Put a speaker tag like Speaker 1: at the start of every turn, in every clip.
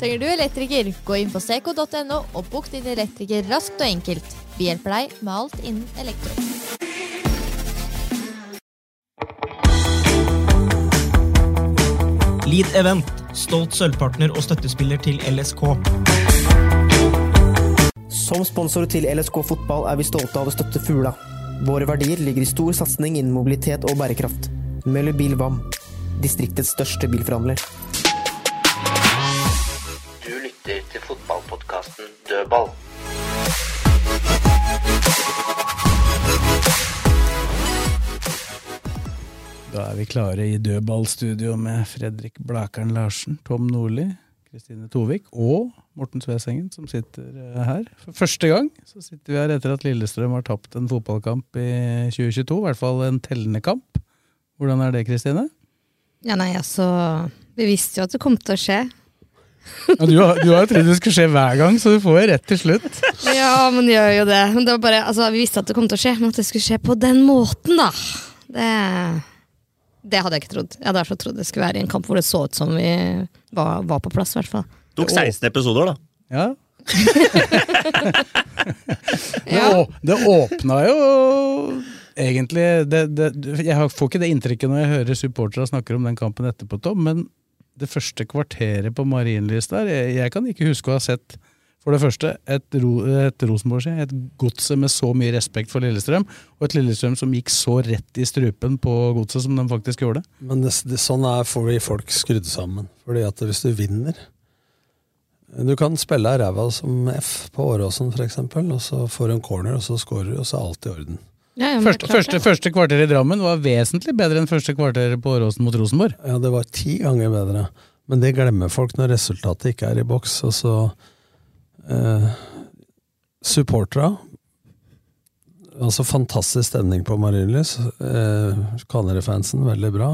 Speaker 1: Trenger du elektriker? Gå inn på seco.no og bok din elektriker raskt og enkelt. Vi hjelper deg med alt innen elektro.
Speaker 2: Lead Event, stolt sølvpartner og støttespiller til LSK.
Speaker 3: Som sponsor til LSK fotball er vi stolte av å støtte Fugla. Våre verdier ligger i stor satsing innen mobilitet og bærekraft. Møller Bil VAM, distriktets største bilforhandler.
Speaker 4: Du lytter til fotballpodkasten Dødball.
Speaker 5: Da er vi klare i dødballstudio med Fredrik Blækeren Larsen, Tom Nordli, Kristine Tovik og Morten Svesengen, som sitter eh, her. For første gang så sitter vi her etter at Lillestrøm har tapt en fotballkamp i 2022. I hvert fall en tellende kamp. Hvordan er det, Kristine?
Speaker 6: Ja, nei, altså Vi visste jo at det kom til å skje.
Speaker 5: Ja, du, har, du har jo trodd det skulle skje hver gang, så du får jo rett til slutt.
Speaker 6: Ja, men det gjør jo det. Men det var bare, altså, Vi visste at det kom til å skje, men at det skulle skje på den måten, da. Det, det hadde jeg ikke trodd. Jeg hadde i hvert fall trodd det skulle være i en kamp hvor det så ut som vi var, var på plass, i hvert fall.
Speaker 7: Tok 16 episoder, da.
Speaker 5: Ja. det, å, det åpna jo egentlig det, det, Jeg har- får ikke det inntrykket når jeg hører supportere snakker om den kampen etterpå, Tom, men det første kvarteret på Marienlyst der jeg, jeg kan ikke huske å ha sett for det første et, ro, et Rosenborg, sier jeg, et godset med så mye respekt for Lillestrøm, og et Lillestrøm som gikk så rett i strupen på godset som de faktisk gjorde.
Speaker 2: Men det, det, sånn er fordi folk skrudd sammen. Fordi at hvis du vinner Du kan spille av ræva som F på Åråsen, f.eks., og så får du en corner, og så scorer du, og så er alt i orden.
Speaker 6: Ja, ja, men det
Speaker 5: Første,
Speaker 6: er klart
Speaker 5: første,
Speaker 6: det.
Speaker 5: første kvarter i Drammen var vesentlig bedre enn første kvarter på Åråsen mot Rosenborg.
Speaker 2: Ja, det var ti ganger bedre. Men det glemmer folk når resultatet ikke er i boks. Og så eh, Supportera. Altså fantastisk stemning på Marienlyst. Eh, Kanarifansen, veldig bra.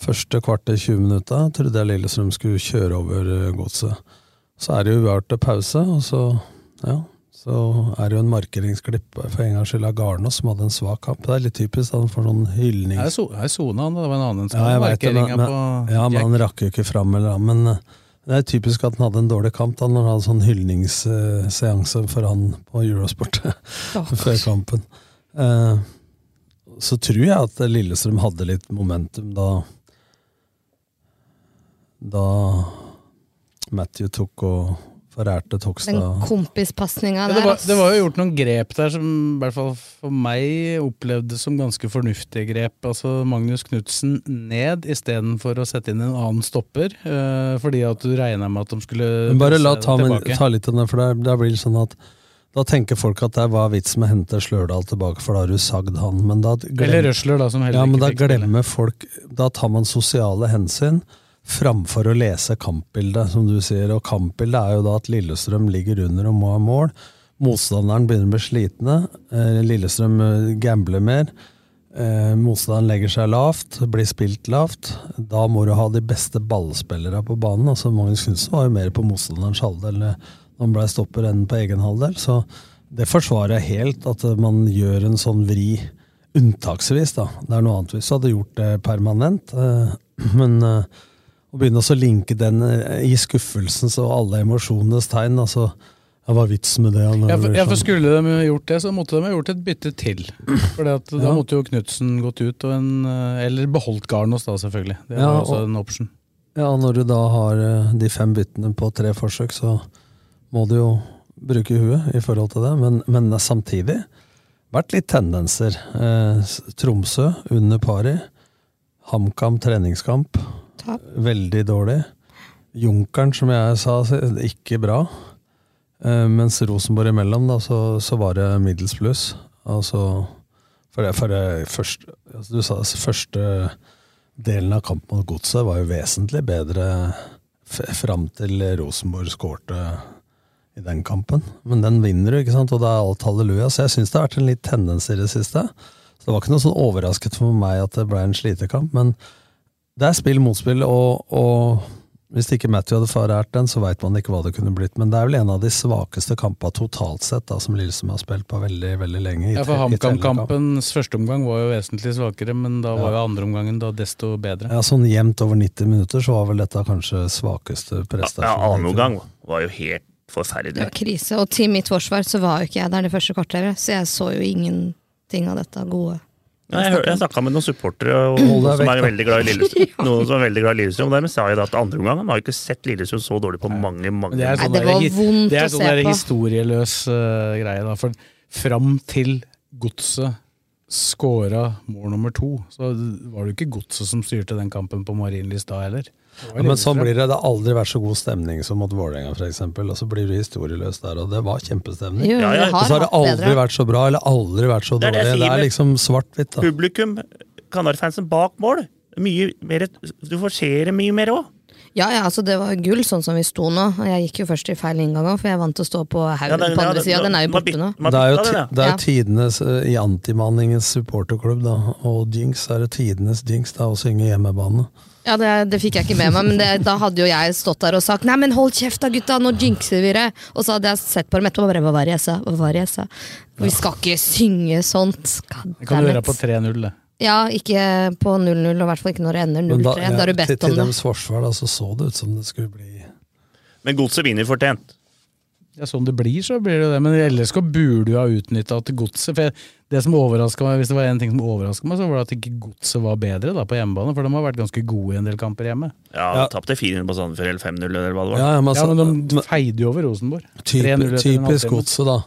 Speaker 2: Første kvarter, 20 minutter, trodde jeg Lillestrøm skulle kjøre over eh, godset. Så er det jo uavgjort til pause, og så ja, så er det jo en markeringsklipp for en gangs skyld av Garnås, som hadde en svak kamp. Det er litt typisk, han får sånn
Speaker 5: Det
Speaker 2: hylning
Speaker 5: er so- det er sona han, da. det var en annen
Speaker 2: ja, jeg vet det, men,
Speaker 5: markeringa
Speaker 2: men,
Speaker 5: på
Speaker 2: ja, men
Speaker 5: Jack.
Speaker 2: han rakk jo ikke fram. Eller, annet, men eh, det er typisk at han hadde en dårlig kamp da når han hadde sånn hyldningsseanse for han på Eurosport før kampen. Eh, Så tror jeg at Lillestrøm hadde litt momentum da da Matthew tok og forærte
Speaker 6: Den
Speaker 2: Tokstad.
Speaker 6: kompispasninga
Speaker 5: Men
Speaker 6: der. altså.
Speaker 5: det, var,
Speaker 6: ass.
Speaker 5: det var jo gjort noen grep der som i hvert fall for meg opplevdes som ganske fornuftige grep. Altså Magnus Knutsen ned istedenfor å sette inn en annen stopper, eh, fordi at du regna med at de skulle
Speaker 2: Men bare la
Speaker 5: presse
Speaker 2: ta, men,
Speaker 5: tilbake.
Speaker 2: ta litt av den, for der, der blir det sånn at da tenker folk at det er hva er vitsen med å hente Slørdal tilbake, for da har du sagd han. Men da
Speaker 5: Eller
Speaker 2: glemmer,
Speaker 5: Røsler, da, som heller
Speaker 2: ja, men
Speaker 5: ikke
Speaker 2: da
Speaker 5: fikk spille.
Speaker 2: glemmer folk Da tar man sosiale hensyn framfor å lese kampbildet, som du sier. Og kampbildet er jo da at Lillestrøm ligger under og må ha mål. Motstanderen begynner å bli slitne. eh, Lillestrøm eh, gambler mer. Eh, motstanderen legger seg lavt, blir spilt lavt. Da må du ha de beste ballspillere på banen. Altså Magnus Knutsen var jo mer på motstanderens halvdel eh, når han ble stopper enn på egen halvdel. Så det forsvarer jeg helt, at eh, man gjør en sånn vri unntaksvis. da. Det er noe annet hvis du hadde gjort det permanent. eh, Men eh, å begynne også å linke den eh, i skuffelsens og alle emosjonenes tegn, altså ja, Hva er vitsen med det? han
Speaker 5: Ja, for,
Speaker 2: gjør
Speaker 5: ja, for
Speaker 2: sånn?
Speaker 5: Skulle de gjort det, så måtte de ha gjort et bytte til. For Da
Speaker 2: Ja.
Speaker 5: måtte jo Knutsen gått ut, og en, eh, eller beholdt Garnås da, selvfølgelig. Det var
Speaker 2: Ja,
Speaker 5: også
Speaker 2: og-
Speaker 5: en option.
Speaker 2: Ja, når du da har eh, de fem byttene på tre forsøk, så må du jo bruke huet i forhold til det, men, men samtidig vært litt tendenser. Eh, s- Tromsø under pari. HamKam treningskamp.
Speaker 6: Tap.
Speaker 2: Veldig dårlig. Junkeren, som jeg sa, s- ikke bra. Eh, mens Rosenborg imellom, da, så, så var det middels pluss. Altså, for det, for det første, altså, du sa, altså, første delen av kampen mot Godset var jo vesentlig bedre f- fram til Rosenborg skårte i den kampen. Men den vinner du, ikke sant? og det er alt halleluja. Så jeg syns det har vært en litt tendens i det siste. Så det var ikke noe sånn overrasket for meg at det ble en slitekamp, men det er spill mot spill, og, og hvis ikke Matthew hadde forært den, så veit man ikke hva det kunne blitt. Men det er vel en av de svakeste kampene totalt sett, da, som Lillestrøm har spilt på veldig veldig lenge. i
Speaker 5: Ja, for
Speaker 2: tre- i tredjekamp.
Speaker 5: HamKam-kampens første omgang var jo vesentlig svakere, men da var
Speaker 2: Ja.
Speaker 5: jo andreomgangen da desto bedre.
Speaker 2: Ja, Sånn jevnt over 90 minutter så var vel dette kanskje svakeste prestasjonen.
Speaker 7: Ja, annen omgang var jo helt
Speaker 6: Det var
Speaker 7: forferdelig.
Speaker 6: krise. Og til mitt forsvar så var jo ikke jeg der det første kvarteret, så jeg så jo ingenting av dette gode.
Speaker 7: Ja, jeg hør- jeg snakka med noen supportere og,
Speaker 2: Hold deg
Speaker 7: som
Speaker 2: vekk,
Speaker 7: er
Speaker 2: da.
Speaker 7: veldig glad i Lillestrøm. Noen som er veldig glad i Lillestrøm, og dermed sa jeg da at andre omgang Han har jo ikke sett Lillestrøm så dårlig på mange, mange
Speaker 5: Men Det, er
Speaker 6: Nei,
Speaker 5: sånn
Speaker 6: det var
Speaker 5: der-
Speaker 6: vondt
Speaker 5: det er
Speaker 6: å
Speaker 5: sånn
Speaker 6: se
Speaker 5: der
Speaker 6: på.
Speaker 5: historieløs eh, greie, da. For fram til godset scora mål nummer to, så var det jo ikke godset som styrte den kampen på Marienlyst da heller. Det var
Speaker 2: Ja, men sånn
Speaker 5: Lillestrøm.
Speaker 2: blir det. Det har aldri vært så god stemning som mot Vålerenga, f.eks. Og så blir du historieløs der, og det var kjempestemning.
Speaker 6: Jo,
Speaker 7: Ja, ja.
Speaker 6: det
Speaker 7: Og
Speaker 2: Og så har det
Speaker 6: hatt
Speaker 2: aldri
Speaker 6: bedre.
Speaker 2: vært så bra, eller aldri vært så
Speaker 7: Det er
Speaker 2: dårlig.
Speaker 7: det
Speaker 2: Det
Speaker 7: jeg
Speaker 2: er,
Speaker 7: sier, men-
Speaker 2: liksom svart-hvitt, da.
Speaker 7: Publikum, Kanarifansen bak mål, mye mer, du forserer mye mer òg.
Speaker 6: Ja, ja, altså det var gull sånn som vi sto nå. Og jeg gikk jo først i feil inngang òg, for jeg er vant til å stå på haugen på andre sida. Den er jo borte nå.
Speaker 2: Det er jo, ti-
Speaker 7: det,
Speaker 2: det er
Speaker 6: Ja.
Speaker 2: jo tidenes eh, i antimanningens supporterklubb, da. Og Jinx er det tidenes Jinx, da, å synge hjemmebane.
Speaker 6: Ja, det, det fikk jeg ikke med meg, men det, da hadde jo jeg stått der og sagt Nei, men hold kjeft da, gutta, nå jinxer vi det! Og så hadde jeg sett på dem etterpå og bare Hva var det jeg sa? Hva var det jeg sa? Vi skal ikke synge sånt! God
Speaker 5: Det kan du
Speaker 6: damn
Speaker 5: gjøre
Speaker 6: it.
Speaker 5: på 3-0, det.
Speaker 6: Ja, ikke på 0-0, og i hvert fall ikke når det ender 0-3. Da,
Speaker 2: ja,
Speaker 6: har du
Speaker 2: til,
Speaker 6: bedt
Speaker 2: til
Speaker 6: om det.
Speaker 2: deres forsvar da, så så det ut som det skulle bli
Speaker 7: Men godset vinner fortjent.
Speaker 5: Ja, Sånn det blir, så blir det jo det. Men LSK burde jo ha utnytta at godset for jeg- Det som overraska meg, hvis det var en ting som overraska meg, så var det at ikke godset var bedre da på hjemmebane. For de har vært ganske gode i en del kamper hjemme.
Speaker 7: Ja,
Speaker 2: Ja.
Speaker 7: tapte 400 på Sandefjord eller 5-0 eller hva det var.
Speaker 2: Ja, ja, men,
Speaker 5: Ja,
Speaker 2: altså,
Speaker 5: men de feide jo over Rosenborg. 3-0 etter
Speaker 2: Typ,
Speaker 5: en
Speaker 2: typisk
Speaker 5: halvtime.
Speaker 2: godset, da.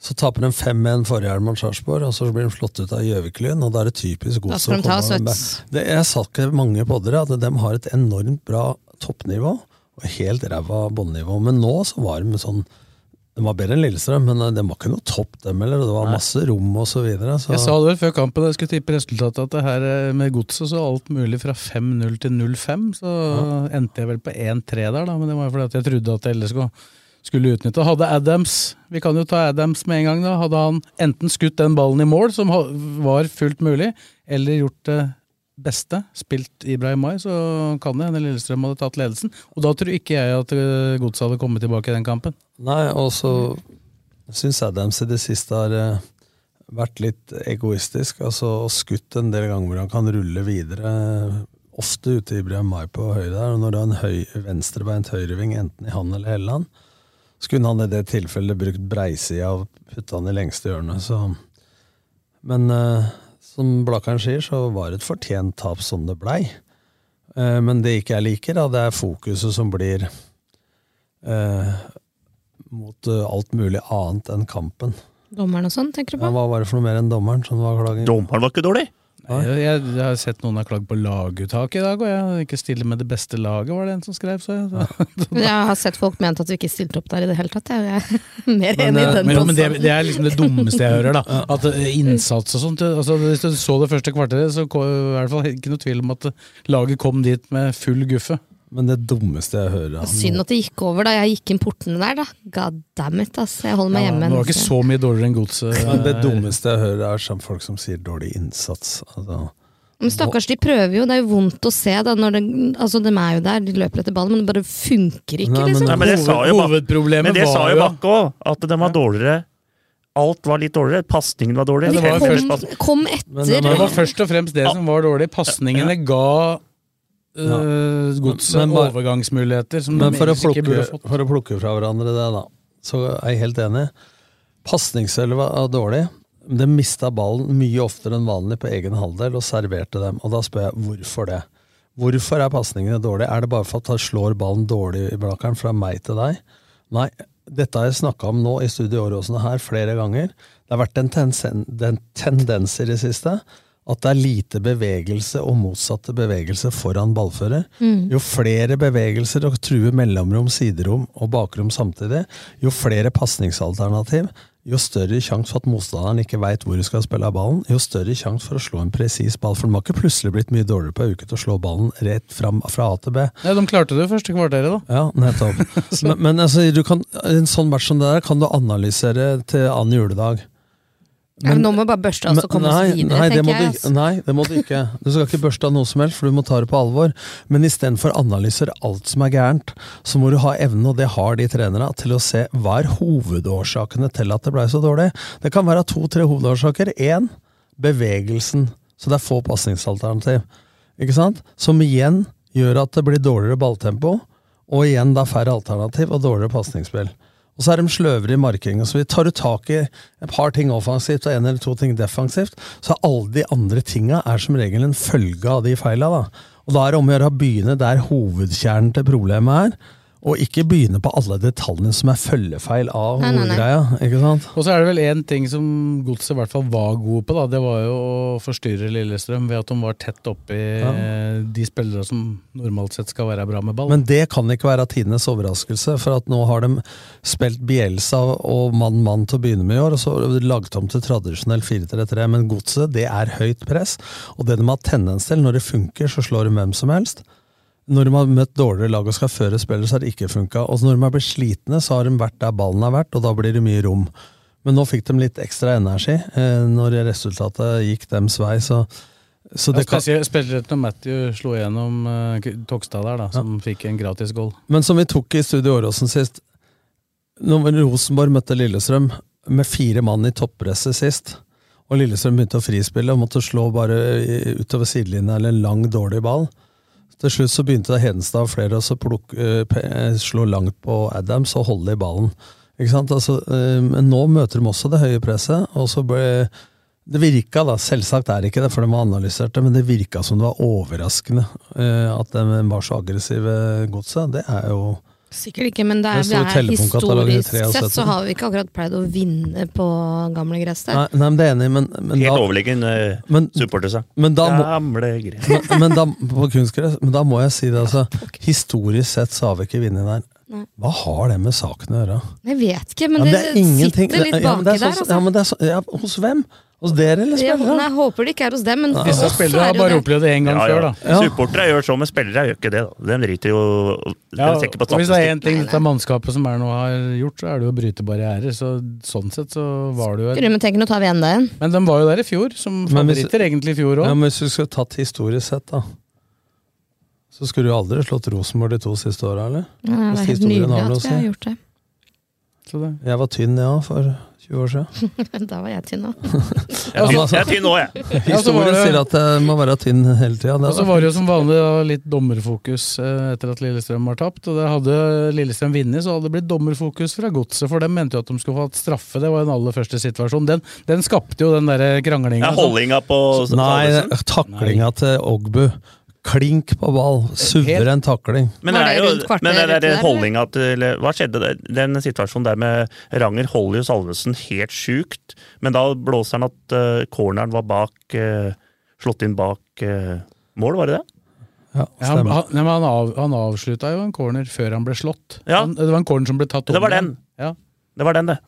Speaker 2: Så taper de 5-1 forrige helg mot Sarpsborg, og så blir de slått ut av Gjøviklyn. Og da er det typisk
Speaker 6: Da
Speaker 2: godset.
Speaker 6: skal de ta
Speaker 2: komme med-
Speaker 6: Sveits.
Speaker 2: Det- Jeg sa ikke mange poddere at de har et enormt bra toppnivå, og helt ræva båndnivå. Men nå så var de sånn De var bedre enn Lillestrøm, men eh, de var ikke noe topp, dem heller. og Det var masse rom og så videre. Så.
Speaker 5: Jeg sa det vel før kampen da jeg skulle tippe resultatet, at det her eh, med godset så alt mulig fra 5-0 til 0-5, så endte jeg vel på 1-3 der, da, men det var jo fordi at jeg trodde at LSK skulle utnytte. Hadde Adams, vi kan jo ta Adams med en gang, da, hadde han enten skutt den ballen i mål, som ha- var fullt mulig, eller gjort det beste, spilt Ibrahim Mai, så kan det hende Lillestrøm hadde tatt ledelsen. Og da tror ikke jeg at eh, godset hadde kommet tilbake i den kampen.
Speaker 2: Nei, og så syns Adams i det siste har eh, vært litt egoistisk. Altså og skutt en del ganger hvor han kan rulle videre. eh, Ofte ute i Brian Mai på høyre der. Og når det er en høy, venstrebeint høyreving, enten i han eller Helland, så kunne han i det tilfellet brukt breisida og putta han i lengste hjørnet. Så. Men eh, som Blakkaren sier, så var det et fortjent tap som det blei. Eh, men det ikke jeg liker, da, det er fokuset som blir eh, mot eh, alt mulig annet enn kampen.
Speaker 6: Dommeren og sånn, tenker du
Speaker 2: Ja,
Speaker 6: på?
Speaker 2: hva var det for noe mer enn dommeren som var klaging?
Speaker 7: Dommeren var ikke dårlig!
Speaker 2: Nei.
Speaker 5: Jeg, jeg, jeg har sett noen har klagd på laguttak i dag, og jeg ikke stille med det beste laget, var det en som skrev. Så jeg,
Speaker 6: Men Jeg har sett folk ment at vi ikke stilte opp der i det hele tatt. Jeg er mer
Speaker 2: Men,
Speaker 6: enig i
Speaker 2: eh,
Speaker 6: den.
Speaker 5: Men, jo, men det,
Speaker 6: påstanden.
Speaker 5: det er liksom det dummeste jeg hører. da At eh, innsats og sånt altså, Hvis du så det første kvarteret, så kom, i hvert fall ikke noe tvil om at eh, laget kom dit med full guffe.
Speaker 2: Men det dummeste jeg hører av
Speaker 6: Synd at det gikk over da jeg gikk inn portene der, da. God damn it, ass. Jeg holder meg
Speaker 5: Ja, men
Speaker 6: hjemme.
Speaker 5: det var ikke så mye dårligere enn godset.
Speaker 2: noe- Men det dummeste jeg hører, er sånn folk som sier dårlig innsats. Altså,
Speaker 6: Men stakkars, de prøver jo. Det er jo vondt å se, da. Når det, altså, de er jo der, de løper etter ballen, men det bare funker ikke,
Speaker 2: Nei, men-
Speaker 6: liksom.
Speaker 7: Nei, men det sa jo Bakke-
Speaker 5: Hovedproblemet
Speaker 7: Men det sa
Speaker 5: var
Speaker 7: jo
Speaker 5: jo
Speaker 7: Bakke òg, at de var dårligere. Alt var litt dårligere. Pasningen var dårlig.
Speaker 5: Ja, det var jo
Speaker 7: Felles
Speaker 5: først-
Speaker 7: pass-
Speaker 6: kom, kom
Speaker 2: Men-
Speaker 5: Det
Speaker 6: etter.
Speaker 5: var først og fremst det som var dårlig. Pasningene ga eh, godset
Speaker 2: Men- men bare-
Speaker 5: overgangsmuligheter som de
Speaker 2: Men for å,
Speaker 5: ellers ikke
Speaker 2: plukke,
Speaker 5: burde fått.
Speaker 2: for å plukke fra hverandre det, da, så er jeg helt enig. Pasningsølvet var dårlig. De mista ballen mye oftere enn vanlig på egen halvdel og serverte dem. Og da spør jeg hvorfor det. Hvorfor er pasningene dårlige? Er det bare for at han slår ballen dårlig i Blakkaren fra meg til deg? Nei, dette har jeg snakka om nå i Studio Åråsen og her flere ganger. Det har vært en tensen, den tendens i det siste at det er lite bevegelse og motsatte bevegelse foran ballfører.
Speaker 8: Mm.
Speaker 2: Jo flere bevegelser og true mellomrom, siderom og bakrom samtidig, jo flere pasningsalternativ, jo større sjanse for at motstanderen ikke veit hvor de skal spille av ballen, jo større sjanse for å slå en presis ball. For de har ikke plutselig blitt mye dårligere på ei uke til å slå ballen rett fram fra A til B.
Speaker 5: Nei, De klarte det første kvarteret, da.
Speaker 2: Ja, nettopp. men men altså, du kan, en sånn match som det der kan du analysere til annen juledag.
Speaker 6: Ja, men nå må vi bare børste oss og komme oss videre,
Speaker 2: nei, det
Speaker 6: tenker
Speaker 2: må
Speaker 6: jeg.
Speaker 2: Du,
Speaker 6: altså.
Speaker 2: nei, det må du ikke. Du skal ikke børste av noe som helst, for du må ta det på alvor. Men istedenfor analyser alt som er gærent, så må du ha evnen, og det har de trenerne, til å se hva er hovedårsakene til at det blei så dårlig. Det kan være to-tre hovedårsaker. Én, bevegelsen. Så det er få pasningsalternativ. Ikke sant? Som igjen gjør at det blir dårligere balltempo, og igjen da færre alternativ og dårligere pasningsspill. Og så er de sløvere i markeringen, så vi tar du tak i et par ting offensivt og en eller to ting defensivt, så er alle de andre tinga er som regel en følge av de feila. Da. Og da er det om å gjøre å begynne der hovedkjernen til problemet er, og ikke begynne på alle detaljene som er følgefeil av
Speaker 5: Nei, nei, nei.
Speaker 2: hovedgreia. Ikke sant?
Speaker 5: Og så er det vel én ting som Godset i hvert fall var gode på. da, Det var jo å forstyrre Lillestrøm ved at de var tett oppi eh, de spillere som normalt sett skal være bra med ball.
Speaker 2: Men det kan ikke være tidenes overraskelse, for at nå har de spilt Bielsa og mann-mann til å begynne med i år, og så har de laget om til tradisjonell 4-3-3. Men godset, det er høyt press, og det de har tendens til, når det funker, så slår de hvem som helst. Når de har møtt dårligere lag og skal føre spillere, så har det ikke funka. Og når de har blitt slitne, så har de vært der ballen har vært, og da blir det mye rom. Men nå fikk de litt ekstra energi eh, når resultatet gikk dems vei, så, så det
Speaker 5: ja,
Speaker 2: kan
Speaker 5: spesielt, spesielt når Matthew slo gjennom eh, Togstad der, da, som fikk en gratis goal.
Speaker 2: Men som vi tok i Studio Åråsen sist, når Rosenborg møtte Lillestrøm med fire mann i toppresset sist, og Lillestrøm begynte å frispille og måtte slå bare i- utover sidelinja eller en lang, dårlig ball. Til slutt så begynte det Hedenstad og flere også å plukke- eh, pe- eh, slå langt på Adams og holde i ballen. Ikke sant? Altså, eh, men nå møter de også det høye presset, og så ble det virka, da, selvsagt er det ikke det, for de har analysert det, men det virka som det var overraskende eh, at de var så aggressive, godset. Det er jo
Speaker 6: Sikkert ikke, men det er,
Speaker 2: Det
Speaker 6: det
Speaker 2: står
Speaker 6: er
Speaker 2: telefonkatalogen i
Speaker 6: historisk
Speaker 2: tre og
Speaker 6: sett så
Speaker 2: sytten.
Speaker 6: har vi ikke akkurat pleid å vinne på gamle gress der.
Speaker 2: Nei, nei men det er enig, men, men
Speaker 7: Helt
Speaker 2: da,
Speaker 7: overlegen eh,
Speaker 2: men,
Speaker 7: supporter seg.
Speaker 2: men da må,
Speaker 7: Gamle greier.
Speaker 2: men, men, da, på kunstgress, men da må jeg si det, altså. Historisk sett så har vi ikke vunnet
Speaker 6: Nei.
Speaker 2: der. Hva har det med saken å gjøre?
Speaker 6: Jeg vet ikke, men,
Speaker 2: Ja,
Speaker 6: det,
Speaker 2: ingenting-
Speaker 6: sitter litt
Speaker 2: ja,
Speaker 6: baki
Speaker 2: men det er
Speaker 6: der.
Speaker 2: sånn-
Speaker 6: Altså.
Speaker 2: Ja, men det er sånn- ja, hos hvem? Hos dere, eller?
Speaker 6: Jeg,
Speaker 2: spillerne?
Speaker 6: nei, jeg håper det ikke er hos dem, men
Speaker 2: Nei.
Speaker 6: hos
Speaker 2: Disse
Speaker 6: oss er
Speaker 2: spillerne har
Speaker 6: det jo
Speaker 2: bare
Speaker 6: det.
Speaker 5: Opplevde det en gang før, da.
Speaker 7: Supportere gjør sånn, men spillere gjør ikke det. da. De driter jo De
Speaker 5: Ja,
Speaker 7: er sikre på
Speaker 5: og hvis det er én ting
Speaker 7: statistikken.
Speaker 5: dette mannskapet som er nå har gjort, så er det jo å bryte barrierer. Så sånn sett så var det jo et
Speaker 6: Men tenk, nå tar vi igjen det igjen.
Speaker 5: Men de var jo der i fjor, som
Speaker 2: Men hvis-
Speaker 5: favoritter egentlig i fjor
Speaker 2: Ja,
Speaker 5: òg.
Speaker 2: men hvis du skulle tatt historisk sett, da. Så skulle du aldri slått Rosenborg de to siste åra, eller?
Speaker 6: Ja, det
Speaker 2: Hvis
Speaker 6: er helt
Speaker 2: historien
Speaker 6: nydelig
Speaker 2: har noe å
Speaker 6: at vi har
Speaker 2: si.
Speaker 6: gjort det.
Speaker 2: Jeg var tynn, ja, for 20 år siden.
Speaker 6: da var jeg tynn òg.
Speaker 7: Jeg er tynn- jeg er tynn nå, jeg.
Speaker 5: Ja, så
Speaker 2: Historien
Speaker 5: var det-
Speaker 2: sier at jeg må være tynn hele tida.
Speaker 5: Og så var det jo som vanlig da, litt dommerfokus eh, etter at Lillestrøm var tapt. Og det hadde Lillestrøm vunnet, så hadde det blitt dommerfokus fra godset. For de mente jo at de skulle få hatt straffe. Det var jo den aller første situasjonen. Den, den skapte jo den der eh, kranglinga.
Speaker 7: Ja, holdinga på
Speaker 2: Nei, eh, taklinga til Ogbu. Klink på ball.
Speaker 5: Eh,
Speaker 2: Suveren takling.
Speaker 7: Men det, er jo, men det er den holdninga til Hva skjedde der? Den situasjonen der med Ranger holder jo Salvesen helt sjukt, men da blåser han at eh, corneren var bak eh, Slått inn bak eh, mål, var det det?
Speaker 2: Ja,
Speaker 5: han,
Speaker 2: stemmer.
Speaker 5: han, nei, men han, av, han avslutta jo en corner før han ble slått. Han, det var en corner som ble tatt
Speaker 7: Det var den.
Speaker 5: Ja.
Speaker 7: Det var den, det.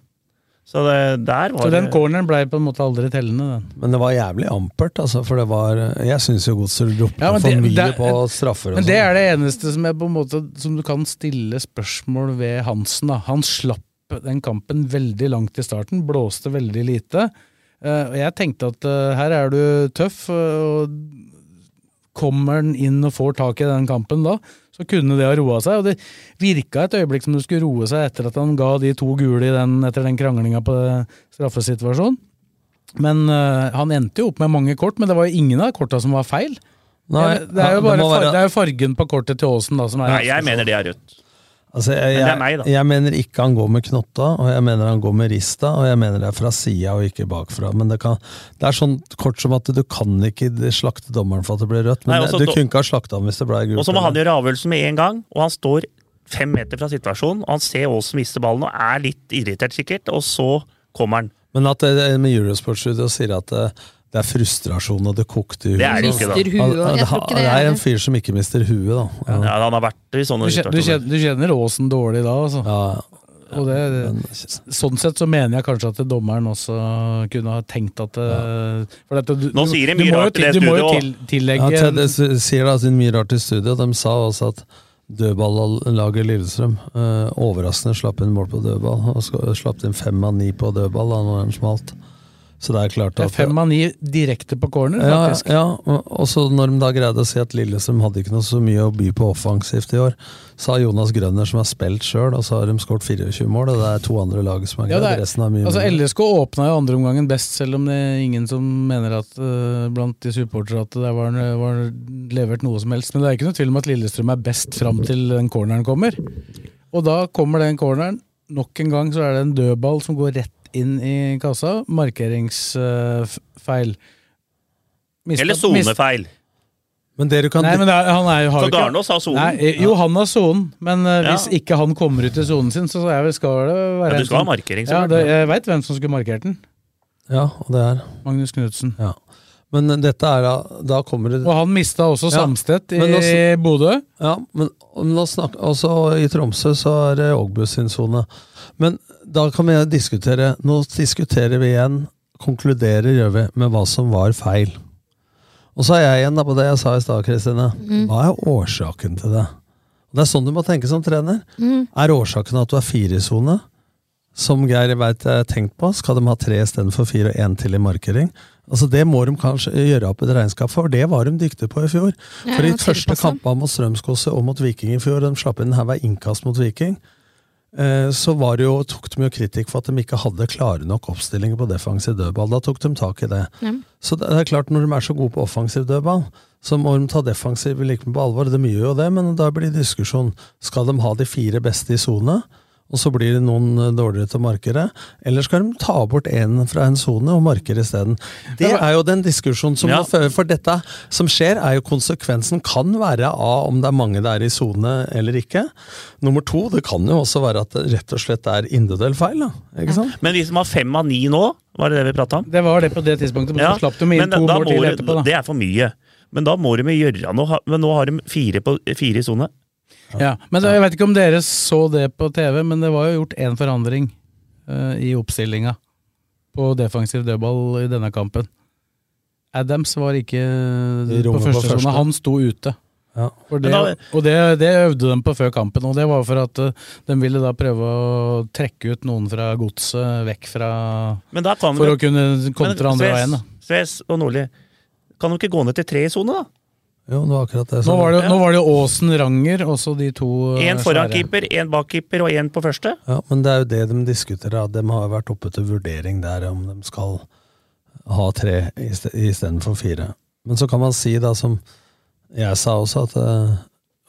Speaker 7: Så det, der var
Speaker 5: Så den
Speaker 7: det-
Speaker 5: corneren ble på en måte aldri tellende, den.
Speaker 2: Men det var jævlig ampert, altså, for det var Jeg syns jo Godset ropte
Speaker 5: Ja, men
Speaker 2: for
Speaker 5: det-
Speaker 2: mye
Speaker 5: det-
Speaker 2: på straffer og
Speaker 5: Men det
Speaker 2: sånn.
Speaker 5: er det eneste som, jeg på en måte, som du kan stille spørsmål ved Hansen. Da. Han slapp den kampen veldig langt i starten, blåste veldig lite. Eh, og jeg tenkte at eh, her er du tøff, eh, og kommer han inn og får tak i den kampen da, så kunne det ha roa seg. Og det virka et øyeblikk som det skulle roe seg etter at han ga de to gule i den, etter den kranglinga på straffesituasjonen. Men eh, han endte jo opp med mange kort, men det var jo ingen av korta som var feil.
Speaker 2: Nei,
Speaker 5: det, det er jo
Speaker 2: det
Speaker 5: bare
Speaker 2: må være-
Speaker 5: far, det er jo fargen på kortet til Aasen da, som er
Speaker 7: Nei, jeg mener det er rødt.
Speaker 2: Altså, jeg,
Speaker 7: Men det er
Speaker 2: jeg,
Speaker 7: meg, da.
Speaker 2: jeg mener ikke han går med knotta, og jeg mener han går med rista, og jeg mener det er fra sida og ikke bakfra. Men det, kan, det er sånn kort som at du kan ikke slakte dommeren for at det blir rødt, men
Speaker 7: Nei, også
Speaker 2: det, du
Speaker 7: do-
Speaker 2: kunne ikke ha slakta ham hvis det ble gult.
Speaker 7: Og så må han gjøre avgjørelsen med en gang, og han står fem meter fra situasjonen, og han ser Aasen miste ballen og er litt irritert sikkert, og så kommer han.
Speaker 2: Men at eh, med Eurosportstudio sier at eh, det er frustrasjon og det kokte i huet.
Speaker 7: Det er det ikke, da. Mister huet,
Speaker 2: Han- han-
Speaker 7: jeg tror ikke det
Speaker 2: det
Speaker 7: er-
Speaker 2: er en fyr som ikke mister huet, da. Ja.
Speaker 7: Ja, han har vært i
Speaker 5: Du
Speaker 7: sånne
Speaker 5: kjenner, du
Speaker 7: situasjoner.
Speaker 5: kjenner, du kjenner Aasen dårlig da, altså. Og det, sånn sett så mener jeg kanskje at dommeren også kunne ha tenkt at eh, for dette, du,
Speaker 7: Nå sier de mye
Speaker 5: du må jo
Speaker 7: rart i
Speaker 5: til-
Speaker 7: det
Speaker 5: Du må jo til,
Speaker 7: studioet.
Speaker 5: tillegge
Speaker 2: Ja, Ted, det s- sier da sin mye rart i studio. De sa også at dødballaget Lillestrøm eh, overraskende slapp inn mål på dødball. Og sk- slapp inn fem av ni på dødball da når den smalt. Så det er klart
Speaker 5: Det
Speaker 2: at
Speaker 5: er fem av ni direkte på corner,
Speaker 2: ja,
Speaker 5: faktisk.
Speaker 2: ja, og- og så når de da greide å si at Lillestrøm hadde ikke noe så mye å by på offensivt i år, så har Jonas Grønner som har spilt sjøl, og så har de skåret 24 mål, og det er to andre lag som har
Speaker 5: Ja,
Speaker 2: greid.
Speaker 5: det er-
Speaker 2: Resten er mye
Speaker 5: altså,
Speaker 2: mindre.
Speaker 5: LSK åpna jo andreomgangen best, selv om det er ingen som mener at eh, blant de supportere at det der var, var levert noe som helst. Men det er ikke noe tvil om at Lillestrøm er best fram til den corneren kommer. Og da kommer den corneren. Nok en gang så er det en dødball som går rett inn i kassa. Markeringsfeil.
Speaker 7: Eller sonefeil.
Speaker 2: Men det du kan
Speaker 5: Nei, men det er, han er, jo- har
Speaker 7: For
Speaker 5: jo ikke-
Speaker 7: Garnås har sonen.
Speaker 5: Nei, eh, jo, han har sonen, men eh,
Speaker 7: Ja.
Speaker 5: hvis ikke han kommer ut i sonen sin, så er vel, skal det være
Speaker 7: Ja, du
Speaker 5: en
Speaker 7: skal ha
Speaker 5: som-
Speaker 7: markering,
Speaker 5: Ja,
Speaker 7: selvfølgelig.
Speaker 5: det, jeg veit hvem som skulle markert den.
Speaker 2: Ja, og det er
Speaker 5: Magnus Knutsen.
Speaker 2: Ja. Men eh, dette er da Da kommer det
Speaker 5: Og han mista også
Speaker 2: Ja.
Speaker 5: Samstedt i
Speaker 2: Men nå-
Speaker 5: Bodø.
Speaker 2: Ja, men nå snak- også altså, I Tromsø så er det Ågbø sin sone. Men da kan vi diskutere Nå diskuterer vi igjen, konkluderer gjør vi, med hva som var feil. Og så er jeg igjen da på det jeg sa i stad, Kristine.
Speaker 8: Mm.
Speaker 2: Hva er årsaken til det? Og Det er sånn du må tenke som trener.
Speaker 8: Mm.
Speaker 2: Er årsaken at du er fire i sone? Som Geir veit jeg har tenkt på, skal de ha tre istedenfor fire og én til i markering? Altså Det må de kanskje gjøre opp et regnskap for, for det var de dyktige på i fjor.
Speaker 8: Ja,
Speaker 2: For i
Speaker 8: ja,
Speaker 2: første
Speaker 8: tilpasse.
Speaker 2: kampene mot Strømskose og mot Viking i fjor, de slapp inn her hver innkast mot Viking, eh, så var det jo, tok de jo kritikk for at de ikke hadde klare nok oppstillinger på defensiv dødball. Da tok de tak i det.
Speaker 8: Ja.
Speaker 2: Så det er klart, når de er så gode på offensiv dødball, så må de ta defensiv like på alvor. De gjør jo det, men da blir det diskusjon. Skal de ha de fire beste i sone? Og så blir det noen eh, dårligere til markere. Eller skal de ta bort én fra en sone og markere isteden? Det er jo den diskusjonen som
Speaker 7: Ja.
Speaker 2: må føre, for dette som skjer, er jo konsekvensen kan være av om det er mange det er i sone eller ikke. Nummer to, det kan jo også være at det rett og slett er individuell feil, da. Ikke sant?
Speaker 7: Men vi som har fem av ni nå, var det det vi prata om?
Speaker 5: Det var det på det tidspunktet, men
Speaker 7: Ja,
Speaker 5: så slapp de inn
Speaker 7: men
Speaker 5: to
Speaker 7: da
Speaker 5: mål til
Speaker 7: må du-
Speaker 5: etterpå. da.
Speaker 7: Det er for mye. Men da må de gjøre noe. ha- Men nå har de fire, på, fire i sone.
Speaker 5: Ja, men det- Jeg vet ikke om dere så det på TV, men det var jo gjort én forandring eh, i oppstillinga på defensiv dødball i denne kampen. Adams var ikke eh,
Speaker 2: I
Speaker 5: på
Speaker 2: rommet på
Speaker 5: første
Speaker 2: første.
Speaker 5: sone, han sto ute.
Speaker 2: Ja.
Speaker 5: For det,
Speaker 2: Men da-
Speaker 5: og det, det øvde de på før kampen, og det var for at eh, de ville da prøve å trekke ut noen fra godset, vekk fra
Speaker 7: Men da kan
Speaker 5: For
Speaker 7: vi-
Speaker 5: å kunne kontre
Speaker 7: Men
Speaker 5: andre
Speaker 7: Sves-
Speaker 5: veien, da.
Speaker 7: Sves og Nordli, kan de ikke gå ned til tre i sone, da?
Speaker 2: Jo, det var akkurat det.
Speaker 5: Nå var det,
Speaker 7: Ja.
Speaker 5: nå var det jo Åsen Ranger, også de to eh,
Speaker 7: Én foran
Speaker 5: svære.
Speaker 7: keeper, én bak keeper og én på første.
Speaker 2: Ja, men det er jo det de diskuterer. at De har vært oppe til vurdering der om de skal ha tre istedenfor fire. Men så kan man si, da, som jeg sa også, at eh,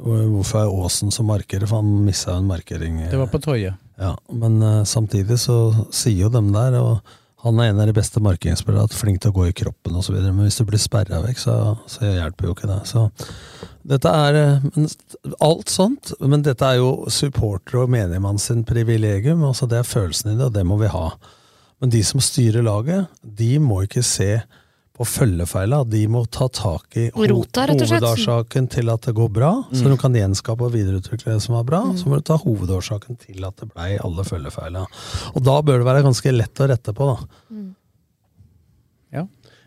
Speaker 2: hvorfor er Aasen så markerer? For han missa jo en markering.
Speaker 5: Det var på Toje.
Speaker 2: Ja, Men eh, samtidig så sier jo dem der, og han er en av de beste markeringsspillerne, at flink til å gå i kroppen osv. Men hvis du blir sperra vekk, så, så hjelper jo ikke det. Så dette er eh, men, alt sånt. Men dette er jo supporter og menigmann sin privilegium. altså Det er følelsen i det, og det må vi ha. Men de som styrer laget, de må ikke se på følgefeila. De må ta tak i ho-
Speaker 6: Rota, rett og slett.
Speaker 2: hovedårsaken til at det går bra, så
Speaker 8: Mm.
Speaker 2: du kan gjenskape og videreutvikle det som er bra.
Speaker 8: Mm.
Speaker 2: Så må du ta hovedårsaken til at det blei alle følgefeila. Og da bør det være ganske lett å rette på, da.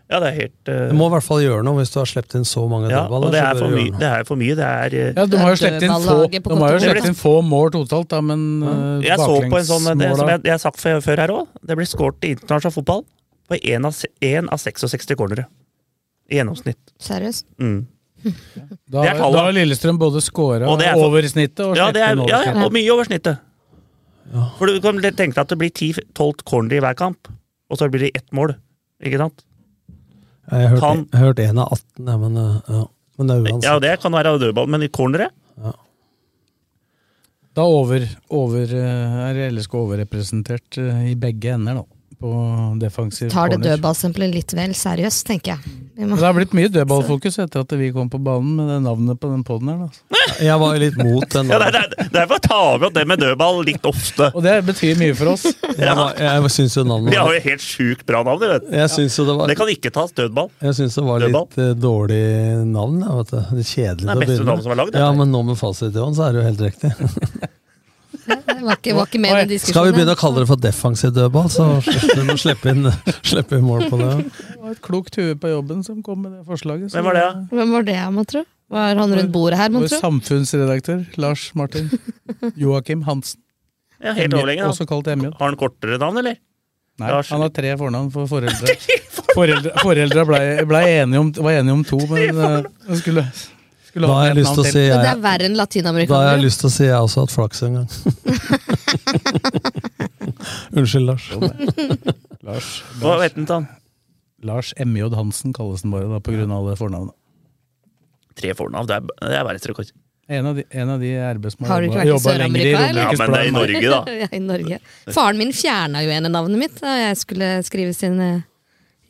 Speaker 7: Ja, det er helt eh,
Speaker 2: Du må i hvert fall gjøre noe hvis du har sluppet inn så mange
Speaker 7: ja,
Speaker 2: dødballer.
Speaker 7: Og det
Speaker 2: så
Speaker 7: er
Speaker 2: bør du
Speaker 7: for
Speaker 2: gjøre
Speaker 7: mye.
Speaker 2: noe.
Speaker 7: Det er for mye. Det er eh,
Speaker 5: Ja, de har jo sluppet inn få,
Speaker 7: Dødballaget på
Speaker 5: de har jo
Speaker 7: kontoret.
Speaker 5: slett inn få mål totalt, da, men eh,
Speaker 7: Jeg så på en sånn det,
Speaker 5: baklengsmåla-
Speaker 7: som jeg, jeg har sagt før, før her òg. Det blir skåret i internasjonal fotball på én av, se- en av 66 cornere. I gjennomsnitt.
Speaker 6: Seriøst?
Speaker 7: Mm.
Speaker 5: Da,
Speaker 7: det er tallet.
Speaker 5: da har Lillstrøm både scora
Speaker 7: Og det er for-
Speaker 5: over snittet og
Speaker 7: Ja, det er,
Speaker 5: sluppet inn over
Speaker 7: ja, ja, og
Speaker 5: snittet.
Speaker 7: mye over snittet. For du kan tenke deg at det blir 10-12 corner i hver kamp, og så blir det ett mål. Ikke sant?
Speaker 2: Ja, Jeg hørte-
Speaker 7: Kan-
Speaker 2: jeg hørte én av 18, ja, men, eh, ja. men det er uansett.
Speaker 7: Ja, det kan være dødball, men i cornere
Speaker 5: Da over, over, eh, er LSK overrepresentert eh, i begge ender, da. På defensiv
Speaker 6: Tar det
Speaker 5: corner.
Speaker 6: dødballstempelet litt vel seriøst, tenker jeg. Vi
Speaker 5: Men
Speaker 6: må-
Speaker 5: det har blitt mye dødballfokus etter at vi kom på banen med det navnet på den poden her. Da.
Speaker 2: Jeg var jo litt mot den.
Speaker 7: Ja, det, er- det, er- derfor tar vi opp det med dødball litt ofte.
Speaker 5: Og det betyr mye for oss.
Speaker 2: Jeg, var- jeg syns jo navnet
Speaker 7: Vi har
Speaker 2: var,
Speaker 7: jo helt sjukt bra navn. dere vet.
Speaker 2: Jeg syns jo det var
Speaker 7: Det kan ikke tas dødball.
Speaker 2: Jeg syns det var litt eh, dårlig navn. Jeg vet det. Litt
Speaker 7: Det
Speaker 2: kjedelig til
Speaker 7: er
Speaker 2: å
Speaker 7: beste navn
Speaker 2: begynne
Speaker 7: som er lagd, det.
Speaker 2: Ja, men nå med fasit i hånd, så er det jo helt riktig.
Speaker 6: Det var ikke, var ikke med i den diskusjonen.
Speaker 5: sånn,
Speaker 2: Skal vi begynne å kalle det for defensiv dødball, så du må slippe inn, slippe inn mål på det.
Speaker 5: Det var et klokt hue på jobben som kom med det forslaget. så-
Speaker 7: Hvem var det, da?
Speaker 6: Hvem var det, man tror? Var han rundt bordet her, man
Speaker 5: Vår
Speaker 6: tror?
Speaker 5: samfunnsredaktør Lars Martin Joakim Hansen.
Speaker 7: Ja, helt
Speaker 5: Emil,
Speaker 7: overlenge.
Speaker 5: Også
Speaker 7: da.
Speaker 5: kalt Emil.
Speaker 7: Har han kortere navn, eller?
Speaker 5: Nei,
Speaker 7: Lars-
Speaker 5: han har tre fornavn for foreldre. Foreldre, foreldre ble, ble enige om, var enige om to, men eh, han skulle, skulle
Speaker 2: Da har jeg
Speaker 5: et
Speaker 2: lyst til å
Speaker 5: navn
Speaker 2: si
Speaker 6: Så det
Speaker 2: jeg,
Speaker 6: er verre enn
Speaker 2: da har jeg
Speaker 6: latinamerikanere?
Speaker 2: lyst til å si jeg også har hatt flaks en gang. Unnskyld, Lars.
Speaker 5: Lars,
Speaker 7: Hva
Speaker 5: Lars,
Speaker 7: vet han til han?
Speaker 5: Lars MJ Hansen kalles den bare, da, på grunn av alle fornavnet.
Speaker 7: Tre fornavn, det er, det er verdensrekord.
Speaker 5: En av de, en av de RB som
Speaker 6: Har
Speaker 5: har
Speaker 6: du ikke
Speaker 5: jobba
Speaker 6: vært i
Speaker 5: jobba lenger i
Speaker 6: Sør-Amerika, eller?
Speaker 7: Ja, men det er i
Speaker 5: Romerikes
Speaker 7: Norge, da.
Speaker 6: Ja, I Norge. Faren min fjerna jo ene navnet mitt da jeg skulle skrives inn eh,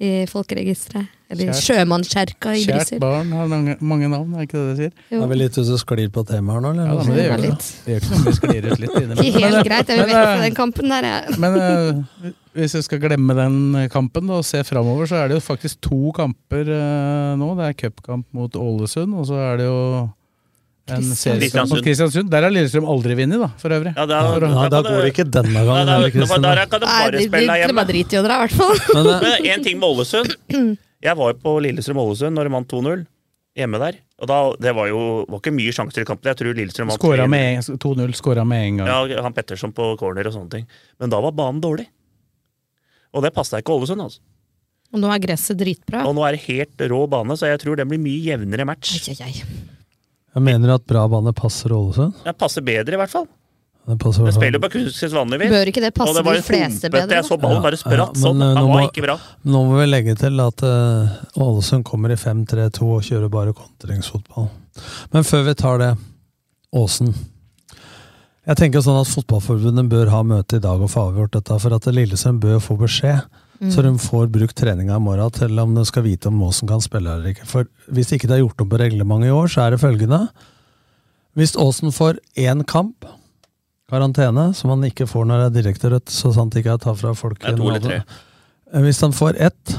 Speaker 6: i folkeregisteret. Eller
Speaker 5: Kjært.
Speaker 6: Sjømannskjerka i
Speaker 5: Kjært
Speaker 6: Brussel.
Speaker 5: barn har mange, mange navn, er ikke det det sier?
Speaker 2: Er vi
Speaker 6: Jo.
Speaker 2: litt ute og sklir på temaet her nå, eller?
Speaker 5: Ja, da, men det gjør vi.
Speaker 6: Litt.
Speaker 5: da. Det gjør ikke noe, vi sklir ut litt innimellom.
Speaker 6: Ikke
Speaker 5: Men, eh,
Speaker 6: helt greit, jeg vil
Speaker 5: men,
Speaker 6: vekk fra
Speaker 5: eh,
Speaker 6: den kampen der, jeg.
Speaker 5: Men eh, hvis vi skal glemme den eh, kampen da, og se framover, så er det jo faktisk to kamper eh, nå. Det er cupkamp mot Ålesund, og så er det jo en seriekamp mot
Speaker 7: Kristiansund.
Speaker 5: Kristiansund. Der har Lillestrøm aldri vunnet, da, for øvrig.
Speaker 7: Ja, da,
Speaker 2: Nei, da går det ikke denne
Speaker 7: Nei,
Speaker 2: gangen.
Speaker 7: da,
Speaker 2: heller,
Speaker 7: da,
Speaker 2: Kristin.
Speaker 7: da, kan du
Speaker 6: Nei,
Speaker 7: bare
Speaker 6: de, de,
Speaker 7: spille deg
Speaker 6: de
Speaker 7: hjemme.
Speaker 6: bare driter i å dra, i hvert fall.
Speaker 2: Men eh,
Speaker 7: Men en ting med Ålesund. Jeg var jo på Lillestrøm-Ålesund når de vant 2-0 hjemme der. Og da, Det var jo var ikke mye sjanser i kampen. Jeg tror Lillestrøm vant
Speaker 5: Skåra
Speaker 7: 3-0.
Speaker 5: med en- 2-0, skåra med en gang.
Speaker 7: Ja, han Petterson på corner og sånne ting. Men da var banen dårlig. Og det passa ikke Ålesund. altså.
Speaker 6: Og nå er gresset dritbra.
Speaker 7: Og nå er det helt rå bane, så jeg tror det blir mye jevnere match.
Speaker 6: Ai, ai, ai.
Speaker 2: jeg mener at bra bane passer Ålesund.
Speaker 7: Det passer bedre, i hvert fall.
Speaker 2: Det passer i
Speaker 7: Det
Speaker 2: hvert fall.
Speaker 7: spiller jo på kunstgress vanligvis.
Speaker 6: Bør ikke det
Speaker 7: Og
Speaker 6: passe
Speaker 7: det var
Speaker 6: de
Speaker 7: en
Speaker 6: fleste
Speaker 7: humpete-
Speaker 6: bedre?
Speaker 7: Jeg så ballen bare spratt
Speaker 2: Ja, ja,
Speaker 7: sånn.
Speaker 2: men, eh,
Speaker 7: Den
Speaker 2: nå
Speaker 7: var
Speaker 2: må-
Speaker 7: ikke bra.
Speaker 2: Nå må vi legge til at eh, Ålesund kommer i 5-3-2 og kjører bare kontringsfotball. Men før vi tar det, Åsen. Jeg tenker sånn at Fotballforbundet bør ha møte i dag og få avgjort dette, for at Lillestrøm bør få beskjed. Så de får brukt treninga i morgen til om de skal vite om Åsen kan spille eller ikke. For hvis ikke det er gjort om på reglementet i år, så er det følgende. Hvis Åsen får én kamp, karantene, som han ikke får når det er direkte rødt, så sant ikke jeg tar fra folk
Speaker 7: Det er to
Speaker 2: en
Speaker 7: eller
Speaker 2: advars-
Speaker 7: tre.
Speaker 2: hvis han får ett,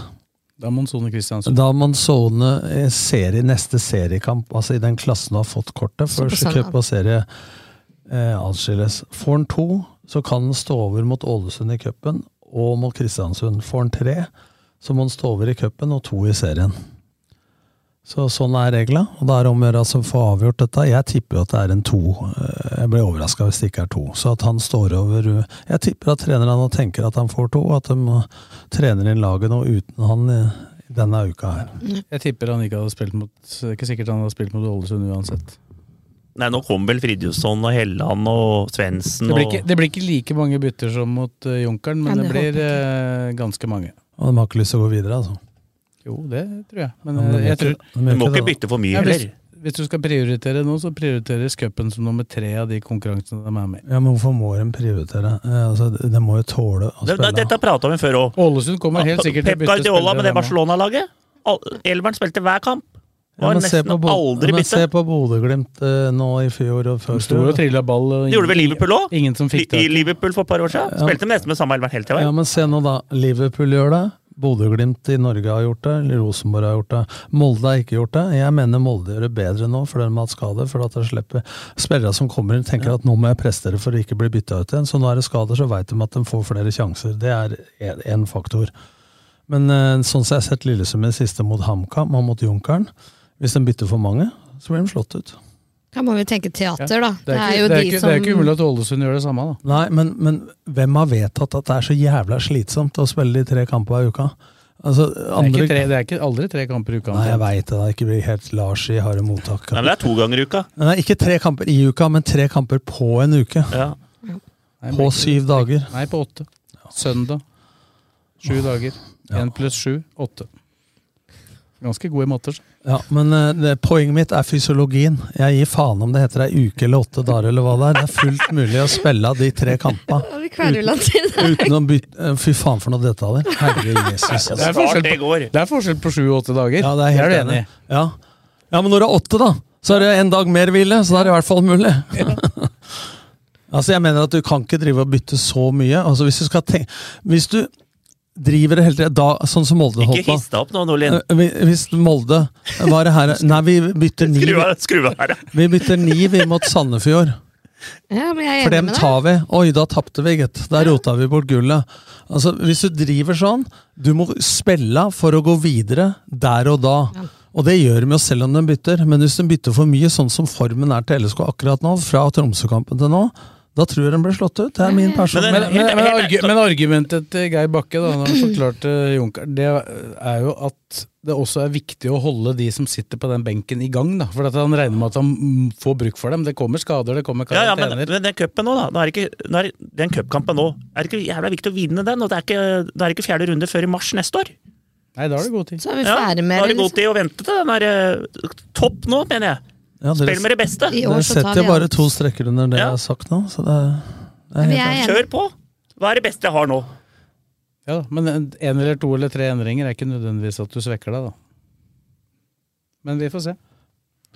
Speaker 5: Da må Sone Kristiansen
Speaker 2: da må han sone eh, serie, neste seriekamp, altså i den klassen du har fått kortet.
Speaker 6: Så på
Speaker 2: Første
Speaker 6: søndag.
Speaker 2: cup og serie eh, atskilles. Får han to, så kan han stå over mot Ålesund i cupen og mot Kristiansund. Får han tre, så må han stå over i cupen og to i serien. Så Sånn er regla, og det er om å gjøre altså, å få avgjort dette. Jeg tipper jo at det er en to. Eh, Jeg blir overraska hvis det ikke er to. Så at han står over eh, Jeg tipper at trenerne nå tenker at han får to, og at de eh, trener inn laget nå uten han eh, denne uka her.
Speaker 5: Jeg tipper han ikke hadde spilt mot Det er ikke sikkert han hadde spilt mot Ålesund uansett.
Speaker 7: Nei, nå kommer vel Fridtjofsson og Helland og Svendsen
Speaker 5: Det blir, ikke,
Speaker 7: og
Speaker 5: det blir ikke like mange bytter som mot eh, Junkeren,
Speaker 6: Ja,
Speaker 5: men det
Speaker 6: det håper
Speaker 5: blir
Speaker 6: jeg
Speaker 5: eh, ganske mange.
Speaker 2: Og de har ikke lyst til å gå videre, altså.
Speaker 5: Jo, det tror jeg.
Speaker 2: Men
Speaker 5: Men
Speaker 2: de
Speaker 5: eh,
Speaker 2: gjør
Speaker 5: jeg tror
Speaker 2: ikke- de gjør
Speaker 7: Du må
Speaker 2: ikke
Speaker 7: ikke
Speaker 2: det, da.
Speaker 7: bytte for mye
Speaker 5: Ja, hvis,
Speaker 7: heller.
Speaker 5: hvis du skal prioritere nå, så prioriteres cupen som nummer tre av de konkurransene de er med i.
Speaker 2: Ja, men hvorfor må de prioritere? Eh, Altså, de- de må jo tåle å
Speaker 7: Det-
Speaker 2: spille.
Speaker 7: det- Dette prata vi før òg.
Speaker 5: Ålesund kommer helt
Speaker 2: Ah,
Speaker 5: sikkert til å
Speaker 7: Pep
Speaker 5: bytte
Speaker 7: Guardiola med det
Speaker 5: spillere. nå.
Speaker 7: Barcelona-laget. Al- Elveren spilte hver kamp.
Speaker 2: Ja,
Speaker 7: Var
Speaker 2: men se
Speaker 7: nesten
Speaker 2: på, Bo-
Speaker 7: aldri
Speaker 2: men se
Speaker 7: bytte.
Speaker 2: på Bodø-Glimt eh, nå i fjor og før.
Speaker 5: De sto jo og trilla ball. og
Speaker 7: Det
Speaker 5: ingen-
Speaker 7: gjorde vel Liverpool òg?
Speaker 5: Ingen som fikk
Speaker 7: I
Speaker 5: det.
Speaker 7: Liverpool for et par år siden.
Speaker 2: Ja, men-
Speaker 7: Spilte nesten med samme elveren hele tida.
Speaker 2: Ja, men se nå da. Liverpool gjør det. Bodø-Glimt i Norge har gjort det. eller Rosenborg har gjort det. Molde har ikke gjort det. Jeg mener Molde gjør det bedre nå fordi de har hatt skade. For at de slipper spillere som kommer inn tenker at nå må jeg prestere for å ikke bli bytta ut igjen. Så nå er det skader, så veit de at de får flere sjanser. Det er én faktor. Men eh, sånn som jeg har sett Lillesund i det siste mot HamKam og mot Junkeren, hvis de bytter for mange, så blir de slått ut.
Speaker 6: Da må vi tenke teater, da.
Speaker 5: Det er ikke-
Speaker 6: jo
Speaker 5: det er
Speaker 6: de
Speaker 5: ikke-
Speaker 6: som
Speaker 5: Det er ikke umulig at Ålesund gjør det samme, da.
Speaker 2: Nei, men, men hvem har vedtatt at det er så jævla slitsomt å spille de tre kampene i uka? Altså,
Speaker 5: Det er,
Speaker 2: andre...
Speaker 5: ikke tre, det er ikke aldri tre kamper i uka.
Speaker 2: Nei, jeg veit det. da. Ikke bli helt Lars i harde mottak.
Speaker 7: Nei, men det er to ganger i uka.
Speaker 2: Nei, ikke tre kamper i uka, men tre kamper på en uke.
Speaker 7: Ja.
Speaker 5: Nei, men
Speaker 2: På
Speaker 5: ikke-
Speaker 2: syv dager.
Speaker 5: Nei, på åtte. Søndag. Sju dager. Én pluss sju. Åtte. Ganske god i matter.
Speaker 2: Ja, men eh, det, Poenget mitt er fysiologien. Jeg gir faen om det heter ei uke eller åtte dager. eller hva Det er Det er fullt mulig å spille av de tre kampene.
Speaker 6: Vi kverula til det.
Speaker 2: Uten å bytte eh, Fy faen for noen detaljer. Herre Jesus.
Speaker 5: Det er forskjell på, det er forskjell på sju og åtte dager.
Speaker 2: Ja, det er helt
Speaker 5: du
Speaker 2: enig. Ja. ja, men når det er åtte, da, så er det en dag mer hvile. Så da er det i hvert fall mulig. altså, jeg mener at du kan ikke drive og bytte så mye. Altså, hvis du skal tenke Hvis du driver det hele tiden, da, sånn som Molde
Speaker 7: Ikke
Speaker 2: holdt på
Speaker 7: hiss deg opp nå, Nordlien.
Speaker 2: Eh, vi- Hvis Molde var det her Nei, vi bytter ni.
Speaker 7: Skru av- Skru av her, ja.
Speaker 2: Vi bytter ni vi mot Sandefjord.
Speaker 6: Ja, men jeg er enig
Speaker 2: For dem
Speaker 6: med deg.
Speaker 2: tar vi. Oi, da tapte vi, gitt. Da rota vi bort gullet. Altså, Hvis du driver sånn, du må spille for å gå videre der og da. Og det gjør de jo selv om de bytter, men hvis de bytter for mye, sånn som formen er til LSK akkurat nå, fra Tromsø-kampen til nå, da tror jeg de blir slått ut. Det er min person.
Speaker 5: Men, men, men, argu- men argumentet til Geir Bakke da, når han forklarte Junker, det er jo at det også er viktig å holde de som sitter på den benken, i gang. da, For at han regner med at han mm, får bruk for dem. Det kommer skader, det kommer
Speaker 7: Ja, ja, men,
Speaker 5: karantener.
Speaker 7: men den cupen nå, da. Nå er det ikke, nå er, det- den cupkampen nå. Er det ikke jævla viktig å vinne den? Og det er ikke, det er ikke fjerde runde før i mars neste år.
Speaker 5: Nei, da har du god tid.
Speaker 6: Så er vi
Speaker 7: Ja,
Speaker 6: ferdig
Speaker 7: nå
Speaker 6: med
Speaker 7: er det
Speaker 6: det.
Speaker 7: god
Speaker 6: Liksom.
Speaker 7: tid å vente til den er eh, topp nå, mener jeg.
Speaker 2: Ja,
Speaker 7: Spill
Speaker 2: dere
Speaker 7: med det beste.
Speaker 6: I
Speaker 2: dere
Speaker 6: år så tar
Speaker 2: setter
Speaker 6: vi
Speaker 2: jo bare
Speaker 6: alt.
Speaker 2: to strekker under det
Speaker 7: Ja.
Speaker 2: jeg har sagt nå, så det er
Speaker 6: Men jeg er enig.
Speaker 7: Kjør på! Hva er det beste jeg har nå?
Speaker 5: Ja, men en en eller to eller tre endringer er ikke nødvendigvis at du svekker deg, da. Men vi får se.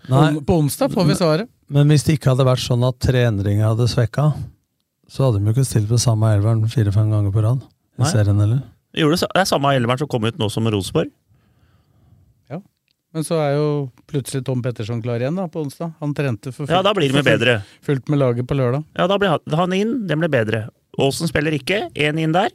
Speaker 5: På,
Speaker 2: Nei,
Speaker 5: på onsdag får vi svaret.
Speaker 2: Men hvis det ikke hadde vært sånn at tre endringer hadde svekka, så hadde de jo ikke stilt med samme elveren fire-fem ganger på rad. I
Speaker 7: Nei.
Speaker 2: serien, eller?
Speaker 7: Gjorde det, sa- det er samme Elleveren som kom ut nå som Rosenborg.
Speaker 5: Men så er jo plutselig Tom Petterson klar igjen da, på onsdag. Han trente for
Speaker 7: Ja, da blir det med
Speaker 5: for fullt-
Speaker 7: bedre.
Speaker 5: fullt med laget på lørdag.
Speaker 7: Ja, da ble han- han inn, den ble bedre. Aasen spiller ikke, én inn der.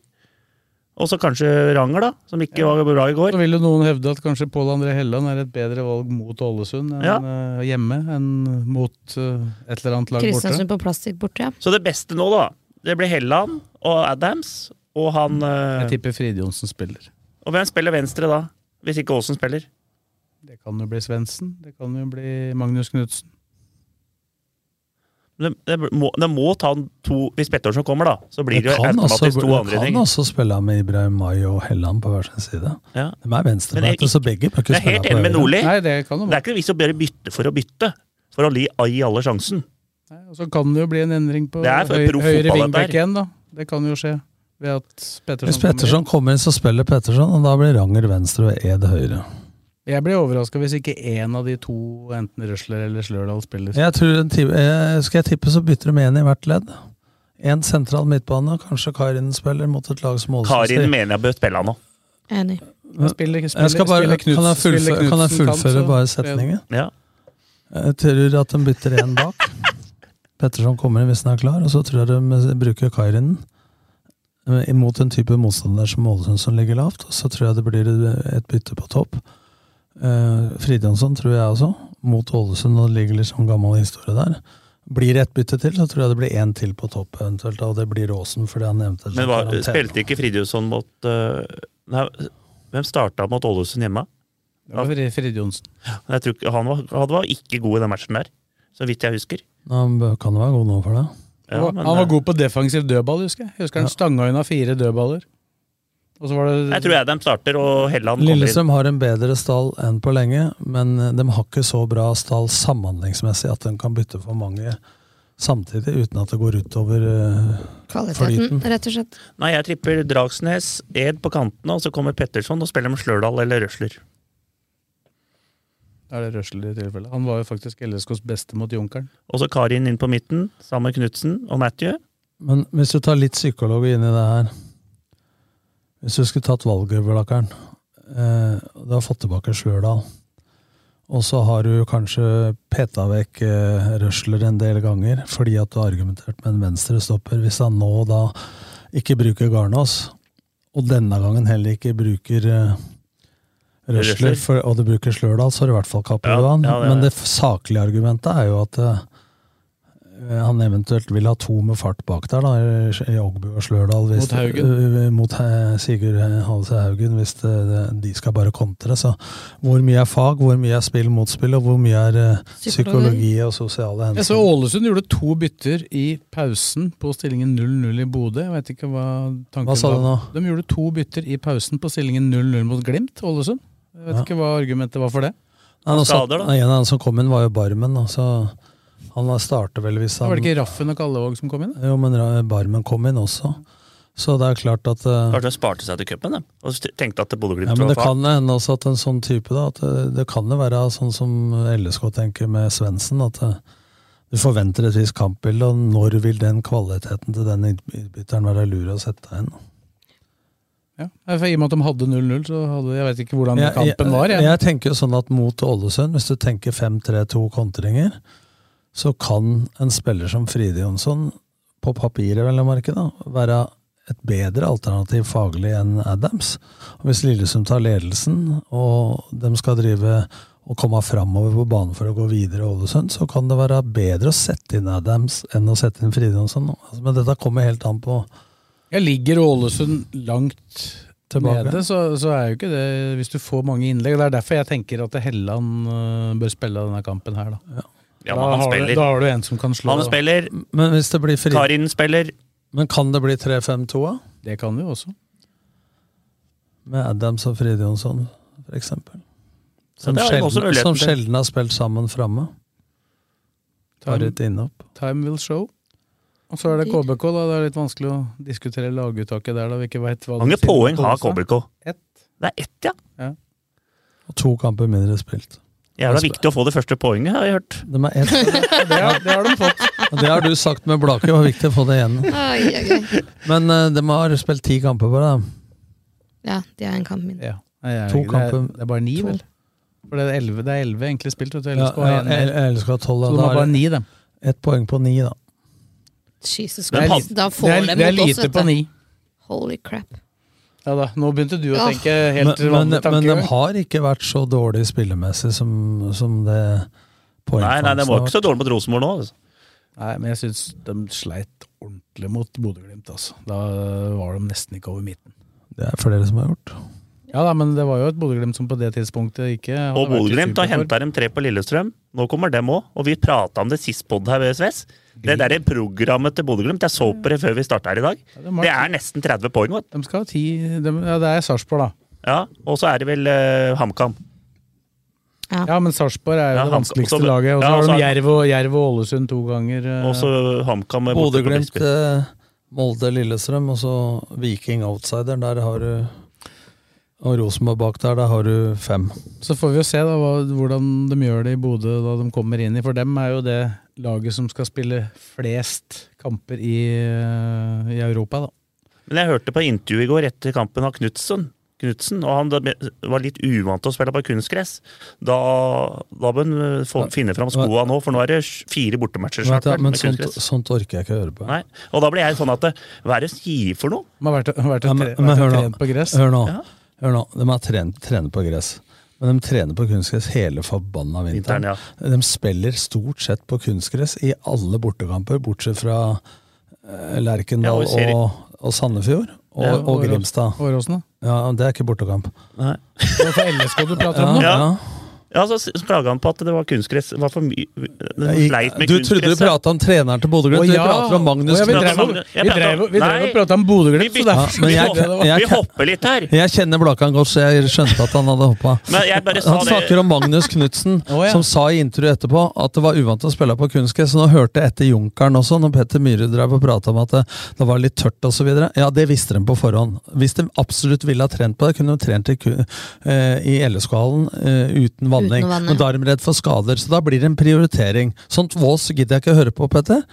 Speaker 7: Og så kanskje Ranger, da, som ikke var bra i
Speaker 5: Så
Speaker 7: går.
Speaker 5: vil jo noen hevde at kanskje Pål André Helland er et bedre valg mot Ålesund enn
Speaker 7: Ja.
Speaker 5: eh, hjemme enn mot eh, et eller annet lag borte.
Speaker 6: Kristiansund på plastikk borte, ja.
Speaker 7: Så det beste nå, da, det blir Helland og Adams og han eh,
Speaker 5: Jeg tipper Fride Johnsen spiller.
Speaker 7: Og hvem spiller venstre da, hvis ikke Aasen spiller?
Speaker 5: Det kan jo bli Svendsen, det kan jo bli Magnus Knutsen.
Speaker 7: Det, det, må, det må ta en to Hvis Pettersen kommer, da, så blir det, jo
Speaker 2: kan også,
Speaker 7: automatisk to
Speaker 2: det
Speaker 7: andre
Speaker 2: kan altså-
Speaker 7: ting.
Speaker 2: også spille med Ibrahim May og Helland på hver sin side.
Speaker 7: Ja.
Speaker 2: De er
Speaker 7: Men jeg-
Speaker 2: venstrebeinte, så begge bør
Speaker 7: Jeg
Speaker 2: ikke
Speaker 7: er
Speaker 2: spille
Speaker 7: helt
Speaker 2: på
Speaker 7: enig med
Speaker 2: høyre.
Speaker 7: Nordli.
Speaker 5: Nei, det kan jo
Speaker 7: Det er ikke noe vits å bare bytte for å bytte. For å li ai alle sjansen.
Speaker 5: Nei, Og så kan det jo bli en endring på
Speaker 7: Det er for
Speaker 5: høy,
Speaker 7: proff
Speaker 5: høyre
Speaker 7: fotball,
Speaker 5: wingback
Speaker 7: dette her.
Speaker 5: igjen, da. Det kan jo skje ved at Petterson
Speaker 2: Hvis Petterson kommer inn, så spiller Petterson, og da blir Ranger venstre og Ed høyre.
Speaker 5: inn. Jeg blir overraska hvis ikke én av de to, enten Røsler eller Slørdal, spiller.
Speaker 2: Jeg tror, en ti- eh, skal jeg tippe, så bytter de én i hvert ledd. Én sentral midtbane, kanskje Karin spiller mot et lag som
Speaker 7: Karin
Speaker 2: Ålesund.
Speaker 7: mener jeg bør spille nå.
Speaker 6: Enig.
Speaker 5: Spiller,
Speaker 2: Jeg skal bare, kan
Speaker 5: spiller
Speaker 2: jeg
Speaker 5: Knutsen- spiller
Speaker 2: fullføre, kan jeg
Speaker 5: Knutsen kant,
Speaker 2: fullføre
Speaker 5: så-
Speaker 2: bare setningen?
Speaker 7: Ja.
Speaker 2: Jeg Eh, tror at de bytter én bak. Petterson kommer inn hvis han er klar, og så tror jeg de bruker Kairinen. eh, Mot en type motstander som Ålesund som ligger lavt. Og så tror jeg det blir et bytte på topp. Eh, Fridjonsson tror jeg også, mot Ålesund, og det ligger litt sånn gammel historie der. Blir det ett bytte til, så tror jeg det blir én til på topp, eventuelt. Og det blir Aasen, fordi han nevnte det.
Speaker 7: Men hva,
Speaker 2: Karantene.
Speaker 7: spilte ikke Fridtjofsson mot øh, Nei, hvem starta mot Ålesund hjemme?
Speaker 5: Det var Frid- Frid Johnsen.
Speaker 7: Jeg tror ikke, han, var, han var ikke god i den matchen der, så vidt jeg husker.
Speaker 2: Han bø- kan være god nå for det.
Speaker 7: Ja,
Speaker 5: han, var,
Speaker 7: men,
Speaker 5: han var
Speaker 7: øh,
Speaker 5: god på defensiv dødball, husker jeg. Husker han
Speaker 2: Ja.
Speaker 5: stanga unna fire dødballer. Og så var det
Speaker 7: Jeg tror jeg de starter, og Helland kommer inn.
Speaker 2: Lillestrøm har en bedre stall enn på lenge, men eh, de har ikke så bra stall samhandlingsmessig at de kan bytte for mange samtidig, uten at det går utover eh,
Speaker 6: Kvaliteten, rett og slett.
Speaker 7: Nei, jeg tripper Dragsnes, Ed på kantene, og så kommer Petterson og spiller med Slørdal eller Røsler.
Speaker 5: Da er det Røsler i tilfelle. Han var jo faktisk LSKs beste mot Junkeren.
Speaker 7: Og så Karin inn på midten, sammen med Knutsen og Matthew.
Speaker 2: Men hvis du tar litt psykologi inn i det her Hvis du skulle tatt valggøvelakkeren eh, Du har fått tilbake Slørdal. Og så har du kanskje peta vekk eh, Røsler en del ganger fordi at du har argumentert med en venstrestopper. Hvis han nå da ikke bruker Garnås, og denne gangen heller ikke bruker eh,
Speaker 7: Røsler.
Speaker 2: Røsler, for, og du bruker Slørdal, så har du i hvert fall
Speaker 7: Ja,
Speaker 2: Cappelvan.
Speaker 7: ja, det er
Speaker 2: Men
Speaker 7: det.
Speaker 2: det f- saklige argumentet er jo at eh, Eh, han eventuelt vil ha to med fart bak der, da, i- i Ågbu og Slørdal. Hvis,
Speaker 5: Mot Haugen.
Speaker 2: eh, mot eh, Sigurd Halse Haugen, hvis det, det, de skal bare kontre. Så hvor mye er fag, hvor mye er spill mot spill, og hvor mye er eh, psykologi og sosiale
Speaker 5: Jeg så
Speaker 2: hensyn?
Speaker 5: Ålesund gjorde to bytter i pausen på stillingen 0-0 i Bodø. Jeg vet ikke hva tanken
Speaker 2: Hva sa du nå?
Speaker 5: var. De gjorde to bytter i pausen på stillingen 0-0 mot Glimt, Ålesund. Jeg vet ikke hva argumentet var for det.
Speaker 2: Nei, nå satt- nei, En av de som kom inn, var jo Barmen. Da, så han starter vel hvis han
Speaker 5: Var det ikke Raffen og Kallevåg som kom inn? da?
Speaker 2: Jo, men Ra- Barmen kom inn også. Så det er klart at eh,
Speaker 7: Kanskje de sparte seg til cupen, de. Og st- tenkte at Bodø-Glimt
Speaker 2: ja, men
Speaker 7: var
Speaker 2: Det
Speaker 7: fag.
Speaker 2: kan hende også at en sånn type da, at eh, det kan jo være sånn som LSK tenker med Svendsen, at eh, du forventer et visst kampbilde, og når vil den kvaliteten til den innbytteren være lur å sette inn?
Speaker 5: Ja. Nei, for I og med at de hadde 0-0, så hadde jeg vet ikke hvordan kampen var.
Speaker 2: Jeg,
Speaker 5: Jeg.
Speaker 2: jeg tenker jo sånn at mot Ålesund, hvis du tenker 5-3-2 kontringer, så kan en spiller som Fride Jonsson, på papiret vel å merke, da, være et bedre alternativ faglig enn Adams. Og hvis Lillesund tar ledelsen, og de skal drive og komme framover på banen for å gå videre i Ålesund, så kan det være bedre å sette inn Adams enn å sette inn Fride Jonsson. Altså, men dette kommer helt an på
Speaker 5: jeg ligger Ålesund langt
Speaker 2: Tilbake.
Speaker 5: nede, så, så er jo ikke det Hvis du får mange innlegg. Det er derfor jeg tenker at Helland øh, bør spille denne kampen her, da.
Speaker 7: Ja, men
Speaker 5: da,
Speaker 7: han
Speaker 5: har du,
Speaker 7: spiller.
Speaker 5: da har du en som kan slå.
Speaker 7: Han
Speaker 5: da.
Speaker 7: spiller,
Speaker 2: Men hvis det blir Fride
Speaker 7: Karin spiller.
Speaker 2: Men kan det bli 3-5-2, da?
Speaker 5: Det kan du jo også.
Speaker 2: Med Adams og Fride Jonsson, for eksempel. Som,
Speaker 7: det er også
Speaker 2: sjelden,
Speaker 7: muligheten
Speaker 2: som
Speaker 7: til.
Speaker 2: sjelden har spilt sammen framme. Tar
Speaker 5: Time,
Speaker 2: et innhopp.
Speaker 5: time will show. Og så er det
Speaker 6: Indeed.
Speaker 5: KBK, da. Det er litt vanskelig å diskutere laguttaket der, da vi ikke vet hva
Speaker 7: Hvor mange
Speaker 5: de sier om
Speaker 7: poeng har
Speaker 5: Kolstad.
Speaker 7: KBK?
Speaker 5: Ett.
Speaker 7: Det er ett, ja.
Speaker 2: Og to kamper mindre spilt.
Speaker 7: Jævla viktig å få det første poenget, har jeg hørt.
Speaker 2: De er ett.
Speaker 5: Det har, det har de fått.
Speaker 2: Og det har du sagt med Blake, var viktig å få det igjennom.
Speaker 6: Oi, oi, oi.
Speaker 2: Men eh, de har spilt ti kamper bare. da.
Speaker 6: Ja, de har en kamp mindre.
Speaker 5: Ja. Nei, jeg,
Speaker 2: To
Speaker 5: to kamper.
Speaker 2: kamper.
Speaker 5: Det er, det er bare ni,
Speaker 2: To.
Speaker 5: vel? For det er elleve, det er elleve enkle spilt. Vet du.
Speaker 2: Ja,
Speaker 5: LSK har en,
Speaker 2: jeg- jeg elsker å ha tolv.
Speaker 5: så de
Speaker 2: Da
Speaker 5: har
Speaker 2: er det
Speaker 5: bare ni, dem.
Speaker 2: ett poeng på ni, da.
Speaker 6: Jesus
Speaker 7: Men
Speaker 6: Christ. Da
Speaker 5: Det
Speaker 6: får
Speaker 5: er,
Speaker 6: de
Speaker 5: det er
Speaker 6: mot oss,
Speaker 5: lite på
Speaker 6: vet du.
Speaker 5: ni.
Speaker 6: Holy crap.
Speaker 5: Ja da, nå begynte du å
Speaker 6: Ja.
Speaker 5: tenke
Speaker 2: Men,
Speaker 5: helt
Speaker 2: men,
Speaker 5: vanlig
Speaker 2: men de
Speaker 5: tankegang.
Speaker 2: har ikke vært så dårlige spillemessig som, som det
Speaker 7: Nei, nei, det var
Speaker 2: poengfangsten
Speaker 7: ikke så dårlig mot Rosenborg nå. Altså.
Speaker 5: Nei, men jeg syns de sleit ordentlig mot Bodø-Glimt, altså. Da var de nesten ikke over midten.
Speaker 2: Det er flere som har gjort.
Speaker 5: Ja da, men det var jo et Bodø-Glimt som på det tidspunktet ikke hadde
Speaker 7: Og
Speaker 5: vært i
Speaker 7: Bodø-Glimt har
Speaker 5: superform.
Speaker 7: henta dem tre på Lillestrøm. Nå kommer dem òg. Og vi prata om det sist podd her ved SVS. Det derre programmet til Bodø-Glimt, jeg så på det før vi starta her i dag.
Speaker 5: Ja, de, har,
Speaker 7: Det er nesten 30 poeng. vet du.
Speaker 5: de skal ha ti de, Ja, det er Sarpsborg, da.
Speaker 7: Ja, Og så er det vel eh, HamKam.
Speaker 5: Ja, men Sarpsborg er
Speaker 7: Ja,
Speaker 5: jo det
Speaker 7: han-
Speaker 5: vanskeligste
Speaker 7: også-
Speaker 5: laget. Og så
Speaker 7: ja,
Speaker 5: har
Speaker 7: også-
Speaker 5: de Jerv og, Jerv og Ålesund to ganger. eh,
Speaker 7: Og så HamKam er borte på
Speaker 2: Bodø-Glimt,
Speaker 7: Brisbane.
Speaker 2: eh, Molde, Lillestrøm og så Viking Outsider. Der har du Og Rosenborg bak der, der har du fem.
Speaker 5: Så får vi jo se da hva, hvordan de gjør det i Bodø da de kommer inn i. For dem er jo det laget som skal spille flest kamper i, eh, i Europa, da.
Speaker 7: Men jeg hørte på intervju i går etter kampen av Knutsen. Knutsen, og han var litt uvant til å spille på kunstgress. Da, da bør han eh, få, finne fram skoa nå, for nå er det sj- fire bortematcher.
Speaker 2: Vet
Speaker 7: snart
Speaker 2: du,
Speaker 7: vel,
Speaker 2: men sånn-
Speaker 7: med
Speaker 2: sånt,
Speaker 7: kunstgress.
Speaker 2: sånt orker jeg ikke å høre på.
Speaker 7: Nei. Og da blir jeg sånn at eh, Hva er det de gir for noe?
Speaker 5: De har vært, vært,
Speaker 2: Ja,
Speaker 5: og
Speaker 2: men- men
Speaker 5: tre, vært
Speaker 2: hør
Speaker 5: og
Speaker 2: nå.
Speaker 5: trent på gress.
Speaker 2: Hør nå.
Speaker 7: Ja.
Speaker 2: Hør nå. De er trent, trener på gress. Men de trener på kunstgress hele forbanna vinteren.
Speaker 7: Vinteren, ja.
Speaker 2: De spiller stort sett på kunstgress i alle bortekamper, bortsett fra eh,
Speaker 7: Ja,
Speaker 2: Lerkendal
Speaker 7: og Siri.
Speaker 2: og, og Sandefjord og,
Speaker 7: Ja,
Speaker 2: og
Speaker 5: Årås-
Speaker 2: Grimstad.
Speaker 5: Åråsen, da.
Speaker 2: Ja, Det er ikke bortekamp.
Speaker 7: Nei.
Speaker 5: Det var for LSK du prater om nå.
Speaker 7: Ja. Ja, så s- så klaga han på at det var kunstgress. Var for mye den
Speaker 2: Jeg-
Speaker 7: Sleit med
Speaker 2: Du trodde du
Speaker 7: kunstgresset.
Speaker 2: prata om treneren til Bodø-Glimt.
Speaker 5: Å,
Speaker 2: Du
Speaker 5: ja.
Speaker 2: prater om Magnus
Speaker 5: Å, ja, vi
Speaker 2: Knutsen.
Speaker 5: drev, og-
Speaker 7: Jeg
Speaker 5: vi
Speaker 7: prater
Speaker 5: drev, og-
Speaker 7: om-
Speaker 5: vi drev
Speaker 7: Nei.
Speaker 5: og prata om
Speaker 7: Vi
Speaker 5: Bodø-Glimt, så
Speaker 7: bytter-
Speaker 5: derfor
Speaker 2: men
Speaker 7: vi
Speaker 2: jeg-
Speaker 5: det det var.
Speaker 7: hopper- Vi hopper litt her.
Speaker 2: Jeg kjenner Blakan godt, så jeg skjønte at han hadde hoppa.
Speaker 7: Men jeg bare sa
Speaker 2: Han snakker
Speaker 7: det.
Speaker 2: om Magnus Knutsen,
Speaker 5: Å, ja.
Speaker 2: som sa i intervjuet etterpå at det var uvant å spille på kunstgress. Så nå hørte jeg etter Junkeren også, når Petter Myhre drev og prata om at det, det var litt tørt osv. Ja, det visste de på forhånd. Hvis de absolutt ville ha trent på det, kunne de trent i, ku- eh, i LSK-hallen eh, uten vanning.
Speaker 6: Uten vanning.
Speaker 2: Men da er de redd for skader, så da blir det en prioritering. Sånt vås gidder jeg ikke å høre på, Petter.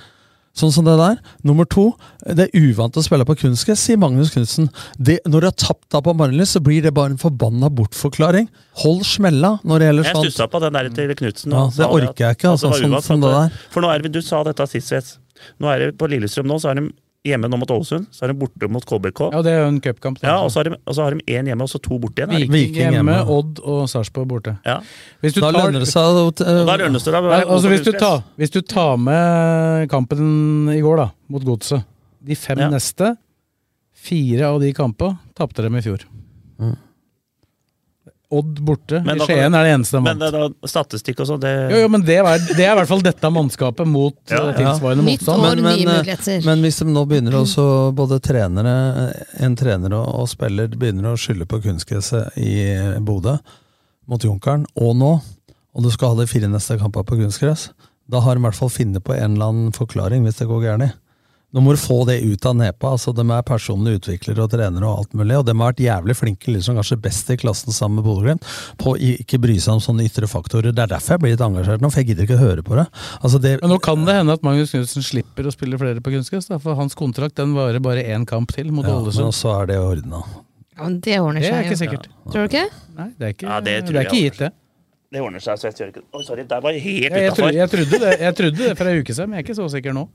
Speaker 2: Sånn som det der. Nummer to, det er uvant å spille på kunstgress, sier Magnus Knutsen. Det- Når du har tapt deg på Marienlyst, så blir det bare en forbanna bortforklaring. Hold smella når det gjelder sånn.
Speaker 7: Jeg
Speaker 2: sånt.
Speaker 7: stussa på den der til Knutsen.
Speaker 2: Ja, det orker jeg ikke, altså, sånn som det der.
Speaker 7: For nå er det, du sa dette sist, Svets. Nå er det på Lillestrøm nå, så er de hjemme nå mot Ålesund. Så er de borte mot KBK.
Speaker 5: Ja, det er jo en cupkamp. da.
Speaker 7: Ja, og så har de- og så har de én hjemme, og så to borte igjen. er det ikke?
Speaker 5: Viking
Speaker 2: Viking
Speaker 5: hjemme,
Speaker 2: hjemme.
Speaker 5: Odd og Sarpsborg borte.
Speaker 7: Ja.
Speaker 5: Hvis du
Speaker 2: Da
Speaker 5: tar-
Speaker 2: lønner det seg å eh,
Speaker 7: Da lønnes det da å
Speaker 5: Nei,
Speaker 7: være god
Speaker 5: altså,
Speaker 7: på
Speaker 5: hvis, du
Speaker 7: kunstgress.
Speaker 5: tar, hvis du tar med kampen i går, da, mot Godset De fem
Speaker 7: Ja.
Speaker 5: neste, fire av de kampene, tapte dem i fjor.
Speaker 2: Mm.
Speaker 5: Odd borte.
Speaker 7: Men
Speaker 5: I
Speaker 7: da kan
Speaker 5: Skien
Speaker 7: du-
Speaker 5: er det eneste de
Speaker 7: Men det,
Speaker 5: vant.
Speaker 7: er da, statistikk og sånn, det
Speaker 5: Jo, jo, men det, var, det er i hvert fall dette mannskapet mot
Speaker 7: Ja,
Speaker 5: eh,
Speaker 7: ja.
Speaker 5: tilsvarende
Speaker 6: Nytt
Speaker 5: motstand.
Speaker 6: år,
Speaker 2: Men- men,
Speaker 6: nye
Speaker 2: eh,
Speaker 6: muligheter.
Speaker 2: Men hvis de nå begynner også, både trenere, en trener og, og spiller begynner å skylde på kunstgresset i Bodø, mot Junkeren, og nå, og du skal ha de fire neste kampene på kunstgress, da har de i hvert fall funnet på en eller annen forklaring hvis det går gærent. Nå må du få det ut av nepa. altså De er personlige utviklere og trenere og alt mulig, og de har vært jævlig flinke, liksom kanskje best i klassen sammen med Bodø-Glimt, på å ikke bry seg om sånne ytre faktorer. Det er derfor jeg blir litt engasjert nå, for jeg gidder ikke å høre på det. Altså det
Speaker 5: Men nå kan det hende at Magnus Knutsen slipper å spille flere på kunstgress, da, for hans kontrakt den varer bare én kamp til mot
Speaker 2: ja,
Speaker 5: Ålesund.
Speaker 2: men altså- så er det ordna.
Speaker 6: Ja, men det ordner seg.
Speaker 5: Det er ikke
Speaker 6: jo.
Speaker 5: sikkert.
Speaker 6: Tror du ikke?
Speaker 5: Nei, det er ikke,
Speaker 7: Ja, det
Speaker 5: det
Speaker 7: tror
Speaker 5: er ikke
Speaker 7: jeg
Speaker 5: gitt, det.
Speaker 7: Det ordner seg, så jeg gjør ikke det. Oi, sorry, der var jeg helt
Speaker 5: Jeg, jeg,
Speaker 7: utafor.
Speaker 5: trodde, jeg, trodde det, jeg trodde det for ei uke siden, men jeg er ikke så sikker nå.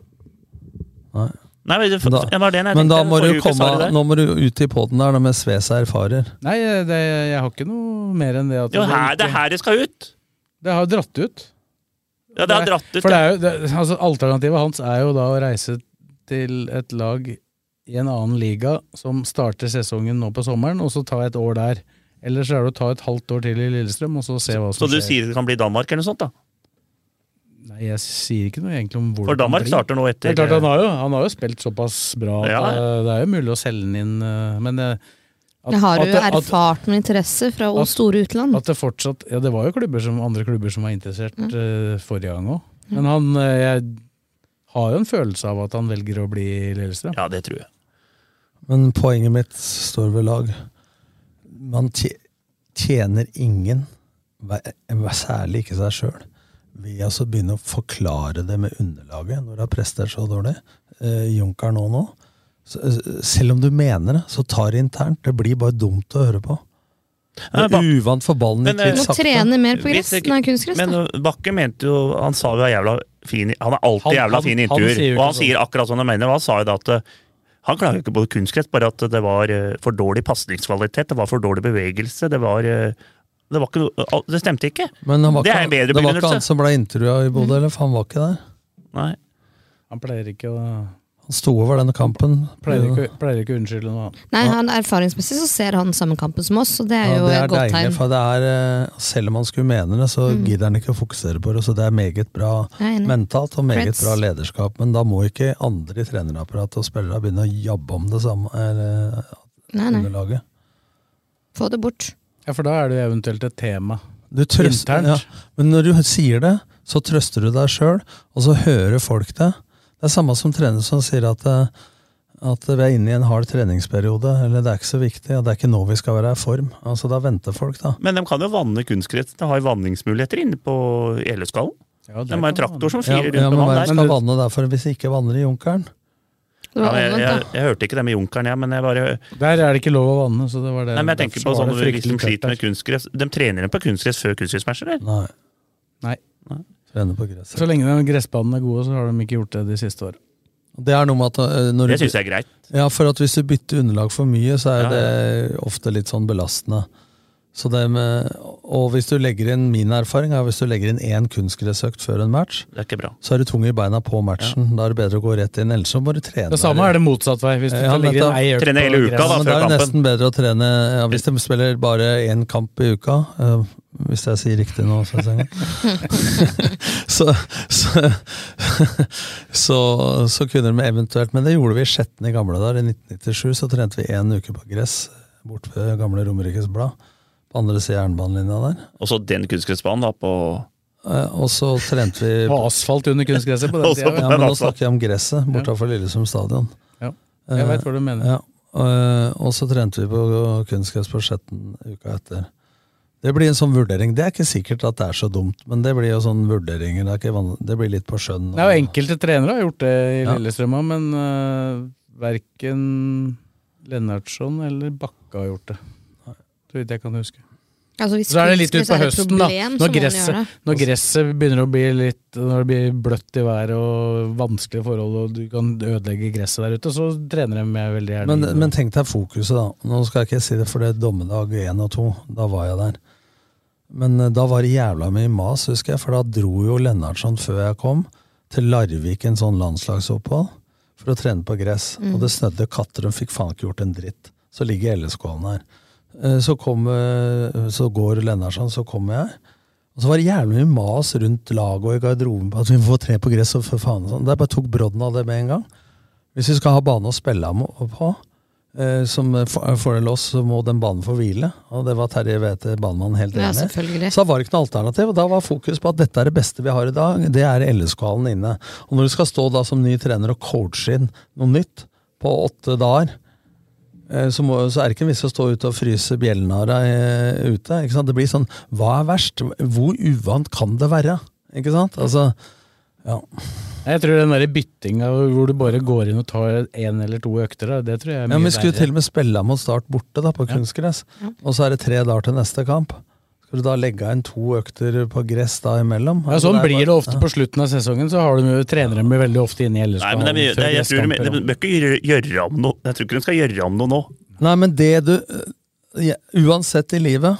Speaker 2: Nei.
Speaker 7: Nei, men det,
Speaker 2: Men da-
Speaker 7: det var det jeg
Speaker 2: Men da
Speaker 7: tenkte,
Speaker 2: må du
Speaker 7: forrige uke sa
Speaker 2: komme,
Speaker 7: det der.
Speaker 2: nå må du ut i poden der da, med Sves erfarer.
Speaker 5: Nei, det, jeg har ikke noe mer enn det at
Speaker 7: Det er jo her, det er
Speaker 5: ikke-
Speaker 7: her det skal ut!
Speaker 5: det har dratt ut.
Speaker 7: Ja, det har dratt ut.
Speaker 5: For det er jo, det, altså, alternativet hans er jo da å reise til et lag i en annen liga som starter sesongen nå på sommeren, og så ta et år der. Eller så er det å ta et halvt år til i Lillestrøm og så se hva som
Speaker 7: Så du
Speaker 5: skjer.
Speaker 7: sier det kan bli Danmark eller noe sånt, da?
Speaker 5: Nei, jeg sier ikke noe egentlig om hvor
Speaker 7: For Danmark starter nå
Speaker 5: Det
Speaker 7: etter
Speaker 5: er klart, han har, jo, han har jo spilt såpass bra at
Speaker 7: Ja,
Speaker 5: eh, det er jo mulig å selge den inn, eh, men eh, at,
Speaker 6: Jeg har
Speaker 5: at-
Speaker 6: jo
Speaker 5: at-
Speaker 6: erfart med interesse fra
Speaker 5: at-
Speaker 6: O store utland.
Speaker 5: At det fortsatt Ja, det var jo klubber som, andre klubber som var interessert eh, forrige gang òg. Men han eh, Jeg har jo en følelse av at han velger å bli i Lillestrøm.
Speaker 7: Ja, det tror jeg.
Speaker 2: Men poenget mitt står ved lag. Man tje- tjener ingen, hver- hver- særlig ikke seg sjøl, ved å så begynne å forklare det med underlaget når du har prestert så dårlig. Eh, Junker nå nå. Så, eh, selv om du mener det, så tar det internt. Det blir bare dumt å høre på.
Speaker 7: Nei,
Speaker 2: Det er uvant for ballen
Speaker 7: Men, eh,
Speaker 2: gikk litt
Speaker 6: Må
Speaker 2: sakte.
Speaker 6: trene mer på gress.
Speaker 7: Hvis ikke-
Speaker 6: Nei, kunstgress.
Speaker 7: Men
Speaker 6: da.
Speaker 7: uh, Bakke mente jo Han sa jo er jævla fin i- Han er alltid
Speaker 5: Han-
Speaker 7: jævla
Speaker 5: han-
Speaker 7: fin i
Speaker 5: han
Speaker 7: intervjuer.
Speaker 5: sier
Speaker 7: og
Speaker 5: jo ikke sånn.
Speaker 7: han sier akkurat som han mener. Og han sa jo da at uh, han klager ikke på kunstgress, bare at det var uh, for dårlig pasningskvalitet, det var for dårlig bevegelse, det var uh, det, var ikke, noe- al- det stemte ikke.
Speaker 2: Men han var
Speaker 7: Det er
Speaker 2: ikke,
Speaker 7: en bedre
Speaker 2: det var ikke
Speaker 7: begrunnelse.
Speaker 2: han som ble intervjua i Bodø, eller? For han var ikke der.
Speaker 7: Nei.
Speaker 5: Han pleier ikke å
Speaker 2: Han sto over denne kampen.
Speaker 5: Pleier ikke, pleier ikke å unnskylde noe annet.
Speaker 6: Nei, han Erfaringsmessig så ser han samme kampen som oss, og det er
Speaker 2: Ja,
Speaker 6: jo
Speaker 2: det
Speaker 6: et
Speaker 2: er
Speaker 6: godt
Speaker 2: deilig,
Speaker 6: tegn.
Speaker 2: for det er, eh, selv om han skulle mene det, så gidder han ikke å fokusere på det. Så det er meget bra
Speaker 6: Jeg er enig.
Speaker 2: mentalt og meget
Speaker 6: Creds.
Speaker 2: bra lederskap. Men da må ikke andre i trenerapparatet og spillere begynne å jabbe om det samme eller, eh,
Speaker 6: Nei, nei.
Speaker 2: underlaget.
Speaker 6: Få det bort.
Speaker 5: Ja, for da er det jo eventuelt et tema.
Speaker 2: Du trøster, ja,
Speaker 5: Internt.
Speaker 2: men når du sier det, så trøster du deg sjøl, og så hører folk det. Det er samme som trener som sier at, eh, at vi er inne i en hard treningsperiode, eller det er ikke så viktig, og det er ikke nå vi skal være i form. Altså, Da venter folk, da.
Speaker 7: Men de kan jo vanne kunstgress. De har jo vanningsmuligheter inne på Eleskallen.
Speaker 5: Ja, det
Speaker 7: De har
Speaker 5: kan
Speaker 7: en traktor
Speaker 5: man-
Speaker 7: som
Speaker 2: Ja,
Speaker 7: firer
Speaker 2: ja,
Speaker 7: rundt med
Speaker 2: men
Speaker 7: vann
Speaker 2: hvem
Speaker 7: der.
Speaker 2: skal vanne derfor hvis de ikke vanner i Junkeren?
Speaker 6: Det
Speaker 7: Ja,
Speaker 6: var
Speaker 7: men jeg, jeg,
Speaker 6: omvendt, da.
Speaker 7: jeg hørte ikke det med junkeren, jeg, men jeg bare
Speaker 5: Der er det ikke lov å vanne, så det var det.
Speaker 7: Nei, men jeg tenker
Speaker 5: derfor
Speaker 7: på
Speaker 5: var
Speaker 7: sånn
Speaker 5: det
Speaker 7: hvis de
Speaker 5: fryktelig tørt altså.
Speaker 7: sliter med
Speaker 5: der.
Speaker 7: kunstgress De trener dem på kunstgress før kunstgressmatcher, eller?
Speaker 2: Nei.
Speaker 5: Nei.
Speaker 2: Trene på gresset.
Speaker 5: Så lenge de gressbanene er gode, så har de ikke gjort det de siste åra.
Speaker 2: Det er noe med at øh, når
Speaker 7: Det
Speaker 2: du,
Speaker 7: syns jeg er greit.
Speaker 2: ja, for at hvis du bytter underlag for mye, så er
Speaker 7: Ja,
Speaker 2: det ofte litt sånn belastende. Så det med, og hvis du legger inn min erfaring er hvis du legger inn én kunstgressøkt før en match,
Speaker 7: Det er ikke bra.
Speaker 2: så er du tung i beina på matchen. Da er det bedre å gå rett inn, ellers så må du trene.
Speaker 5: Det samme er det motsatt vei. Hvis du
Speaker 2: Ja,
Speaker 5: ligger
Speaker 2: nettopp.
Speaker 5: en ei økt
Speaker 7: Trene
Speaker 5: på
Speaker 7: hele uka,
Speaker 5: gress.
Speaker 7: da.
Speaker 2: Ja, men da er det
Speaker 7: før kampen.
Speaker 2: nesten bedre å trene ja, Hvis de spiller bare én kamp i uka, eh, hvis jeg sier riktig nå, så, sånn. så, så, så, så kunne de eventuelt Men det gjorde vi i Skjetten i gamle dager. I 1997 så trente vi én uke på gress bort ved gamle Romerikes Blad. På andre siden av jernbanelinja der.
Speaker 7: Og så den kunstgressbanen da på
Speaker 2: Eh, Og så trente vi
Speaker 5: Det var asfalt under kunstgresset på den
Speaker 7: Også-
Speaker 5: tida.
Speaker 2: Ja, men nå snakker jeg om gresset bortafor Lillestrøm stadion.
Speaker 5: Ja. Jeg veit hva du mener.
Speaker 2: Ja, øh, og så trente vi på kunstgress på Skjetten uka etter. Det blir en sånn vurdering. Det er ikke sikkert at det er så dumt, men det blir jo sånn vurderinger. Det, er ikke van- det blir litt på skjønn.
Speaker 5: Det er jo enkelte trenere har gjort det i
Speaker 2: Ja.
Speaker 5: Lillestrøm òg, men uh, verken Lennartson eller Bakke har gjort det. Så vidt jeg kan huske.
Speaker 6: Altså, hvis
Speaker 5: Så er det litt
Speaker 6: kunstgress er
Speaker 5: utpå
Speaker 6: et
Speaker 5: høsten, da.
Speaker 6: problem, så må man
Speaker 5: Når
Speaker 6: gjøre
Speaker 5: gresset,
Speaker 6: det.
Speaker 5: når gresset begynner å bli litt Når det blir bløtt i været og vanskelige forhold, og du kan ødelegge gresset der ute, så trener de meg veldig gjerne.
Speaker 2: Men,
Speaker 5: inn.
Speaker 2: men tenk deg fokuset, da. Nå skal jeg ikke si det, for det er dommedag én og to. Da var jeg der. Men eh, da var det jævla mye mas, husker jeg, for da dro jo Lennartson før jeg kom, til Larvik en sånn landslagsopphold for å trene på gress. Og det snødde katter, og fikk faen ikke gjort en dritt. Så ligger LSK-en her. Eh, Så, kom, eh, så går Lennartson, så kommer jeg. Og så var det jævlig mye mas rundt laget og i garderoben på at vi må få tre på gress. og for faen og sånn. Der bare tok brodden av det med en gang. Hvis vi skal ha bane å spille ham på, eh, som eh, for- fordel oss, så må den banen få hvile. Og det var Terje Wæthe, banemann, helt
Speaker 6: Ja,
Speaker 2: enig i.
Speaker 6: selvfølgelig.
Speaker 2: Så da var det ikke noe alternativ. og Da var fokus på at dette er det beste vi har i dag. Det er LSK-hallen inne. Og når du skal stå da som ny trener og coache inn noe nytt på åtte dager, eh, så, må, så er det ikke en vits å stå ute og fryse bjellenara eh, ute. Ikke sant? Det blir sånn Hva er verst? Hvor uvant kan det være? Ikke sant? Altså, ja.
Speaker 5: Jeg tror den der byttinga hvor du bare går inn og tar én eller to økter, da, det tror jeg er
Speaker 2: Ja,
Speaker 5: mye
Speaker 2: men Vi skulle
Speaker 5: verre.
Speaker 2: til og med spille mot Start borte da, på kunstgress. Og så er det tre dager til neste kamp. Skal du da legge inn to økter på gress da imellom? Altså,
Speaker 5: Ja, sånn blir det ofte på slutten av sesongen, så har de, trenere dem veldig ofte inne i LSK.
Speaker 7: Nei, men det er mye, det, er- jeg tror du mener- du bør ikke gjøre- gjøre om noe. Jeg tror ikke hun skal gjøre om noe nå.
Speaker 2: Nei, men det du eh, ja, Uansett i livet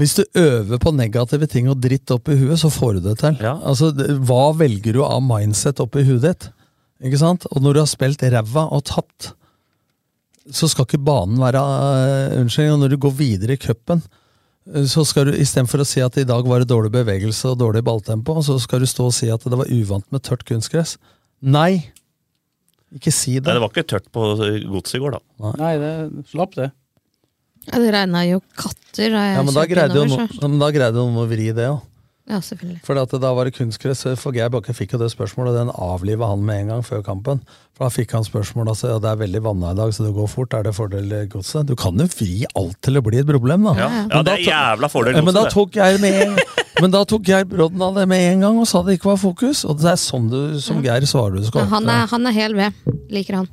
Speaker 2: Hvis du øver på negative ting og dritt opp i huet, så får du det til. Altså, det- hva velger du av mindset oppi huet ditt? Ikke sant? Og når du har spilt ræva og tapt, så skal ikke banen være øh, Unnskyld, og når du går videre i cupen øh, så skal du, Istedenfor å si at i dag var det dårlig bevegelse og dårlig balltempo, så skal du stå og si at det var uvant med tørt kunstgress. Nei! Ikke si det.
Speaker 7: Nei, det var ikke tørt på eh, godset i går, da.
Speaker 5: Nei, det, slapp det.
Speaker 6: Ja, det regna jo katter da jeg
Speaker 2: Ja, men da
Speaker 6: kjørte
Speaker 2: greide jo
Speaker 6: Eh, innover,
Speaker 2: noen,
Speaker 6: så.
Speaker 2: ja, men da greide jo noen å vri det òg.
Speaker 6: Ja, selvfølgelig.
Speaker 2: For at da var det kunstgress, for Geir Bakke fikk jo det spørsmålet, og den avliva han med en gang før kampen. For Da fikk han spørsmål altså, ja, det er veldig vanna i dag, så det går fort. Er det fordel i godset? Du kan jo vri alt til å bli et problem, da.
Speaker 7: Ja, ja
Speaker 2: Men da
Speaker 7: det er
Speaker 2: to-
Speaker 7: jævla fordel.
Speaker 2: Ja, men, da
Speaker 7: godset, det.
Speaker 2: tok Geir med en, men da tok Geir brodden av det med en gang og sa det ikke var fokus. Og det er sånn du, som Geir svarer du
Speaker 6: Ja,
Speaker 2: skal.
Speaker 6: han, er, han er hel ved. Liker han.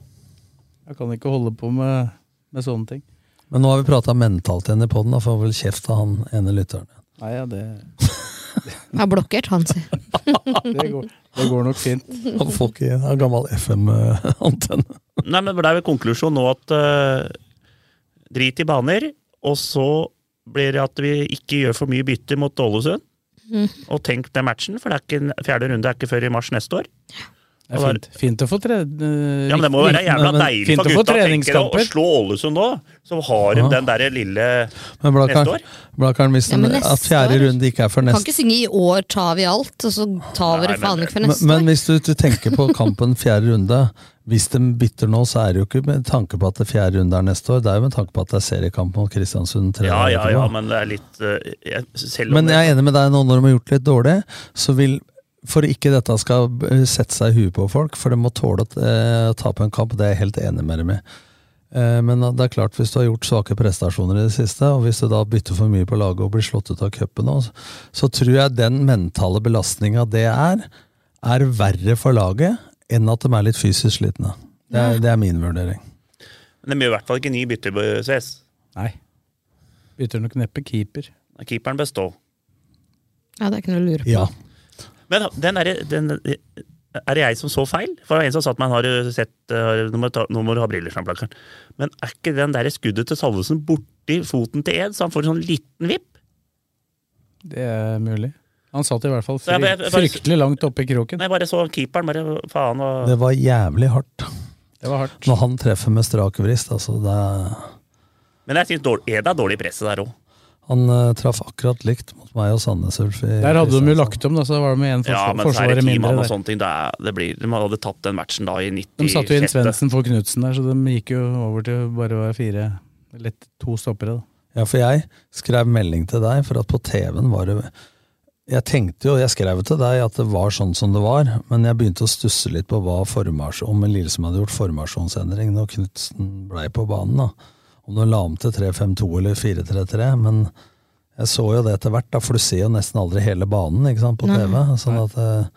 Speaker 5: Jeg kan ikke holde på med, med sånne ting.
Speaker 2: Men nå har vi prata mentalt igjen i poden, da får vi vel kjeft av han ene lytteren.
Speaker 5: Nei, ja, det,
Speaker 6: Jeg har blokkert han, sier
Speaker 5: det, går, det går nok fint.
Speaker 2: Han får ikke han har gammel eh, FM-antenne.
Speaker 7: Nei, men det er vel konklusjonen nå at eh, drit i baner, og så blir det at vi ikke gjør for mye bytte mot Ålesund.
Speaker 6: Mm.
Speaker 7: Og tenk den matchen, for det er ikke, en- fjerde runde er ikke før i mars neste år.
Speaker 5: Det er fint, fint å få tre... eh,
Speaker 7: Ja, men Det må være jævla deilig
Speaker 5: fint
Speaker 7: for
Speaker 5: å få
Speaker 7: gutta tenker jeg, å
Speaker 5: treningskamper.
Speaker 7: slå Ålesund nå, så har de
Speaker 2: Ja.
Speaker 7: den derre lille
Speaker 2: Men
Speaker 7: neste
Speaker 2: Blakkaren,
Speaker 7: år.
Speaker 2: Blakkaren, hvis
Speaker 6: Ja, men
Speaker 2: den- at
Speaker 6: neste
Speaker 2: fjerde
Speaker 6: år?
Speaker 2: runde ikke er før
Speaker 6: Kan
Speaker 2: neste
Speaker 6: ikke synge 'i år tar vi alt', og så tar vi det
Speaker 7: Nei, men-
Speaker 6: faen ikke for
Speaker 2: Men,
Speaker 6: neste år.
Speaker 2: men hvis du, du tenker på kampen fjerde runde Hvis de bytter nå, så er det jo ikke med tanke på at det fjerde runde er neste år. Det er jo med tanke på at det er seriekamp mot Kristiansund. tre
Speaker 7: Ja,
Speaker 2: dager
Speaker 7: ja,
Speaker 2: etterpå.
Speaker 7: ja, men det er litt eh, jeg, Selv om
Speaker 2: Men jeg er enig med deg nå når de har gjort det litt dårlig, så vil for ikke dette skal eh, sette seg i huet på folk, for de må tåle å eh, tape en kamp, det er jeg helt enig med dem i. Eh, men det er klart, hvis du har gjort svake prestasjoner i det siste, og hvis du da bytter for mye på laget og blir slått ut av cupen nå, så- så tror jeg den mentale belastninga det er, er verre for laget enn at de er litt fysisk slitne. Det er, det er min vurdering.
Speaker 7: de gjør i hvert fall ikke ni bytter, eh, CS.
Speaker 5: Nei. Bytter nok neppe keeper.
Speaker 7: Keeperen består.
Speaker 6: Ja, det er ikke noe å lure på.
Speaker 2: Ja.
Speaker 7: Men den er, den, er det jeg som så feil? For det var en som sa at man har jo sett eh, Nå må, du ta, nå må du ha briller, Svein Blakkaren. Men er ikke den der skuddet til Salvesen borti foten til Ed, så han får en sånn liten vipp?
Speaker 5: Det er mulig. Han satt i hvert fall
Speaker 7: Nei, men jeg-
Speaker 5: frykt,
Speaker 7: jeg bare-
Speaker 5: fryktelig langt oppe i kroken.
Speaker 7: Nei, jeg bare så keeperen, bare faen og
Speaker 2: Det var jævlig hardt.
Speaker 5: Det var hardt.
Speaker 2: Når han treffer med strak vrist, altså det er
Speaker 7: Men jeg syns Ed er dårlig i presset der òg.
Speaker 2: Han eh, traff akkurat likt mot meg og Sandnes Ulf. i-
Speaker 5: Der hadde de jo lagt om, da, så da var det med én
Speaker 7: Ja,
Speaker 5: forsvar,
Speaker 7: men så er
Speaker 5: forsvarer
Speaker 7: det ti
Speaker 5: mindre.
Speaker 7: mann og
Speaker 5: Der.
Speaker 7: sånne ting. Det er, det blir, de hadde tatt den matchen da i 96.
Speaker 5: De satte jo inn Svendsen for Knutsen der, så de gikk jo over til å bare å være fire Lett to stoppere, da.
Speaker 2: Ja, for jeg skrev melding til deg, for at på TV-en var det Jeg tenkte jo, jeg skrev til deg at det var sånn som det var, men jeg begynte å stusse litt på hva formasjon, om en Lille som hadde gjort formasjonsendring når Knutsen blei på banen. da. Om de la om til 3-5-2 eller 4-3-3, men jeg så jo det etter hvert, da, for du ser jo nesten aldri hele banen ikke sant, på
Speaker 6: Nei.
Speaker 2: TV. sånn at... eh,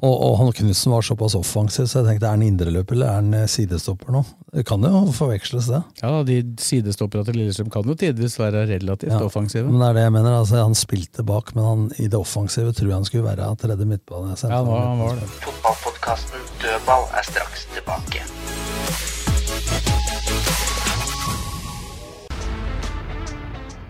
Speaker 2: Og, og han Knutsen var såpass offensiv, så jeg tenkte er han indreløper eller er han eh, sidestopper nå? Det kan jo forveksles, det.
Speaker 5: Ja, da, de sidestoppera til Lillestrøm kan jo tidvis være relativt
Speaker 2: Ja.
Speaker 5: offensive.
Speaker 2: Men det er det jeg mener. Altså, han spilte bak, men han, i det offensive tror jeg han skulle være tredje midtbane.
Speaker 5: Ja, nå, han var det.
Speaker 4: Fotballpodkasten Dødball er straks tilbake.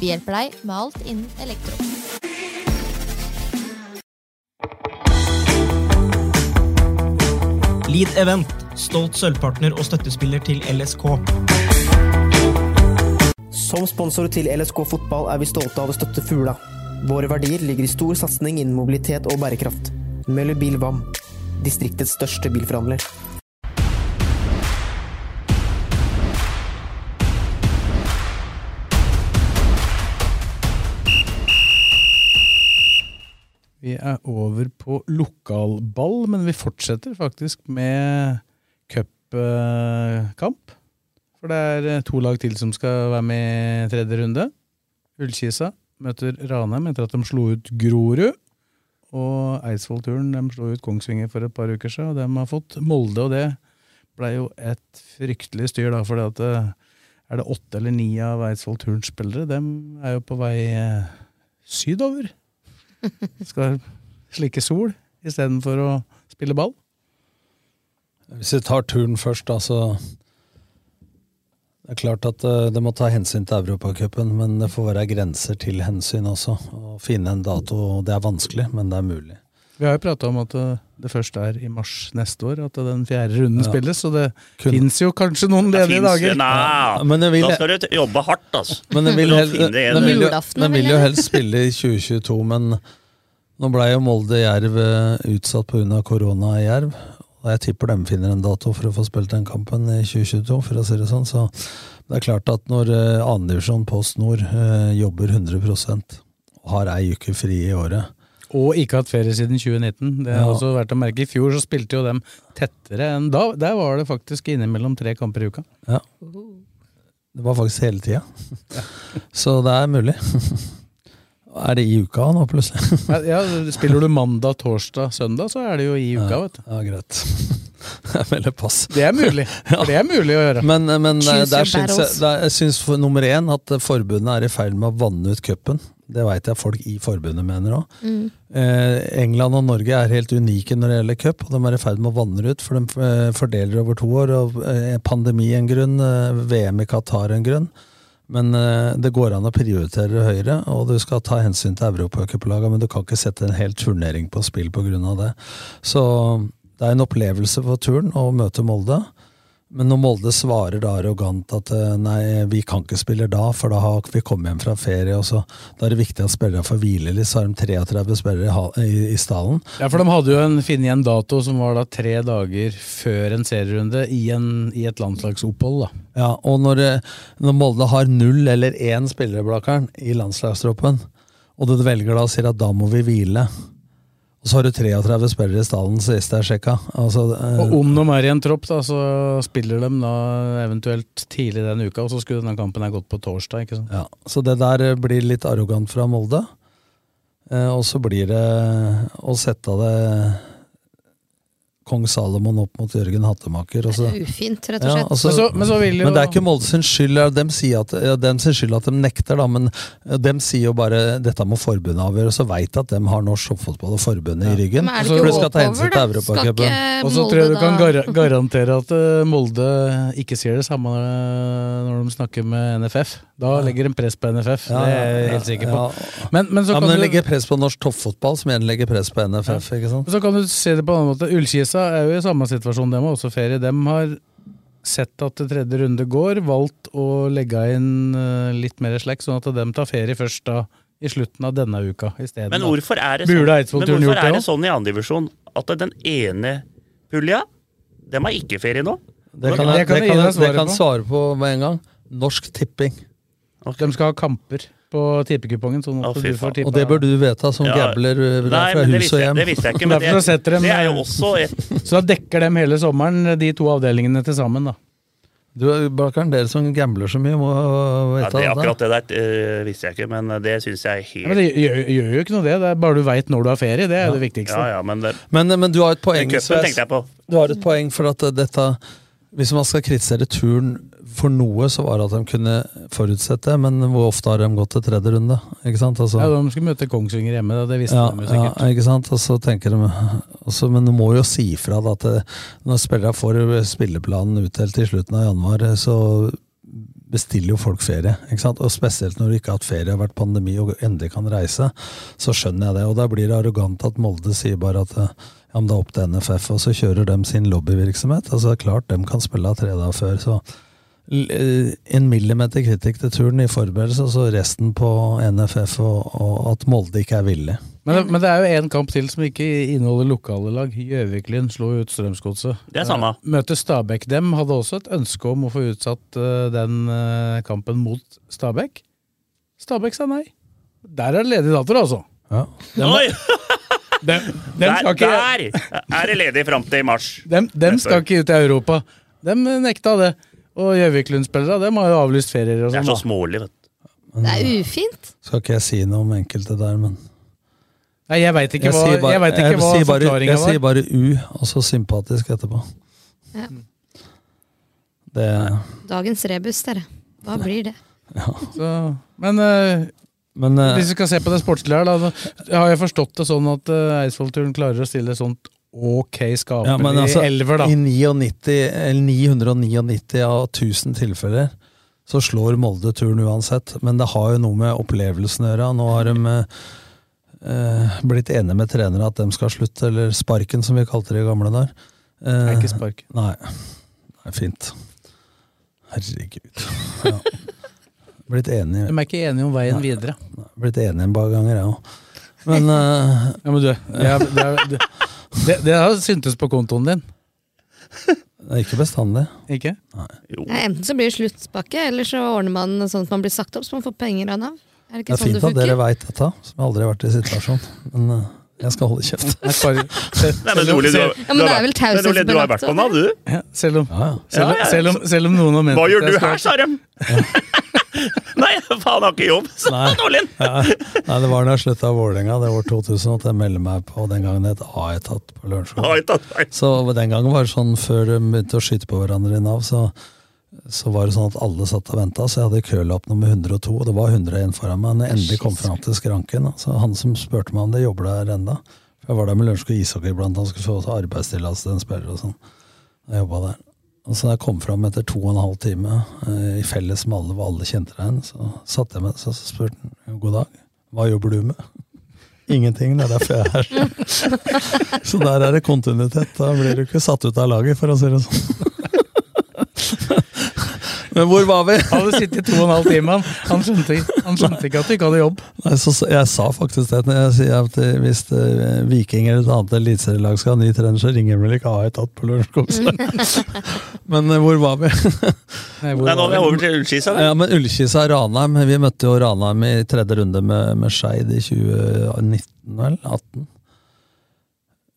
Speaker 1: Vi hjelper deg med alt innen elektro.
Speaker 8: Lead Event, stolt sølvpartner og støttespiller til LSK.
Speaker 3: Som sponsor til LSK fotball er vi stolte av å støtte Fula. Våre verdier ligger i stor satsing innen mobilitet og bærekraft. Møller Bil VAM, distriktets største bilforhandler.
Speaker 5: Vi er over på lokalball, men vi fortsetter faktisk med cupkamp. For det er eh, to lag til som skal være med i tredje runde. Ullkisa møter Ranheim etter at de slo ut Grorud. Og Eidsvollturen de slo ut Kongsvinger for et par uker siden, og de har fått Molde. Og det ble jo et fryktelig styr, da, for er det åtte eller ni av Eidsvollturens spillere? De er jo på vei eh, sydover skal slikke sol istedenfor å spille ball.
Speaker 2: Hvis vi tar turen først, da, så Det er klart at eh, det må ta hensyn til Europacupen, men det får være grenser til hensyn også. Å finne en dato Det er vanskelig, men det er mulig.
Speaker 5: Vi har jo prata om at eh, det første er i mars neste år, at den fjerde runden
Speaker 2: Ja.
Speaker 5: spilles. Så det fins jo kanskje noen ledige
Speaker 7: Finnes
Speaker 5: dager.
Speaker 7: det? Nei,
Speaker 2: men det vil-
Speaker 7: da skal du jobbe hardt, altså.
Speaker 2: Men den vil,
Speaker 7: For å
Speaker 2: hel,
Speaker 7: finne en-
Speaker 2: den vil, jo, den vil jo helst spille i 2022, men nå blei jo Molde-Jerv eh, utsatt pga. korona i Jerv. Og jeg tipper de finner en dato for å få spilt den kampen i 2022, for å si det sånn. Så det er klart at når eh, andredivisjon Post Nord eh, jobber 100 og har ei uke fri i året
Speaker 5: Og ikke hatt ferie siden 2019. Det har
Speaker 2: Ja.
Speaker 5: også vært å merke. I fjor så spilte jo dem tettere enn da. Der var det faktisk innimellom tre kamper i uka.
Speaker 2: ja. Det var faktisk hele tida. Så det er mulig. Er det i uka nå, plutselig?
Speaker 5: Ja, Ja, spiller du mandag, torsdag, søndag, så er det jo i uka, vet du.
Speaker 2: Ja, greit. Jeg melder pass.
Speaker 5: Det er mulig. For det er mulig å gjøre.
Speaker 2: Men, men eh,
Speaker 5: Choose your
Speaker 2: der syns jeg,
Speaker 5: battles.
Speaker 2: der, jeg syns for nummer én at eh, forbundet er i ferd med å vanne ut cupen. Det veit jeg folk i forbundet mener òg.
Speaker 9: Mm.
Speaker 2: Eh, England og Norge er helt unike når det gjelder cup, og de er i ferd med å vanne det ut. For de eh, fordeler over to år. og eh, Pandemi en grunn, eh, VM i Qatar en grunn. Men eh, det går an å prioritere det høyere, og du skal ta hensyn til europacuplagene, men du kan ikke sette en hel turnering på spill pga. det. Så det er en opplevelse på turen å møte Molde. Men når Molde svarer da arrogant at eh, nei, vi kan ikke spille da, for da har vi kommet hjem fra ferie, og så da er det viktig at spillerne får hvile litt, så har de 33 spillere i ha- i, i stallen.
Speaker 5: Ja, for de hadde jo en, finnet en dato som var da tre dager før en serierunde i, en, i et landslagsopphold. da.
Speaker 2: Ja, og når, eh, når Molde har null eller én spillere Blakkaren, i landslagstroppen, og du velger da og sier at da må vi hvile, og så har du 33 spillere i stallen sist jeg sjekka altså, eh,
Speaker 5: Og om de er i en tropp, da, så spiller de da eventuelt tidlig den uka, og så skulle denne kampen ha gått på torsdag. ikke sant?
Speaker 2: Ja, Så det der eh, blir litt arrogant fra Molde. Eh, og så blir det eh, å sette det kong Salomon opp mot Jørgen Hattemaker. Og så,
Speaker 6: Det er ufint, Eh, rett og slett.
Speaker 2: Altså- Ja, altså,
Speaker 6: Men så- men så vil jo-
Speaker 2: men det er ikke Molde sin skyld. ja, Dem sier at, ja, dem sin skyld at de nekter, da, men eh, dem sier jo bare dette må forbundet avgjøre. Og så veit at dem har norsk toppfotball og forbundet i ryggen.
Speaker 6: Men er det
Speaker 5: Altså,
Speaker 6: ikke
Speaker 2: For skal ta
Speaker 6: walkover,
Speaker 2: hensyn
Speaker 6: da?
Speaker 2: til Europacupen.
Speaker 6: Skal
Speaker 5: Og så tror jeg du kan gar garantere at eh, Molde ikke sier det samme eh, når de snakker med NFF. Da legger de press på NFF,
Speaker 2: Ja,
Speaker 5: det er jeg
Speaker 2: ja,
Speaker 5: helt sikker
Speaker 2: ja.
Speaker 5: på. Men, men så
Speaker 2: ja,
Speaker 5: kan
Speaker 2: men den
Speaker 5: du-
Speaker 2: legger press på norsk toppfotball, som igjen legger press på NFF. ikke sant?
Speaker 5: Men Så kan du se det på en annen måte. Ullkisa er jo i samme situasjon, dem har også ferie. Dem har sett at det tredje runde går, valgt å legge inn eh, litt mer slack, sånn at dem tar ferie først da i slutten av denne uka i stedet.
Speaker 7: Men
Speaker 5: da.
Speaker 7: hvorfor er det
Speaker 5: Burde
Speaker 7: sånn, men
Speaker 5: Eidsvollturen
Speaker 7: hvorfor
Speaker 5: gjort
Speaker 7: er
Speaker 5: det
Speaker 7: det
Speaker 5: òg?
Speaker 7: sånn i andredivisjon at den ene pulja, dem har ikke ferie nå?
Speaker 2: Det kan jeg,
Speaker 7: Hvordan-
Speaker 2: det kan,
Speaker 5: gi
Speaker 2: jeg,
Speaker 5: deg
Speaker 2: det
Speaker 5: svaret
Speaker 2: kan
Speaker 5: på.
Speaker 2: svare på med en gang. Norsk Tipping.
Speaker 5: De skal ha kamper på tippekupongen, sånn at du får tippa.
Speaker 2: Og det bør du vedta som
Speaker 5: Ja.
Speaker 2: gambler eh,
Speaker 5: Nei,
Speaker 2: fra
Speaker 5: men det
Speaker 2: hus
Speaker 5: visste
Speaker 2: og
Speaker 5: jeg-
Speaker 2: hjem.
Speaker 5: det visste jeg ikke, men Derfor det- setter de- det er jo også Så da dekker dem hele sommeren, de to avdelingene til sammen, da.
Speaker 2: Du, Blakkaren, dere som gambler så mye, må
Speaker 7: Ja,
Speaker 2: vite
Speaker 7: det,
Speaker 2: det.
Speaker 7: akkurat det der eh, visste jeg ikke, men det syns jeg er
Speaker 5: Ja, men
Speaker 7: helt
Speaker 5: det gjør, gjør jo ikke noe det, det er bare du veit når du har ferie, det er jo det viktigste.
Speaker 2: sånn.
Speaker 7: Ja, ja, men det,
Speaker 2: Men, men du har et poeng,
Speaker 7: Men cupen
Speaker 2: Sves.
Speaker 7: tenkte jeg på.
Speaker 2: Du har et poeng for at eh, dette Hvis man skal kritisere turn for noe, så var det at de kunne forutsette, men hvor ofte har de gått til tredje runde? Ikke sant? Altså,
Speaker 5: Ja, De skulle møte Kongsvinger hjemme, da. det visste
Speaker 2: ja,
Speaker 5: de jo sikkert.
Speaker 2: Ja, ikke sant? Og så tenker de, også, men du må jo si fra da, at det, når spillere får spilleplanen utdelt i slutten av januar, så bestiller jo folk ferie. Ikke sant? Og spesielt når du ikke har hatt ferie, har vært pandemi og endelig kan reise, så skjønner jeg det. Og da blir det arrogant at Molde sier bare at ja, men det er opp til NFF, og så kjører de sin lobbyvirksomhet. Altså det er klart, de kan spille av tre dager før, så l- eh, en millimeter kritikk til turen i forberedelse, og så resten på NFF og, og at Molde ikke er villig.
Speaker 5: Men det, men det er jo én kamp til som ikke inneholder lokale lag. Gjøviklyn slo ut Strømsgodset.
Speaker 7: Det er samme.
Speaker 5: Eh, Møter Stabæk. Dem hadde også et ønske om å få utsatt eh, den eh, kampen mot Stabæk. Stabæk sa nei. Der er det ledige datoer, altså.
Speaker 2: Ja.
Speaker 5: Dem,
Speaker 7: Oi!
Speaker 5: dem, dem
Speaker 7: Der,
Speaker 5: skal ikke,
Speaker 7: der er det ledig fram til i mars.
Speaker 5: dem, dem skal ikke ut i Europa. Dem eh, nekta det. Og Gjøviklund-spillere dem har jo avlyst ferier og
Speaker 7: Det
Speaker 5: sånn.
Speaker 7: er så
Speaker 5: da.
Speaker 7: smålig, vet du.
Speaker 6: Det er ufint.
Speaker 2: Skal ikke jeg si noe om enkelte der, men
Speaker 5: Nei, jeg veit ikke
Speaker 2: jeg
Speaker 5: hva,
Speaker 2: sier bare,
Speaker 5: jeg vet ikke
Speaker 2: jeg
Speaker 5: hva
Speaker 2: sier bare,
Speaker 5: forklaringa
Speaker 2: jeg
Speaker 5: var.
Speaker 2: sier bare U, og så sympatisk etterpå.
Speaker 6: Ja.
Speaker 2: Det
Speaker 6: Dagens rebus, dere. Hva blir det?
Speaker 5: Så, men eh,
Speaker 2: Men eh,
Speaker 5: Hvis vi skal se på det sportslige her, da, så har jeg forstått det sånn at uh, Eidsvollturen klarer å stille sånt ok skapelig
Speaker 2: ja, men altså,
Speaker 5: elver, da.
Speaker 2: i 99, eller 999 av 1000 tilfeller så slår Molde turen uansett. Men det har jo noe med opplevelsen å gjøre. Nå har de eh, eh, blitt enige med trenere at de skal slutte, eller sparken som vi kalte det i gamle dager.
Speaker 5: Det
Speaker 2: Eh,
Speaker 5: er ikke spark.
Speaker 2: Nei. Nei, fint. Herregud. Ja. Blitt enig,
Speaker 5: De er ikke enige om veien videre.
Speaker 2: blitt enig en par ganger, jeg òg. Men eh,
Speaker 5: Ja, men du, det, er, det, er, det, det, det har syntes på kontoen din,
Speaker 2: det er ikke bestandig.
Speaker 5: ikke?
Speaker 7: Jo.
Speaker 6: Nei, enten så blir det sluttpakke, eller så ordner man sånn at man blir sagt opp så man får penger av Nav. Er det
Speaker 2: Det
Speaker 6: ikke
Speaker 2: er
Speaker 6: sånn det
Speaker 2: fint at
Speaker 6: funker?
Speaker 2: dere veit dette, som aldri har vært i situasjonen. Men eh, jeg skal holde kjeft.
Speaker 5: Nei, spark.
Speaker 7: Nei, men Ole, du, har-
Speaker 6: Ja, men
Speaker 7: du har
Speaker 6: det er vel
Speaker 7: vært- men Ole, du har vært på den, da, du.
Speaker 5: Ja, selv, om,
Speaker 2: Ja, ja.
Speaker 5: selv, om,
Speaker 7: Ja, ja.
Speaker 5: selv, om, selv om noen har ment
Speaker 7: Hva
Speaker 5: at
Speaker 7: gjør
Speaker 5: jeg
Speaker 7: du
Speaker 5: skal-
Speaker 7: her, sa de. Nei, faen, har ikke jobb, sa
Speaker 2: Nei.
Speaker 7: Olin.
Speaker 2: Ja. Nei, det var da jeg slutta i Vålerenga, det var 2000, at jeg meldte meg på. Den gangen het A-etat på
Speaker 7: Oi,
Speaker 2: Lørenskog.
Speaker 7: da, nei.
Speaker 2: Så den gangen var det sånn, før de begynte å skyte på hverandre i Nav, så, så var det sånn at alle satt og venta. Så jeg hadde kølapp nummer 102, og det var 101 foran meg. Når jeg endelig kom fram til skranken, da, så han som spurte meg om det, jobber der enda. For jeg var der med Lørenskog ishockey iblant, han skulle få arbeidstillatelse til en spiller og sånn. Jeg jobba der. Og så da jeg kom fram etter to og en halv time, eh, i felles med alle hvor alle kjente deg igjen, så satte jeg meg så spurte han god dag, hva jobber du med? Ingenting, det er derfor jeg er her. så der er det kontinuitet. Da blir du ikke satt ut av laget, for å si det sånn. Men hvor var vi?
Speaker 5: Han hadde sittet i to og en halv time. Han, han, skjønte, han skjønte ikke at du ikke hadde jobb.
Speaker 2: Nei, så, så- jeg sa faktisk det. Når jeg sier at eh, hvis eh, Viking eller et annet eliteserielag skal ha ny trener, så ringer vel ikke A1 tatt på Lørenskog.
Speaker 7: Mm.
Speaker 2: så. Men eh, hvor var vi?
Speaker 5: Nei, hvor
Speaker 7: Nei, nå
Speaker 5: var
Speaker 7: er vi
Speaker 5: det?
Speaker 7: over til ullskisa. da.
Speaker 2: Ja, men Ullkisa og Ranheim. Vi møtte jo Ranheim i tredje runde med, med Skeid i 2019, vel? 18.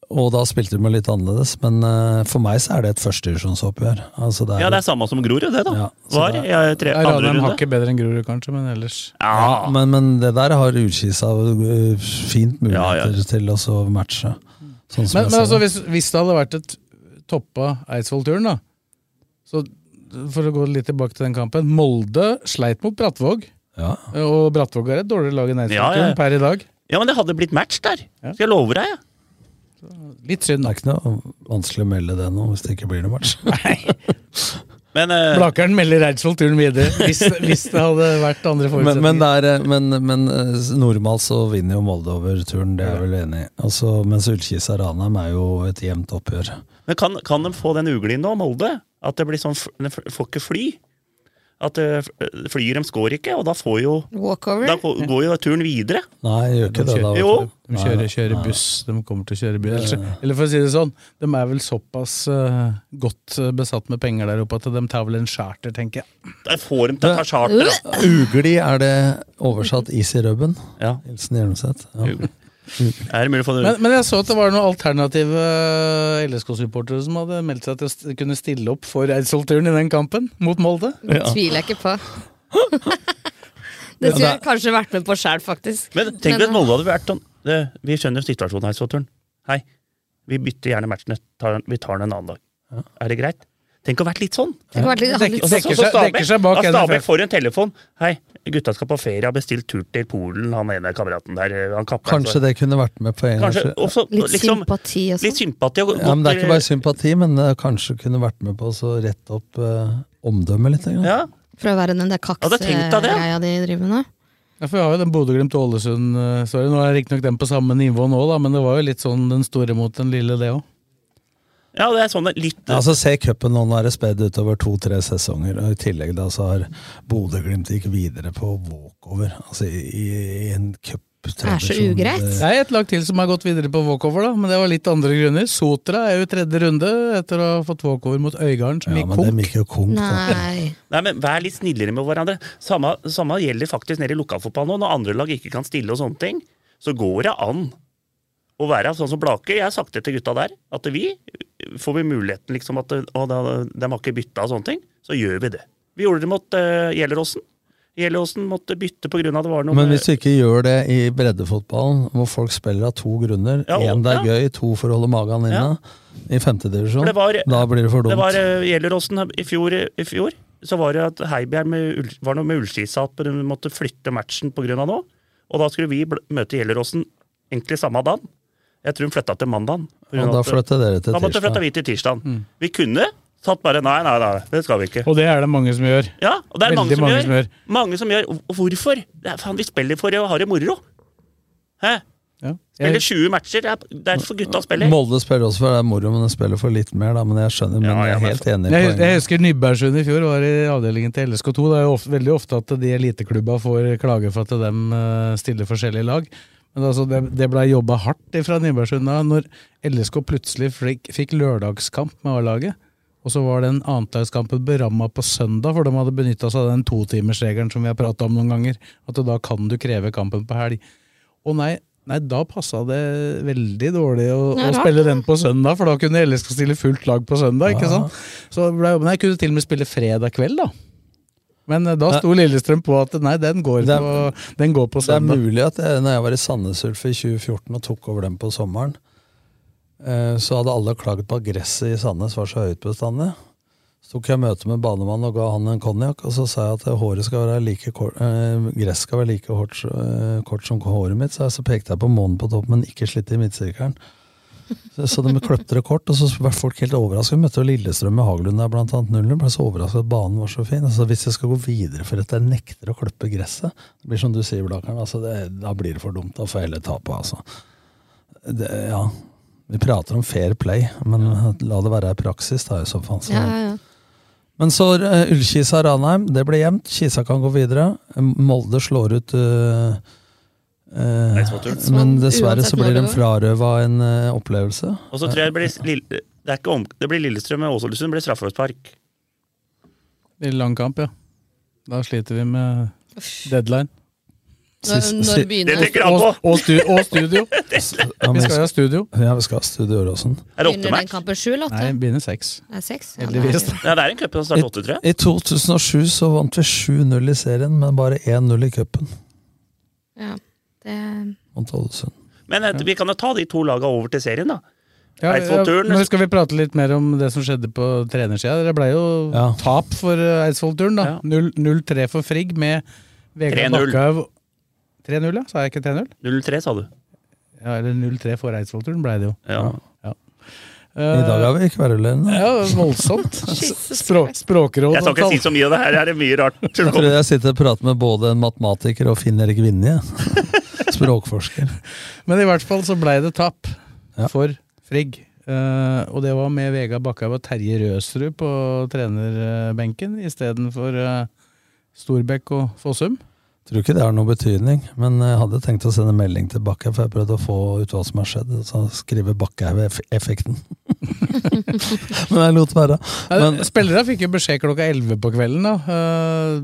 Speaker 2: Og da spilte de jo litt annerledes, men eh, for meg så er det et førstedivisjonsoppgjør. Altså, det er-
Speaker 7: Ja, det er samme som Grorud, det, da.
Speaker 2: Ja, så
Speaker 7: Var
Speaker 2: det-
Speaker 7: ja, tre,
Speaker 5: Nei,
Speaker 7: andre
Speaker 5: Ranheim har
Speaker 7: runde.
Speaker 5: ikke bedre enn Grorud, kanskje, men ellers
Speaker 7: Ja,
Speaker 2: men, men det der har Ullkisa eh, fint
Speaker 7: Ja, ja.
Speaker 2: muligheter til også å matche. Sånn som
Speaker 5: Men,
Speaker 2: jeg
Speaker 5: men
Speaker 2: ser
Speaker 5: altså,
Speaker 2: det.
Speaker 5: hvis, hvis det hadde vært et toppa Eidsvoll-turen, da Så for å gå litt tilbake til den kampen. Molde sleit mot Brattvåg,
Speaker 2: ja.
Speaker 5: og Brattvåg er et dårligere lag enn Eidsvoll-turen
Speaker 7: Ja, ja.
Speaker 5: per i dag.
Speaker 7: ja, men det hadde blitt match der. Skal jeg love deg, jeg.
Speaker 5: Litt synd,
Speaker 2: Det
Speaker 5: da.
Speaker 2: er ikke noe vanskelig å melde det nå, hvis det ikke blir noe match.
Speaker 7: Men eh,
Speaker 5: Blakeren melder Eidsvoll-turen videre, hvis, hvis det hadde vært andre
Speaker 2: Men,
Speaker 5: forutsetninger.
Speaker 2: men, det er, men, men eh, normalt så vinner jo Molde over turen, det er jeg vel enig i. Altså, mens Ullkisa Ranheim er jo et jevnt oppgjør.
Speaker 7: Men kan, kan de få den uglien nå, Molde? At det blir sånn, f- de f- får ikke fly. At eh, f- flyet dem skår ikke, og da får jo Da
Speaker 6: Walkover?
Speaker 7: går går jo turen videre.
Speaker 2: Nei, jeg gjør ikke det. da. vet
Speaker 7: Jo.
Speaker 2: du.
Speaker 5: De
Speaker 2: Nei,
Speaker 5: kjører,
Speaker 2: nei.
Speaker 5: kjører buss, de kommer til å kjøre bil. Eller, eller for å si det sånn, de er vel såpass eh, godt eh, besatt med penger der oppe at de tar vel en charter, tenker jeg.
Speaker 7: Da får de til å ta charter. da.
Speaker 2: Ugli er det oversatt is i rubben.
Speaker 7: Ja.
Speaker 2: Hilsen Hjelmseth. Ja.
Speaker 7: Er det mulig å få det?
Speaker 5: Men, men jeg så at det var noen alternative eh, LSK-supportere som hadde meldt seg til å st- kunne stille opp for Eidsvoll-turen i den kampen, mot Molde.
Speaker 6: Det tviler jeg ikke på. det skulle jeg
Speaker 2: det-
Speaker 6: kanskje vært med på sjæl, faktisk.
Speaker 7: Men tenk hvis
Speaker 6: Men- eh,
Speaker 7: Molde hadde vært sånn det- Vi skjønner situasjonen her, Soturn. Hei, vi bytter gjerne matchene. Tar, vi tar den en annen dag. Er det greit? Tenk å ha vært litt sånn!
Speaker 6: Tenk å ha vært litt-
Speaker 5: Dekker-
Speaker 7: Og så-
Speaker 5: dekker
Speaker 7: så
Speaker 5: seg-
Speaker 7: Stabæk-
Speaker 5: dekker seg bak
Speaker 7: ja, Stabæk
Speaker 5: NFF.
Speaker 7: får en telefon. Hei, gutta skal på ferie, har bestilt tur til Polen, han ene kameraten der. eh, Han kapper,
Speaker 2: Kanskje det kunne vært med på en
Speaker 7: Kanskje, også,
Speaker 6: Litt
Speaker 7: liksom,
Speaker 6: sympati og
Speaker 7: Litt
Speaker 6: sånn.
Speaker 7: sympati. Og,
Speaker 2: Ja, men Det er ikke bare sympati, men eh, kanskje kunne vært med på å så rette opp eh, omdømmet litt. Ja.
Speaker 6: sånn, For å være den der
Speaker 7: Hadde tenkt deg det.
Speaker 6: kaksegreia de driver med.
Speaker 5: Ja, for Vi har jo den Bodø-Glimt og Ålesund. eh, Sorry, nå er riktignok den på samme nivå nå, da, men det var jo litt sånn den store mot den lille, det òg.
Speaker 7: Ja, det er sånn litt
Speaker 2: Altså, Se cupen nå, nå er det spedd utover to-tre sesonger. og I tillegg da så har Bodø-Glimt gikk videre på walkover. Altså i, i en cup.
Speaker 5: Det er et lag til som har gått videre på walkover, da, men det var litt andre grunner. Sotra er jo i tredje runde etter å ha fått walkover mot Øygarden, som
Speaker 2: Ja,
Speaker 5: gikk
Speaker 2: men dem
Speaker 5: konk.
Speaker 2: gikk jo konk. da.
Speaker 6: Nei.
Speaker 7: Nei, men Vær litt snillere med hverandre. Samme, samme gjelder faktisk nede i lokalfotballen nå. Når andre lag ikke kan stille og sånne ting, så går det an å være sånn som Blaker. Jeg har sagt det til gutta der, at vi får vi muligheten liksom at å, da, de har ikke bytta og sånne ting, så gjør vi det. Vi gjorde det mot uh, Gjelleråsen. Gjelleråsen måtte bytte pga. det var noen
Speaker 2: Men hvis du ikke gjør det i breddefotballen, hvor folk spiller av to grunner
Speaker 7: Ja,
Speaker 2: Én det er
Speaker 7: ja.
Speaker 2: gøy, to for å holde magen inne. I
Speaker 7: For
Speaker 2: femtedivisjon.
Speaker 7: det var-
Speaker 2: Da blir det for dumt.
Speaker 7: Det var eh, Gjelleråsen i fjor, i fjor. Så var det at Heibjerg med, Ull- var noe med Ullskisa at de måtte flytte matchen pga. nå. Og da skulle vi bl- møte Gjelleråsen egentlig samme dagen. Jeg tror hun flytta til mandagen. på grunn
Speaker 2: Og da
Speaker 7: av at- eh,
Speaker 2: flytter dere til
Speaker 7: Da måtte
Speaker 2: tirsdag.
Speaker 7: flytta vi til tirsdag. Vi kunne tatt bare nei, nei, nei, det skal vi ikke.
Speaker 5: Og det er det mange som gjør.
Speaker 7: Ja, og det er mange
Speaker 5: Veldig
Speaker 7: som,
Speaker 5: mange
Speaker 7: gjør,
Speaker 5: som gjør.
Speaker 7: Mange som gjør. Og hvorfor? Det er, faen, vi spiller for å ha det moro. Hæ?
Speaker 5: Ja.
Speaker 7: Spiller 20 matcher, det er derfor gutta spiller.
Speaker 2: Molde spiller også for det er moro, men de spiller for litt mer, da. Men jeg skjønner, men
Speaker 7: Ja,
Speaker 2: jeg
Speaker 7: ja,
Speaker 2: er
Speaker 7: men-
Speaker 2: helt enig i
Speaker 5: Jeg, hus-
Speaker 2: poenget.
Speaker 5: jeg husker Nybergsund i fjor var i avdelingen til LSK2. Det er jo ofte, veldig ofte at de eliteklubba får klage for at de eh, stiller forskjellige lag. Men altså, det, det blei jobba hardt fra Nybergsund da når LSK plutselig fikk, fikk lørdagskamp med A-laget. Og så var den annetlagskampen beramma på søndag, for de hadde benytta seg av den totimersregelen som vi har prata om noen ganger. At da kan du kreve kampen på helg. Og nei, nei da passa det veldig dårlig å,
Speaker 6: Det er
Speaker 5: å
Speaker 6: rart,
Speaker 5: spille den på søndag, for da kunne LSK stille fullt lag på søndag. ikke sant? Så ble, men jeg kunne til og med spille fredag kveld, da. Men eh, da sto Lillestrøm på at nei, den går,
Speaker 2: Det er-
Speaker 5: på, den går på
Speaker 2: Det er
Speaker 5: søndag.
Speaker 2: mulig at jeg, når jeg var i Sandnes Ulf i 2014 og tok over dem på sommeren, eh, så hadde alle klagd på at gresset i Sandnes var så høyt bestandig. Så tok jeg møte med banemannen og ga han en konjakk, og så sa jeg at håret skal være like kort, eh, gress skal være like hårt, eh, kort som håret mitt. Så, jeg, så pekte jeg på månen på toppen, men ikke slitt i midtsirkelen. Så, så de kløpte det kort, og så var folk helt overraska. Vi møtte jo Lillestrøm med Haglund der, blant annet. Nullen ble så overraska at banen var så fin. Altså, hvis jeg skal gå videre for at jeg nekter å klippe gresset, det blir som du sier, Blakeren, altså, det, da blir det for dumt. Da får jeg heller tape, altså. Det, ja. Vi prater om fair play, men la det være i praksis, da, i så fall. Så.
Speaker 6: Ja, ja, ja.
Speaker 2: Men så eh, Ullkisa-Ranheim, det ble jevnt. Kisa kan gå videre. Molde slår ut eh, eh,
Speaker 7: Eidsvollturen.
Speaker 2: Men dessverre så
Speaker 6: Uansett
Speaker 2: blir de
Speaker 6: når det
Speaker 2: frarøva en eh, opplevelse.
Speaker 7: Og så tror jeg det blir, Lille- det er ikke om, det blir Lillestrøm og Åsålesund blir straffespark.
Speaker 5: I lang kamp, ja. Da sliter vi med deadline.
Speaker 6: Når,
Speaker 2: Sist-
Speaker 6: når
Speaker 2: sist-
Speaker 6: begynner
Speaker 7: tenker jeg på.
Speaker 5: Og, og, stu, og studio.
Speaker 2: Ja,
Speaker 5: Vi
Speaker 2: men-
Speaker 5: skal jo ha studio.
Speaker 2: Ja, vi skal ha studio Åråsen.
Speaker 7: Er det åtte
Speaker 6: Begynner den
Speaker 7: match?
Speaker 6: kampen sju eller åtte?
Speaker 5: Nei, begynner seks.
Speaker 6: Det er seks? Ja,
Speaker 5: Heldigvis.
Speaker 6: det er-
Speaker 7: Ja, det er en cup som starter åtte, tror jeg.
Speaker 2: I 2007 så vant vi 7-0 i serien, men bare 1-0 i cupen
Speaker 6: Ja, det
Speaker 2: mot Ålesund.
Speaker 7: Men eh, vi kan jo ta de to laga over til serien, da.
Speaker 5: Ja, ja,
Speaker 7: Eidsvollturen-
Speaker 5: nå skal vi prate litt mer om det som skjedde på trenersida. Det ble jo
Speaker 2: Ja.
Speaker 5: tap for eh, Eidsvollturen, da.
Speaker 7: Ja.
Speaker 5: 0 0-3 for Frigg med Vegard
Speaker 7: 3-0.
Speaker 5: Bakkehaug 3-0, ja? Sa jeg ikke 3-0?
Speaker 7: 0-3, sa du.
Speaker 5: Ja, eller 0-3 for Eidsvollturen ble det jo. Eh,
Speaker 7: Ja.
Speaker 2: I dag er vi kverulerende.
Speaker 5: Ja, voldsomt. Språ, språkråd
Speaker 7: Jeg skal ikke si så mye av det her, her er mye rart.
Speaker 2: Jeg tror jeg sitter og prater med både en matematiker og Finn-Erik Vinje. Språkforsker.
Speaker 5: Men i hvert fall så blei det tap
Speaker 2: Ja.
Speaker 5: for Frigg. Eh, og det var med Vegard Bakkhaug og Terje Røsrud på trenerbenken istedenfor uh, Storbekk og Fossum.
Speaker 2: Tror ikke det har noe betydning, men jeg hadde tenkt å sende melding til Bakkhaug, for jeg prøvde å få ut hva som har skjedd. Så skrive Bakkhaug-effekten. men jeg lot være.
Speaker 5: Nei,
Speaker 2: Men-
Speaker 5: Spillerne Eh, fikk jo beskjed klokka 11 på kvelden, da. Eh,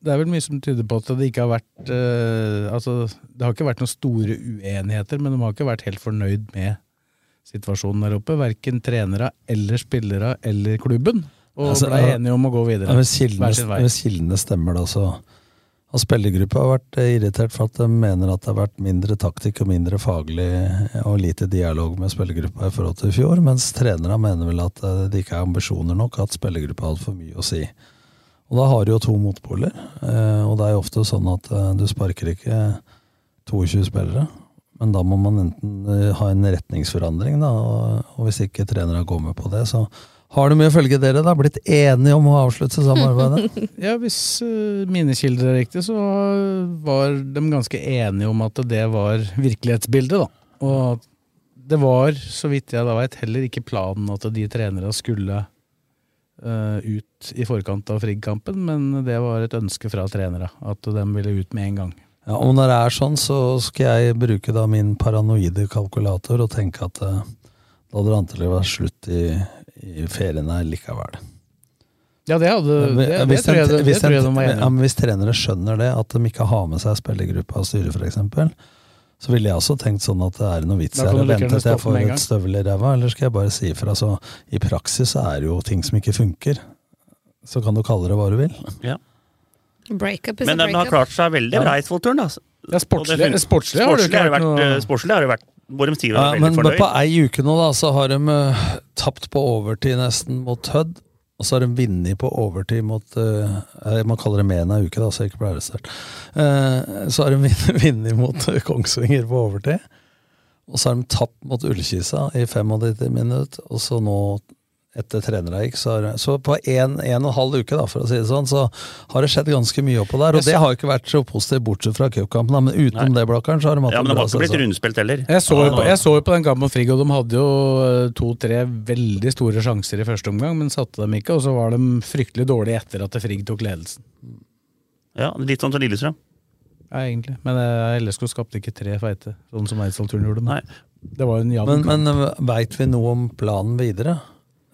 Speaker 5: Det er vel mye som tyder på at det ikke har vært eh, Altså, det har ikke vært noen store uenigheter, men de har ikke vært helt fornøyd med situasjonen der oppe. Verken trenere eller spillere eller klubben. Og
Speaker 2: Altså,
Speaker 5: ble
Speaker 2: ja.
Speaker 5: enige om å gå videre.
Speaker 2: Ja, Hvis kildene,
Speaker 5: hver sin vei.
Speaker 2: hvis kildene stemmer, da, så Og spillergruppa har vært eh, irritert for at de mener at det har vært mindre taktikk og mindre faglig eh, og lite dialog med spillergruppa i forhold til i fjor, mens trenerne mener vel at eh, det ikke er ambisjoner nok, at spillergruppa har altfor mye å si. Og da har du jo to motpoler, eh, og det er jo ofte sånn at eh, du sparker ikke 22 spillere, men da må man enten eh, ha en retningsforandring, da, og, og hvis ikke trenerne går med på det, så har de ifølge dere da blitt enige om å avslutte samarbeidet?
Speaker 5: ja, Hvis eh, mine kilder er riktig, så var de ganske enige om at det var virkelighetsbildet. da. Og at det var, så vidt jeg da veit, heller ikke planen at de trenere skulle eh, ut i forkant av Frigg-kampen, men det var et ønske fra trenere. At de ville ut med en gang.
Speaker 2: Ja, og når det er sånn, så skal jeg bruke da min paranoide kalkulator og tenke at eh, da hadde det antagelig vært slutt i, i ferien her likevel.
Speaker 5: Ja, det hadde det, det,
Speaker 2: eh, Hvis
Speaker 5: tror jeg,
Speaker 2: en-
Speaker 5: det, det
Speaker 2: hvis
Speaker 5: tror jeg de
Speaker 2: en-
Speaker 5: var enige
Speaker 2: ja,
Speaker 5: om.
Speaker 2: men Hvis trenere skjønner det, at de ikke har med seg spillergruppa og styret f.eks., så ville jeg også tenkt sånn at det er noe vits
Speaker 5: Da
Speaker 2: her
Speaker 5: kan
Speaker 2: å
Speaker 5: du like
Speaker 2: vente
Speaker 5: gjerne
Speaker 2: til jeg
Speaker 5: stoppe med
Speaker 2: får
Speaker 5: en
Speaker 2: et støvel i ræva, eller skal jeg bare si ifra? Så i praksis så er det jo ting som ikke funker. Så kan du kalle det hva du vil.
Speaker 7: Ja.
Speaker 6: Breakup is
Speaker 7: Men
Speaker 6: a
Speaker 7: de har
Speaker 6: breakup.
Speaker 7: klart seg veldig bra i Eidsvollturen. da.
Speaker 5: Ja,
Speaker 7: Og det
Speaker 5: sportslig,
Speaker 7: fin-
Speaker 5: sportslig har det
Speaker 7: sportslig
Speaker 5: jo ikke
Speaker 7: har det
Speaker 5: vært
Speaker 7: vært,
Speaker 5: noe
Speaker 7: eh, Sportslig har det vært hvor de sier de
Speaker 2: Ja,
Speaker 7: er
Speaker 2: men
Speaker 7: veldig fornøyd.
Speaker 2: på ei uke nå da, så har de eh, tapt på overtid nesten mot Hødd. Og så har de vunnet på overtid mot eh, eh, Man kaller det med en uke, da, så jeg ikke blir arrestert. Eh, så har de vunnet- vunnet mot Kongsvinger på overtid. Og så har de tapt mot Ullkisa i 95 minutter. Og så nå, etter trenere gikk, så, har, så på en, en og en halv uke, da, for å si det sånn, så har det skjedd ganske mye oppå der.
Speaker 5: Jeg
Speaker 2: Og det
Speaker 5: så-
Speaker 2: har jo ikke vært så positivt, bortsett fra cupkampen, da, men utenom det, Blakkaren, så har de hatt
Speaker 7: Ja, men
Speaker 2: en
Speaker 7: de
Speaker 2: bra
Speaker 7: har ikke blitt
Speaker 2: sesong.
Speaker 7: rundspilt heller.
Speaker 5: altså. Jeg så, jo
Speaker 7: Ja,
Speaker 5: på,
Speaker 7: da.
Speaker 5: jeg så jo på den kampen mot Frigg, og de hadde jo eh, to-tre veldig store sjanser i første omgang, men satte dem ikke, og så var de fryktelig dårlige etter at Frigg tok ledelsen.
Speaker 7: Ja, Litt sånn som Lillestrøm.
Speaker 5: Ja, egentlig. Men eh, LSK skapte ikke tre feite, sånn som Eidsvollturen gjorde. Men det var jo en jevn
Speaker 2: Men,
Speaker 5: kamp.
Speaker 2: men veit vi noe om planen videre?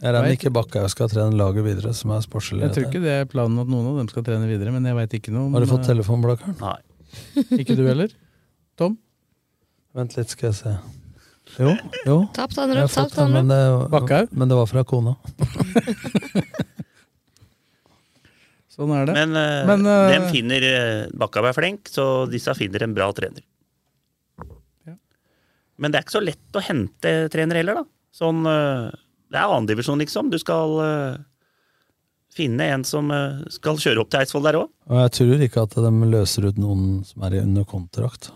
Speaker 2: Jeg regner
Speaker 5: Vet
Speaker 2: ikke Bakkhaug skal trene laget videre, som er sportsleder.
Speaker 5: Jeg tror ikke det er planen at noen av dem skal trene videre, men jeg veit ikke noe om
Speaker 2: Har du fått
Speaker 5: eh,
Speaker 2: telefonblakkeren?
Speaker 7: Nei.
Speaker 5: Ikke du heller? Tom?
Speaker 2: Vent litt, skal jeg se. Jo, jo.
Speaker 6: Tapt andre
Speaker 2: Jeg har
Speaker 6: opp,
Speaker 2: fått
Speaker 6: tapt andre opp.
Speaker 2: den, men, det,
Speaker 5: Bakkhaug?
Speaker 2: men det var fra kona.
Speaker 5: Sånn er det.
Speaker 7: Men, eh,
Speaker 5: Men, eh,
Speaker 7: dem finner eh, Bakkhaug er flink, så disse finner en bra trener. Men det er ikke så lett å hente trener heller, da. Sånn, eh, det er annendivisjon, liksom. Du skal eh, finne en som eh, skal kjøre opp til Eidsvoll der òg.
Speaker 2: Og jeg tror ikke at de løser ut noen som er i- under kontrakt.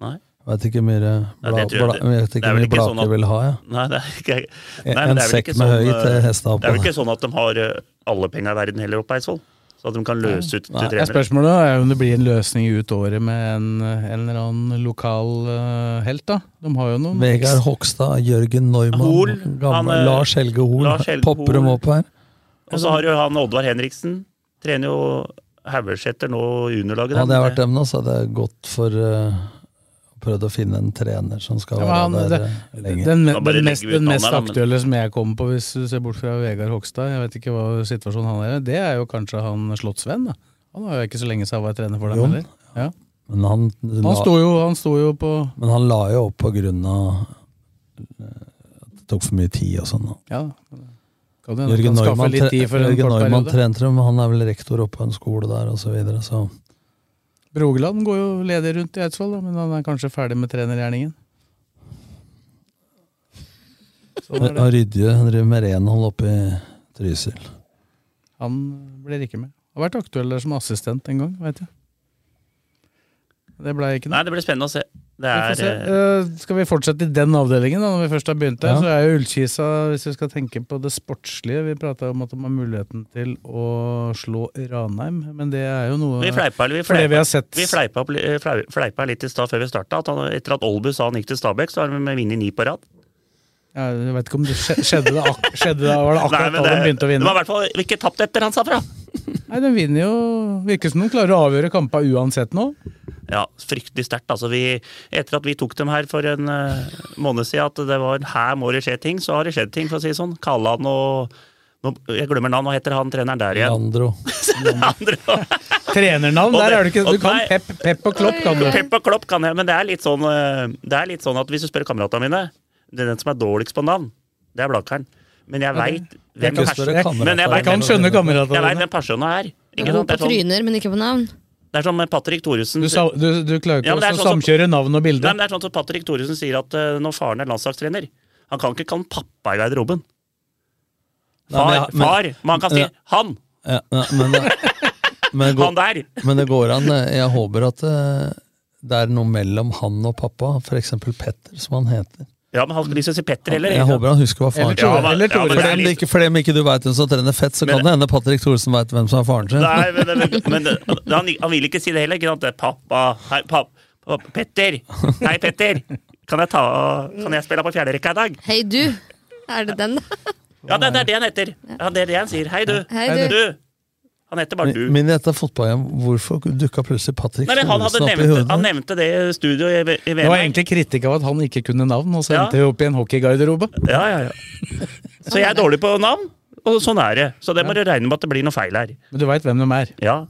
Speaker 7: Nei.
Speaker 2: Veit ikke mye eh,
Speaker 7: Ja,
Speaker 2: bla,
Speaker 7: det tror jeg-
Speaker 2: bla, jeg vet
Speaker 7: det
Speaker 2: ikke
Speaker 7: er
Speaker 2: hvor
Speaker 7: vel
Speaker 2: mye
Speaker 7: ikke sånn
Speaker 2: Blaker
Speaker 7: at-
Speaker 2: vil ha, jeg.
Speaker 7: Nei, det er ikke, nei,
Speaker 2: En-
Speaker 7: men det
Speaker 2: en
Speaker 7: er vel ikke
Speaker 2: sekk med
Speaker 7: sånn,
Speaker 2: høy til
Speaker 7: eh,
Speaker 2: hestehoppa.
Speaker 7: Det er vel ikke sånn at de har eh, alle penga i verden heller oppe på Eidsvoll? Så at de kan løse ut til
Speaker 5: Nei, ja,
Speaker 7: trenere?
Speaker 5: spørsmålet er jo om det blir en løsning ut året med en, en eller annen lokal eh, helt, da. De har jo noen
Speaker 2: Vegard Hogstad, Jørgen
Speaker 7: Hoel,
Speaker 2: Neumann, gamle,
Speaker 7: han, eh,
Speaker 2: Lars Helge Hoel.
Speaker 7: Lars Helge
Speaker 2: Popper dem
Speaker 7: Hoel.
Speaker 2: opp her.
Speaker 7: Og så har jo han Oddvar Henriksen. Trener jo Haugeseter nå juniorlaget.
Speaker 2: Hadde
Speaker 7: der.
Speaker 2: jeg vært dem nå, så hadde jeg gått for eh, prøvd å finne en trener som skal
Speaker 5: Ja,
Speaker 2: være
Speaker 5: men han-
Speaker 2: der
Speaker 5: det-
Speaker 2: eh, lenge.
Speaker 5: Den,
Speaker 7: Da bare
Speaker 5: den mest,
Speaker 7: legger vi ut
Speaker 5: den
Speaker 7: navnet,
Speaker 5: mest
Speaker 7: da, men-
Speaker 5: aktuelle som jeg kommer på, hvis du ser bort fra Vegard Hogstad, jeg vet ikke hva situasjonen han er i, det er jo kanskje han Slottsvenn. da. Han var jo ikke så lenge siden han var trener for dem
Speaker 2: Jon?
Speaker 5: heller. Ja.
Speaker 2: men, han, la,
Speaker 5: Han, sto jo, han sto jo på
Speaker 2: men han la jo opp på grunn av eh, at det tok for mye tid og sånn. da.
Speaker 5: Ja, kan du
Speaker 2: Jørgen
Speaker 5: skaffe
Speaker 2: Neumann,
Speaker 5: litt tid for
Speaker 2: tre-
Speaker 5: en
Speaker 2: Jørgen
Speaker 5: kort
Speaker 2: Neumann
Speaker 5: periode.
Speaker 2: trente dem, han er vel rektor oppe på en skole der og Så, videre, så.
Speaker 5: Brogeland går jo ledig rundt i Eidsvoll, da, men han er kanskje ferdig med trenergjerningen. Sånn er
Speaker 2: Og
Speaker 5: det.
Speaker 2: Rydje driver med renhold oppe i Trysil.
Speaker 5: Han blir ikke med. Har vært aktuell der som assistent en gang, veit jeg. Det blei ikke noe.
Speaker 7: Nei, det blir spennende å se. Det
Speaker 5: Vi får
Speaker 7: er
Speaker 5: se.
Speaker 7: eh,
Speaker 5: Eh, skal vi fortsette i den avdelingen, da, når vi først har begynt der?
Speaker 2: Ja.
Speaker 5: Så er jo Ullkisa, hvis vi skal tenke på det sportslige Vi prata om at de har muligheten til å slå Ranheim, men det er jo noe
Speaker 7: Vi fleipa, vi
Speaker 5: For det vi
Speaker 7: fleipa,
Speaker 5: har sett
Speaker 7: vi fleipa, eh, flau- fleipa litt i stad før vi starta. At han, etter at Olbu sa han gikk til Stabæk, så har de vunnet ni på rad.
Speaker 5: ja, Jeg vet ikke om det skje- skjedde, det ak skjedde det, var det
Speaker 7: Nei,
Speaker 5: akkurat
Speaker 7: men
Speaker 5: da de
Speaker 7: det,
Speaker 5: begynte å
Speaker 7: de
Speaker 5: vinne?
Speaker 7: har i hvert fall ikke tapt etter han sa fra!
Speaker 5: Nei, de vinner jo Virker som de klarer å avgjøre kampa uansett nå.
Speaker 7: Ja, fryktelig sterkt. Altså, vi, etter at vi tok dem her for en eh, måned siden, at det var her må det skje ting, så har det skjedd ting, for å si det sånn. Kallan og nå, Jeg glemmer navn, hva heter han treneren der igjen?
Speaker 2: Leandro.
Speaker 7: Andre. Og
Speaker 5: Trenernavn, der
Speaker 7: det-
Speaker 5: er du ikke
Speaker 7: og
Speaker 5: Du kan
Speaker 7: nei.
Speaker 5: Pep, pep og Klopp, kan du.
Speaker 2: Mm.
Speaker 7: Pep og Klopp kan jeg, men det er litt sånn, eh, det er litt sånn at hvis du spør kameratene mine det er Den som er dårligst på navn, det er Blakkaren. Men jeg veit hvem
Speaker 2: ikke
Speaker 7: pers-
Speaker 2: større kameratene.
Speaker 7: men jeg
Speaker 5: Jeg
Speaker 7: vet-
Speaker 5: kan skjønne kameratene
Speaker 7: jeg vet
Speaker 5: dine.
Speaker 7: hvem personen er. Ikke
Speaker 6: God
Speaker 7: sant?
Speaker 6: på
Speaker 7: Det er sånn,
Speaker 6: tryner, men ikke på navn.
Speaker 7: Det er som Patrick Thoresen
Speaker 5: Du, sa, du, du klarer ikke
Speaker 7: Ja, men det er
Speaker 5: å
Speaker 7: sånn som-
Speaker 5: samkjøre navn
Speaker 7: Nei,
Speaker 5: og bilde.
Speaker 7: men det er sånn at Patrick Thoresen sier at eh, når faren er landslagstrener Han kan ikke kalle pappa i garderoben.
Speaker 2: Nei,
Speaker 7: Far,
Speaker 2: men ja, men-
Speaker 7: far, men han kan si
Speaker 2: Ja.
Speaker 7: 'han'.
Speaker 2: Ja, ja, men, eh, men, det
Speaker 7: Han der.
Speaker 2: går, men det går an. eh, Jeg håper at eh, det er noe mellom han og pappa, f.eks. Petter, som han heter.
Speaker 7: Ja, men han skal ikke si Petter heller.
Speaker 2: Jeg
Speaker 7: ikke sant?
Speaker 2: håper han husker hva faren
Speaker 7: Ja, men- ja, men
Speaker 2: for,
Speaker 7: det er
Speaker 2: dem
Speaker 7: litt-
Speaker 2: ikke, for dem ikke du veit hvem som trener fett, så
Speaker 7: Men-
Speaker 2: kan det hende Patrick Thoresen veit hvem som er faren sin.
Speaker 7: Nei, men, men, men det- han, han vil ikke si det heller. Ikke sant? Det er Pappa, hei, papp, papp, Petter! Hei, Petter! Kan jeg, ta, kan jeg spille på fjerderekka i dag?
Speaker 6: Hei, du! Er det den, da?
Speaker 7: Ja, det, det er det han heter. Ja, det er det han sier. Hei, du.
Speaker 6: Hei, du.
Speaker 7: Han heter bare du.
Speaker 2: Men i dette fotballhjem, hvorfor dukka plutselig Patrick
Speaker 7: Nei, men han, hadde
Speaker 2: Thoresen opp i
Speaker 7: nevnt,
Speaker 2: hodet?
Speaker 7: han nevnte det i studio i, V- i
Speaker 5: Det var
Speaker 7: VM.
Speaker 5: egentlig kritikk av at han ikke kunne navn, og så
Speaker 7: Ja.
Speaker 5: endte vi opp i en hockeygarderobe.
Speaker 7: Ja, ja, ja. Så jeg er dårlig på navn, og sånn er det. Så det må du regne med at det blir noe feil her.
Speaker 5: Men du veit hvem de er.
Speaker 7: Ja.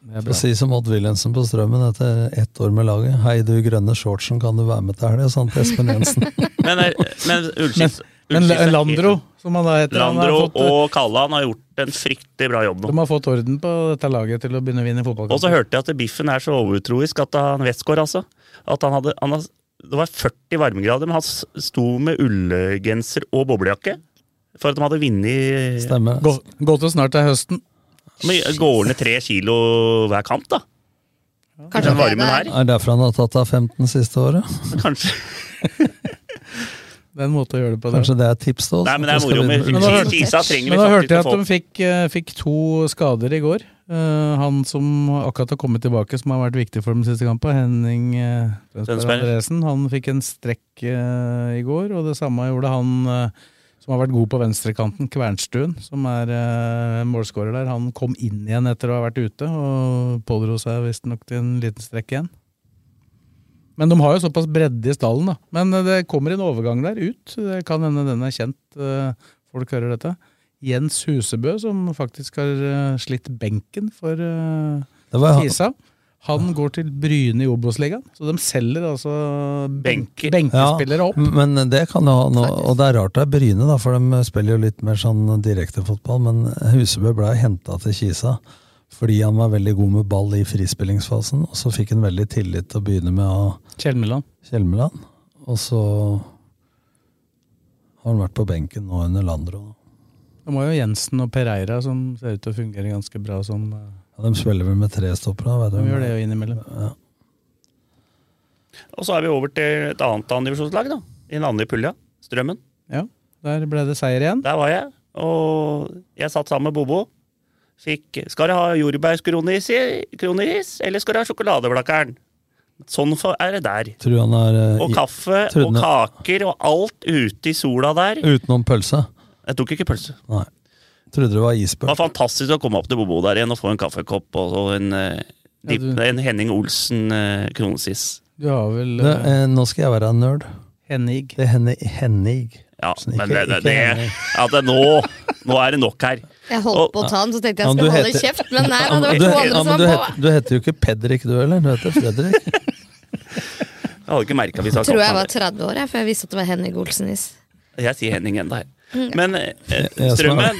Speaker 5: Det er
Speaker 2: Få
Speaker 5: bra.
Speaker 2: si som Odd Wilhelmsen på Strømmen etter ett år med laget. Hei, du grønne shortsen, kan du være med til helga? Sant, Espen Jensen?
Speaker 7: Men, eh, men Ullskis
Speaker 5: Men
Speaker 7: Ullskis er-
Speaker 5: Landro, som han da heter han har
Speaker 7: Landro
Speaker 5: fått, eh,
Speaker 7: og Kallan har gjort en fryktelig bra jobb nå.
Speaker 5: De har fått orden på dette laget til å begynne å vinne fotballkamp.
Speaker 7: Og så hørte jeg at Biffen er så overtroisk at han Westgård, altså at han hadde, han, has- Det var 40 varmegrader, men han s- sto med ullgenser og boblejakke for at de hadde vunnet
Speaker 2: Stemmer.
Speaker 5: Gå- Godt og snart er høsten.
Speaker 7: Men Går ned tre kilo hver kamp, da?
Speaker 6: Kanskje
Speaker 7: Den
Speaker 6: det er
Speaker 7: varmen
Speaker 6: det
Speaker 7: her?
Speaker 2: Er det derfor han har tatt av 15 siste året?
Speaker 7: Kanskje.
Speaker 5: Det er en måte å gjøre det på. Det.
Speaker 2: Kanskje det er et tips til oss?
Speaker 7: Nei, men det
Speaker 2: at
Speaker 7: er
Speaker 2: vi skal
Speaker 7: moro med
Speaker 2: begynne-
Speaker 5: Men nå
Speaker 7: Kisa-
Speaker 5: hørte-
Speaker 7: Kisa trenger
Speaker 5: Men
Speaker 7: vi
Speaker 5: da hørte
Speaker 7: faktisk
Speaker 5: jeg
Speaker 7: å
Speaker 5: at
Speaker 7: få
Speaker 5: de fikk, eh, fikk to skader i går. Eh, han som akkurat har kommet tilbake, som har vært viktig for dem siste kampen, Henning eh, Tønsberg
Speaker 7: Tønsberg.
Speaker 5: Andresen, han fikk en strekk eh, i går. Og det samme gjorde han eh, som har vært god på venstrekanten, Kvernstuen, som er eh, målskårer der. Han kom inn igjen etter å ha vært ute, og pådro seg visstnok til en liten strekk igjen. Men de har jo såpass bredde i stallen, da. Men eh, det kommer en overgang der ut. Det kan hende den er kjent. eh, Folk hører dette. Jens Husebø, som faktisk har eh, slitt benken for eh,
Speaker 2: Det var han-
Speaker 5: Kisa. Han går til Bryne i Obos-ligaen. Så de selger altså benk,
Speaker 7: Benker.
Speaker 5: benkespillere opp.
Speaker 2: Men det kan jo ha noe, og det er rart det er Bryne, da, for de spiller jo litt mer sånn direktefotball. Men Husebø ble henta til Kisa fordi han var veldig god med ball i frispillingsfasen. Og så fikk han veldig tillit til å begynne med av
Speaker 5: Kjellmeland.
Speaker 2: Kjelmeland. Og så har han vært på benken nå under Landro.
Speaker 5: De har jo Jensen og Pereira, som ser ut til å fungere ganske bra som eh,
Speaker 2: Ja, de spiller vel med tre stoppere, da, vet
Speaker 5: De
Speaker 2: du.
Speaker 5: gjør det jo innimellom.
Speaker 2: Ja.
Speaker 7: Og så er vi over til et annet andredivisjonslag, da. I den andre pulja. Strømmen.
Speaker 5: Ja, der ble det seier igjen.
Speaker 7: Der var jeg, og jeg satt sammen med Bobo. Fikk Skal du ha jordbærskroneris, i- kroneris, eller skal du ha sjokoladeblakeren? Sånn for, er det der.
Speaker 2: Tror han er eh,
Speaker 7: Og
Speaker 2: i-
Speaker 7: kaffe og
Speaker 2: Trudne.
Speaker 7: kaker og alt ute i sola der.
Speaker 2: utenom pølse.
Speaker 7: Jeg tok ikke pølse.
Speaker 2: Nei. Trodde det var
Speaker 7: Det var
Speaker 2: isbjørn.
Speaker 7: fantastisk å komme opp til Bobo der igjen og få en kaffekopp og og en, eh, dip,
Speaker 5: Ja, du-
Speaker 7: en Henning Olsen eh, kronesis.
Speaker 5: Du har vel
Speaker 2: Det,
Speaker 5: eh,
Speaker 2: eh, nå skal jeg være en nerd.
Speaker 5: Henning.
Speaker 2: Det er Henni- Hennig.
Speaker 7: Ja,
Speaker 2: Olsen, ikke-
Speaker 7: men det, det,
Speaker 2: ikke
Speaker 7: det
Speaker 2: Henning.
Speaker 7: at det nå, nå er det nok her.
Speaker 6: Jeg holdt på å ta den, så tenkte jeg jeg
Speaker 2: Ja, men
Speaker 6: skal
Speaker 2: du
Speaker 6: holde
Speaker 2: heter-
Speaker 6: kjeft. Men nei, da, det var
Speaker 2: Du,
Speaker 6: to
Speaker 2: ja,
Speaker 6: andre
Speaker 2: men
Speaker 6: som
Speaker 2: du,
Speaker 6: var
Speaker 2: heter,
Speaker 6: på.
Speaker 2: du heter jo ikke Pedrik, du heller. Du heter Fredrik.
Speaker 7: Jeg hadde ikke merket hvis jeg hadde
Speaker 6: Tror
Speaker 7: kalt
Speaker 6: jeg
Speaker 7: han
Speaker 6: var 30
Speaker 7: det.
Speaker 6: år, jeg, for jeg visste at det var Henning Olsen-is.
Speaker 7: Jeg sier Henning enda her. Men eh,
Speaker 2: jeg som er-
Speaker 7: strømmen,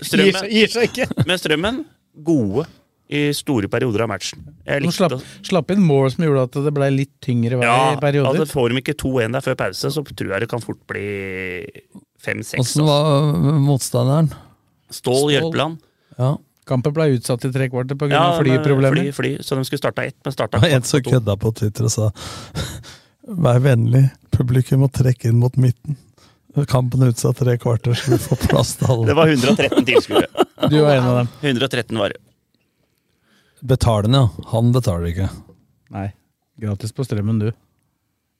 Speaker 7: strømmen
Speaker 5: Gir seg ikke.
Speaker 7: Men strømmen, gode i store perioder av matchen. Jeg
Speaker 5: De
Speaker 7: likte
Speaker 5: slapp, slapp inn mål som gjorde at det ble litt tyngre vei
Speaker 7: ja,
Speaker 5: i perioder.
Speaker 7: altså Får de ikke 2-1 der før pause, så tror jeg det kan fort bli 5-6.
Speaker 2: Åssen
Speaker 7: altså.
Speaker 2: var øh, motstanderen?
Speaker 7: Stål
Speaker 5: Stål?
Speaker 7: Jørpeland.
Speaker 2: Ja.
Speaker 5: Kampen ble utsatt i tre kvarter pga.
Speaker 7: Ja, eh,
Speaker 5: av flyproblemer.
Speaker 7: Fly, fly, så de skulle starta ett, men starta
Speaker 2: Det var en som kødda på Twitter og sa Vær vennlig, publikum må trekke inn mot midten. Kampen er utsatt tre kvarter, så du får plass til alle.
Speaker 7: Det var 113 tilskuere.
Speaker 5: Du var en av dem.
Speaker 7: 113 var det.
Speaker 2: Betalende, ja. Han betaler ikke.
Speaker 5: Nei. Gratis på strømmen, du.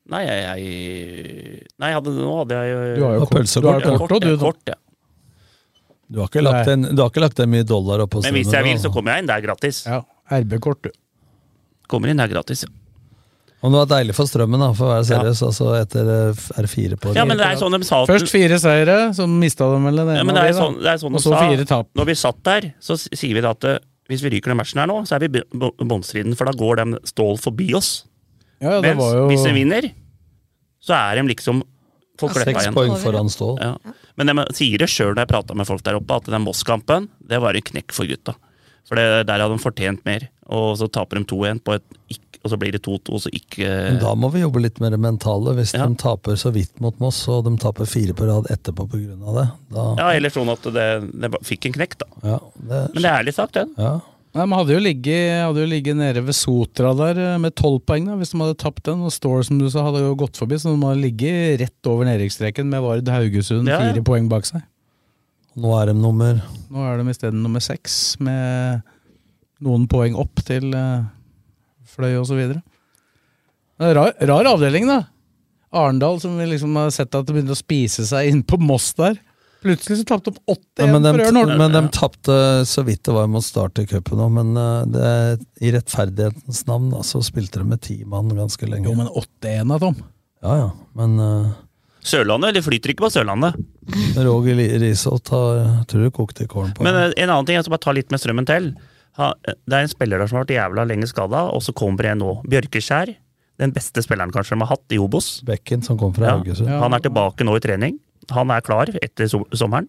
Speaker 7: Nei, jeg, jeg Nei, hadde, nå hadde jeg
Speaker 5: Du har jo
Speaker 2: Og
Speaker 5: kort,
Speaker 2: pølsekort,
Speaker 5: du har
Speaker 2: ja.
Speaker 5: kort, og
Speaker 7: ja,
Speaker 5: du, da.
Speaker 7: Eh, kort, ja.
Speaker 2: Du har ikke lagt
Speaker 5: Nei.
Speaker 2: en, du har ikke lagt en mye dollar oppå
Speaker 7: Men hvis jeg vil, så kommer jeg inn. Det er gratis.
Speaker 5: Ja, RB-kort, du.
Speaker 7: Kommer inn, det er gratis. ja.
Speaker 2: Om det var deilig for strømmen, da, for å være seriøs, altså etter eh, R4 på
Speaker 7: Ja, men det er sånn de sa at-
Speaker 5: Først fire seire, så mista de vel den ene.
Speaker 7: Ja, men det
Speaker 5: av
Speaker 7: er
Speaker 5: de, da.
Speaker 7: sånn, det er sånn de
Speaker 5: og så
Speaker 7: sa.
Speaker 5: fire tap.
Speaker 7: Når vi satt der, så s- sier vi da at eh, hvis vi ryker den matchen her nå, så er vi i bu- bu- bunnstriden, for da går de stål forbi oss.
Speaker 5: Ja, ja, det
Speaker 7: Mens
Speaker 5: var jo
Speaker 7: hvis de vinner, så er de liksom på kleppa
Speaker 2: Seks
Speaker 7: igjen.
Speaker 2: poeng foran Stål.
Speaker 7: Ja. Men de sier det sjøl når jeg prata med folk der oppe, at den Moss-kampen, det var en knekk for gutta. For det, der hadde de fortjent mer. Og så taper de 2-1, på et ikk- og så blir det 2-2, så ikke
Speaker 2: Men da må vi jobbe litt med det mentale. Hvis
Speaker 7: Eh. Ja.
Speaker 2: de taper så vidt mot Moss, og de taper fire på rad etterpå pga. det, da
Speaker 7: Ja, eller sånn at det, det bare fikk en knekk, da.
Speaker 2: ja, det,
Speaker 7: Men det er ærlig sagt, den.
Speaker 2: ja.
Speaker 5: Nei, De hadde jo ligget, hadde jo ligget nede ved Sotra der eh, med tolv poeng da, hvis de hadde tapt den. Og Stål som du sa hadde jo gått forbi, så de hadde ligget rett over nedrykksstreken med Vard Haugesund
Speaker 7: Ja, ja.
Speaker 5: fire poeng bak seg.
Speaker 2: Nå er de nummer
Speaker 5: Nå er de isteden nummer seks med noen poeng opp til eh, Fløy osv. Rar, rar avdeling, da. Arendal som vi liksom har sett at det begynte å spise seg inn på Moss der. Plutselig så tapte de 8-1
Speaker 2: ja, Men de,
Speaker 5: for Ørn
Speaker 2: men de
Speaker 5: Horten.
Speaker 2: tapte så vidt det var mot Start i cupen òg, men eh, det, i rettferdighetens navn da, så spilte de med ti mann ganske lenge.
Speaker 5: Jo, men 8-1 da, Tom.
Speaker 2: Ja, ja, men eh,
Speaker 7: Sørlandet, eller flyter ikke på Sørlandet.
Speaker 2: Roger Li- Risholt har tror du kokte kålen på
Speaker 7: Men eh, en annen ting, jeg skal bare ta litt med strømmen til. Ha, eh, det er en spiller der som har vært jævla lenge skada, og så kommer en nå. Bjørkeskjær. Den beste spilleren kanskje de har hatt i Obos.
Speaker 2: bekken som kom fra
Speaker 7: Ja.
Speaker 2: Haugesund.
Speaker 7: Han er tilbake nå i trening. Han er klar etter so sommeren.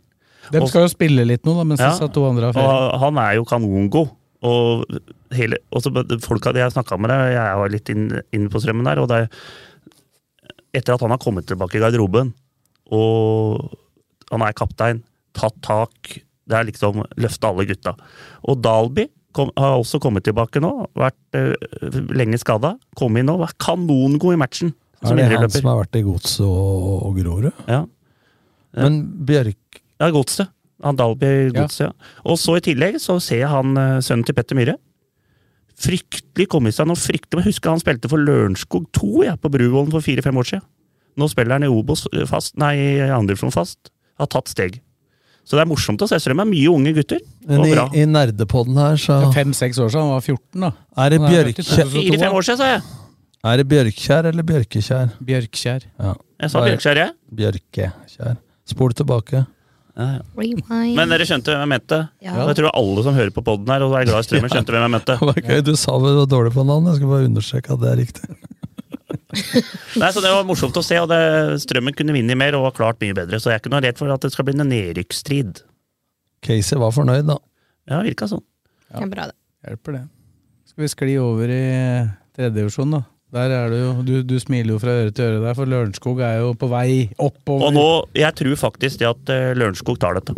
Speaker 5: De
Speaker 7: Og-
Speaker 5: skal jo spille litt nå, da, mens
Speaker 7: Ja,
Speaker 5: de satt to andre av ferie.
Speaker 7: Og han er jo kanongod. Og hele, og så folk hadde jeg snakka med deg, jeg var litt inn- inne på strømmen der, og det er Etter at han har kommet tilbake i garderoben, og han er kaptein, tatt tak Det er liksom løfte alle gutta. Og Dalby kom, har også kommet tilbake nå, vært eh, lenge skada. Kom inn nå, var kanongod i matchen.
Speaker 2: Er det han
Speaker 7: indreløper.
Speaker 2: som har vært i Godset og, og Grorud?
Speaker 7: Ja.
Speaker 2: Men Bjørk
Speaker 7: Ja, Godset. Han Dalby Godset, ja. Og så i tillegg så ser jeg han eh, sønnen til Petter Myhre. Fryktelig kommet seg nå. fryktelig, Jeg husker han spilte for Lørenskog 2 ja, på Bruvollen for fire-fem år siden. Nå spiller han i Obos eh, fast, nei, i andre divisjon fast. Har tatt steg. Så det er morsomt å se. Så de er mye unge gutter.
Speaker 2: Men
Speaker 7: Og
Speaker 2: i,
Speaker 7: bra.
Speaker 2: i nerdepodden her, så
Speaker 5: For Fem-seks år siden, han var 14 da.
Speaker 2: Er det
Speaker 5: Han er født i
Speaker 2: Bjørkjær,
Speaker 5: 2002,
Speaker 7: Fire-fem
Speaker 5: da.
Speaker 7: år siden, sa jeg.
Speaker 2: er det Bjørkkjær eller Bjørkekjær?
Speaker 5: Bjørkkjær.
Speaker 2: Ja.
Speaker 7: Jeg sa
Speaker 2: Bare
Speaker 7: Bjørkskjær, jeg.
Speaker 2: Bjørkekjær. Spol tilbake.
Speaker 7: Ja, ja.
Speaker 6: Rewind.
Speaker 7: Men dere skjønte hvem jeg mente?
Speaker 6: Ja.
Speaker 7: Og Jeg tror alle som hører på poden her og er glad i strømmen, skjønte hvem jeg mente.
Speaker 2: Det var gøy, Du sa vi var dårlig på navn, jeg skal bare understreke at det er riktig.
Speaker 7: Nei, så Det var morsomt å se, og det, strømmen kunne vinne mer og var klart mye bedre. Så jeg er ikke noe redd for at det skal bli en nedrykksstrid.
Speaker 2: Casey var fornøyd, da.
Speaker 7: Ja, virka sånn.
Speaker 6: Det er bra, det.
Speaker 5: Hjelper det. Skal vi skli over i tredjedivisjon, da? Der er det jo, du, du smiler jo fra øre til øre der, for Lørenskog er jo på vei oppover.
Speaker 7: Og nå, jeg tror faktisk det at eh, Lørenskog tar dette.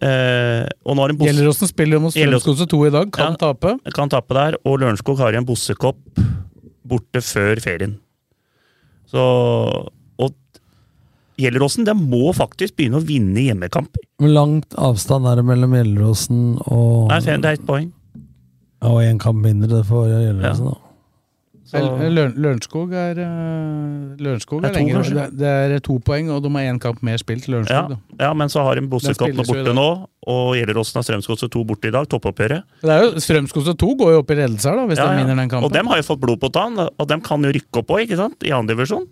Speaker 7: Eh, og nå har en boss,
Speaker 5: Gjelleråsen spiller jo mot
Speaker 7: Gjelleråsen.
Speaker 5: Strømsgodset 2 i dag, kan
Speaker 7: Ja.
Speaker 5: tape.
Speaker 7: kan tappe der, og Lørenskog har igjen Bossekopp borte før ferien. Så Og Gjelleråsen, de må faktisk begynne å vinne hjemmekamper.
Speaker 2: Hvor langt avstand er det mellom Gjelleråsen og
Speaker 7: Nei, det er ett poeng.
Speaker 2: Og én kamp mindre for Gjelleråsen, da.
Speaker 7: Så,
Speaker 5: eh, Løren- Lørenskog er, eh, Lørenskog
Speaker 7: Det er
Speaker 5: er,
Speaker 7: to,
Speaker 5: lenger.
Speaker 7: kanskje?
Speaker 5: Det, det er to poeng, og de har én kamp mer spilt,
Speaker 7: ja,
Speaker 5: Lørenskog. da.
Speaker 7: ja, men så har en Bossekopp
Speaker 5: Den
Speaker 7: nå
Speaker 5: spilles jo
Speaker 7: borte
Speaker 5: i dag.
Speaker 7: nå, og Gjelleråsen har Strømsgodset 2 borte i dag, toppoppgjøret.
Speaker 5: Men Det er jo, Strømsgodset 2 går jo opp i ledelse her, da, hvis
Speaker 7: Ja,
Speaker 5: de
Speaker 7: ja.
Speaker 5: vinner den kampen.
Speaker 7: Og dem har jo fått blod på tann, og dem kan jo rykke opp òg, ikke sant? I andre divisjon.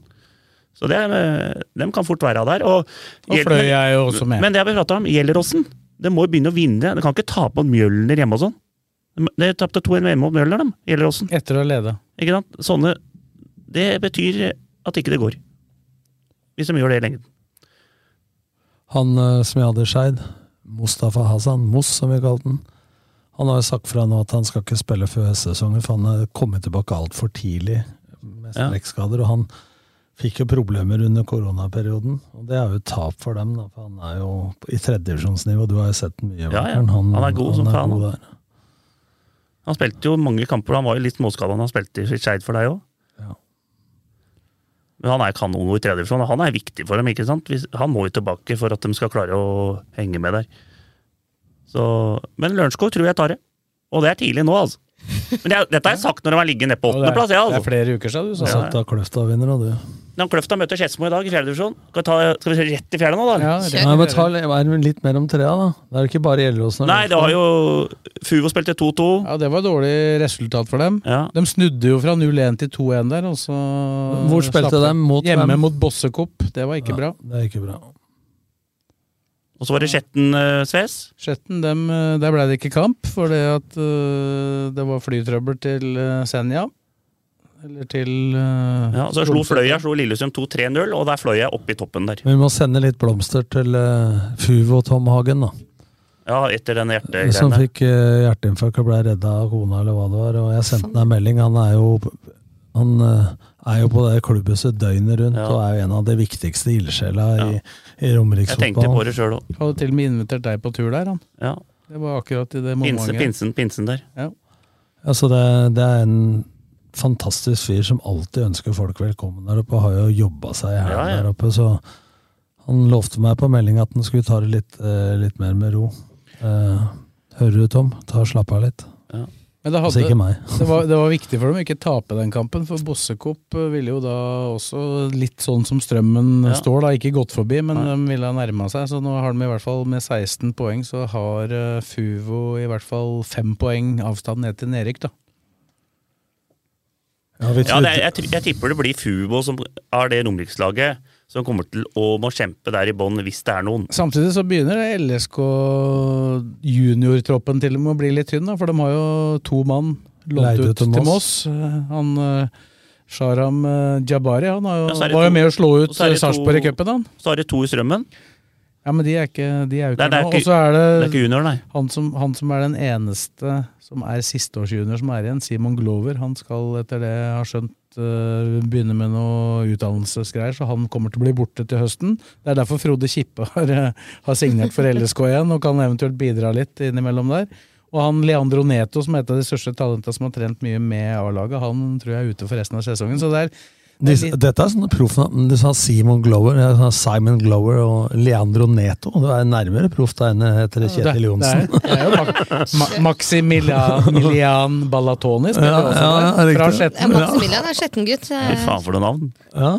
Speaker 7: Så det, eh, dem kan fort være der. Og,
Speaker 5: Og Fløy er jo også med.
Speaker 7: Men det jeg vil prate om, Gjelleråsen. De må jo begynne å vinne. De kan ikke tape mot Mjølner hjemme og sånn. De- De tapte 2-1 hjemme mot Mjølner, dem. Gjelleråsen.
Speaker 5: Etter å lede.
Speaker 7: Ikke sant? Sånne Det betyr at ikke det går. Hvis de gjør det i lengden.
Speaker 2: Han eh, som jeg hadde i Skeid, Mustafa Hasan, Moss som vi kalte han, han har jo sagt fra nå at han skal ikke spille før høstsesongen, for han er kommet tilbake altfor tidlig med
Speaker 7: Ja.
Speaker 2: strekkskader. Og han fikk jo problemer under koronaperioden, og det er jo et tap for dem. Da, for han er jo på- i tredjedivisjonsnivå, du har jo sett den mye.
Speaker 7: Ja, ja.
Speaker 2: Morten.
Speaker 7: Han er god som faen, han.
Speaker 2: der.
Speaker 7: Han spilte jo mange kamper, han var jo litt småskada da han spilte i Skeid for deg òg.
Speaker 2: Ja.
Speaker 7: Men han er kanon i tredje divisjon, og han er viktig for dem. ikke sant? Hvis- Han må jo tilbake for at de skal klare å henge med der. Så, men Lørenskog tror jeg tar det. Og det er tidlig nå, altså. Men jeg, dette har jeg sagt når de har ligget nede på
Speaker 5: Og det, er,
Speaker 7: åttendeplass. jeg,
Speaker 5: det er
Speaker 7: Altså.
Speaker 5: flere uker siden du sa
Speaker 2: Så
Speaker 5: det.
Speaker 7: Ja, ja.
Speaker 2: da Kløfta vinner, og du.
Speaker 7: Når Kløfta møter Skedsmo i dag i fjerde divisjon, skal vi, ta, skal vi se rett i fjerde nå, da?
Speaker 5: Ja,
Speaker 6: Kjør.
Speaker 5: det-
Speaker 2: Nei, men ta er det litt mer om trea, da. Det er jo ikke bare Gjelleråsen. og
Speaker 7: Nei, det
Speaker 2: Lørenskog.
Speaker 7: har jo Fuvo spilte 2-2.
Speaker 5: ja, det var dårlig resultat for dem.
Speaker 7: Ja.
Speaker 5: De snudde jo fra 0-1 til 2-1 der, og så
Speaker 2: Hvor spilte de?
Speaker 5: slapp
Speaker 2: Mot
Speaker 5: Hjemme
Speaker 2: hvem?
Speaker 5: mot Bossekopp. Det var ikke
Speaker 2: Ja,
Speaker 5: bra.
Speaker 2: Det er ikke bra.
Speaker 7: Og så var det Skjetten eh, Sves.
Speaker 5: Skjetten, dem, eh, der ble det ikke kamp, fordi at eh, det var flytrøbbel til eh, Senja. Eller til eh,
Speaker 7: Ja, og så slo Fløya slo Lillestrøm 2-3-0, og der fløy jeg opp i toppen der.
Speaker 2: Vi må sende litt blomster til eh, Fuvo og Tom Hagen, da.
Speaker 7: Ja, etter den
Speaker 2: Som
Speaker 7: hjertegreiene.
Speaker 2: fikk eh, hjerteinfarkt og ble redda av kona, eller hva det var. Og jeg sendte ham en melding. Han er jo han eh, er jo på det klubbhuset døgnet rundt og er jo en av de viktigste ildsjela i, i
Speaker 7: Jeg tenkte på det
Speaker 2: Romeriksfotballen.
Speaker 7: sjøl òg.
Speaker 5: Hadde til og med invitert deg på tur der, han.
Speaker 7: Ja.
Speaker 5: Det var akkurat i det
Speaker 7: Pinsen,
Speaker 5: momentet.
Speaker 7: pinsen, pinsen der.
Speaker 2: Altså det, det er en fantastisk fyr som alltid ønsker folk velkommen der oppe, og har jo jobba seg i hælen
Speaker 7: Ja, ja.
Speaker 2: der oppe. Så han lovte meg på melding at han skulle ta det litt, eh, litt mer med ro. Eh, hører du, Tom? Ta og Slapp av litt.
Speaker 5: Men det, hadde,
Speaker 2: Altså ikke meg.
Speaker 5: det, var, det var viktig for dem å ikke tape den kampen, for Bossekopp eh, ville jo da også litt sånn som strømmen
Speaker 7: Ja.
Speaker 5: står, da, ikke gått forbi, men de ville ha nærma seg. Så nå har de i hvert fall med 16 poeng, så har eh, Fuvo i hvert fall fem poeng avstand ned til Nerik, da.
Speaker 2: Ja,
Speaker 7: Ja, det er, jeg, tri- jeg tipper det blir Fubo som er det Romerikslaget som kommer til å må kjempe der i bånn hvis det er noen.
Speaker 5: Samtidig så begynner LSK juniortroppen til og med å bli litt tynn, da, for de har jo to mann lånt
Speaker 2: Leid
Speaker 5: ut til Moss. Eh, Han eh, Sharam eh, Jabari han har jo,
Speaker 7: Ja, så er det
Speaker 5: var jo
Speaker 7: to-
Speaker 5: med å slå
Speaker 7: og
Speaker 5: ut
Speaker 7: så er
Speaker 5: eh,
Speaker 7: det to-
Speaker 5: Sarpsborg i cupen, han.
Speaker 7: Så har de to i strømmen.
Speaker 5: Ja, men de er ikke, de er jo
Speaker 7: Nei,
Speaker 5: ikke
Speaker 7: det er
Speaker 5: her nå.
Speaker 7: ikke-
Speaker 5: Og så er det,
Speaker 7: det er ikke junior, nei.
Speaker 5: Han, som, han som er den eneste som er sisteårsjunior som er igjen, Simon Glover, han skal etter det jeg har skjønt eh, begynne med noe utdannelsesgreier, så han kommer til å bli borte til høsten. Det er derfor Frode Kippe har, eh, har signert for LSK igjen, og kan eventuelt bidra litt innimellom der. Og han Leandro Neto, som er et av de største talentene som har trent mye med A-laget, han tror jeg er ute for resten av sesongen. Så det er, det
Speaker 2: Disse,
Speaker 5: er litt-
Speaker 2: dette er sånne proffnavn. Du sa Simon Glover, jeg sa Simon Glover og Leandro Neto. Du er nærmere proff da enn jeg heter
Speaker 5: Det-
Speaker 2: Kjetil Johnsen.
Speaker 5: Det, er- det er jo Mac Ma Maximilian Balatoni, som
Speaker 2: Ja,
Speaker 5: heter det også
Speaker 2: ja,
Speaker 5: der,
Speaker 2: riktig.
Speaker 5: fra
Speaker 6: Ja,
Speaker 5: Skjetten.
Speaker 6: Maximilian er skjetten gutt.
Speaker 7: Fy faen for noe navn.
Speaker 2: Ja.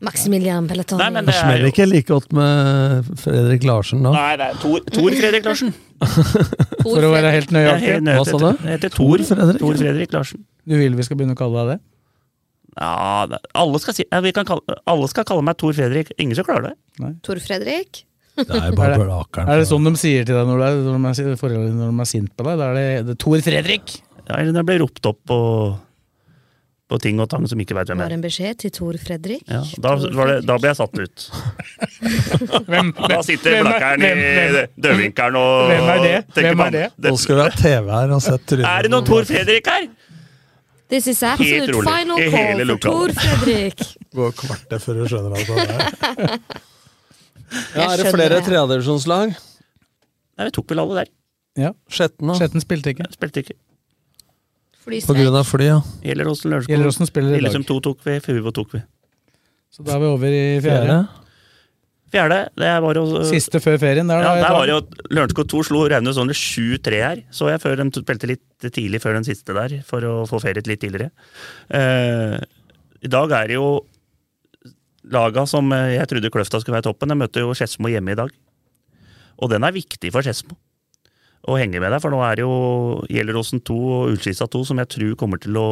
Speaker 6: Maximilian Pelletoni.
Speaker 7: Nei,
Speaker 2: Det
Speaker 7: men det er
Speaker 2: smeller
Speaker 7: jo
Speaker 2: ikke like godt med Fredrik Larsen nå.
Speaker 7: Nei, det er Tor, Tor Fredrik Larsen.
Speaker 5: For å være helt
Speaker 7: Det er
Speaker 5: nøyaktig.
Speaker 7: helt nøyaktig.
Speaker 2: Hva sa du?
Speaker 7: Det heter Tor
Speaker 2: Tor Fredrik?
Speaker 7: Fredrik, Tor Fredrik Larsen.
Speaker 5: Du vil vi skal begynne å kalle deg det?
Speaker 7: Ja, det- alle skal, si, ja, vi kan kalle, alle skal kalle meg Tor Fredrik. Ingen som klarer det.
Speaker 6: Tor Fredrik.
Speaker 2: Det er jo bare
Speaker 5: Er det-
Speaker 2: blakeren.
Speaker 5: Er det sånn de sier til deg når, du er, når, de er, forholdet- når de er sint på deg? Da er det, det er Tor Fredrik!
Speaker 7: Ja, eller når jeg blir ropt opp på, på ting og tang som ikke veit hvem
Speaker 6: Var
Speaker 7: er.
Speaker 6: en beskjed til Tor Fredrik.
Speaker 7: Ja, da, var det, da ble jeg satt ut.
Speaker 5: Hvem,
Speaker 7: Da sitter
Speaker 5: hvem er-
Speaker 7: blakkeren
Speaker 5: hvem-
Speaker 7: i
Speaker 5: hvem-
Speaker 7: dødvinkelen og
Speaker 5: Hvem er det?
Speaker 7: tenker
Speaker 5: Hvem
Speaker 7: på
Speaker 5: er det?
Speaker 7: han.
Speaker 2: Nå skal vi ha TV her og sett trynet.
Speaker 7: Er det noen Tor Fredrik her?
Speaker 6: This is
Speaker 7: Helt
Speaker 6: absolute
Speaker 7: rolig.
Speaker 6: final
Speaker 7: I
Speaker 6: call
Speaker 7: hele
Speaker 6: for Tor
Speaker 7: lokalet.
Speaker 6: Fredrik.
Speaker 2: Går kvartet før du skjønner alt hva det er. Ja,
Speaker 6: Jeg
Speaker 2: er det
Speaker 6: skjønner
Speaker 2: flere
Speaker 6: det.
Speaker 2: tredjedivisjonslag?
Speaker 7: Nei, vi tok vel alle der.
Speaker 5: Ja,
Speaker 2: Skjetten, da?
Speaker 5: Skjetten spilte ikke.
Speaker 7: Spilte ikke.
Speaker 2: På grunn av fly, ja.
Speaker 7: Gjelleråsen Lørenskog.
Speaker 5: Gjelleråsen spiller i
Speaker 7: Lillesund
Speaker 5: dag.
Speaker 7: 2 tok vi, Fuvo tok vi.
Speaker 5: Så da er vi over i
Speaker 2: Fjerde?
Speaker 5: fjerde.
Speaker 7: Fjerde, det var jo
Speaker 5: Siste før ferien. Der,
Speaker 7: Ja,
Speaker 5: da,
Speaker 7: der
Speaker 5: jeg
Speaker 7: var det
Speaker 5: tar.
Speaker 7: jo at Lørenskog 2 slo Raunes under 7-3 her. Så jeg før de spilte litt tidlig før den siste der, for å få feriet litt tidligere. Eh, I dag er det jo laga som eh, jeg trodde Kløfta skulle være toppen. Jeg møter jo Skedsmo hjemme i dag. Og den er viktig for Skedsmo å henge med der, for nå er det jo Gjelleråsen 2 og Ullskisa 2 som jeg tror kommer til å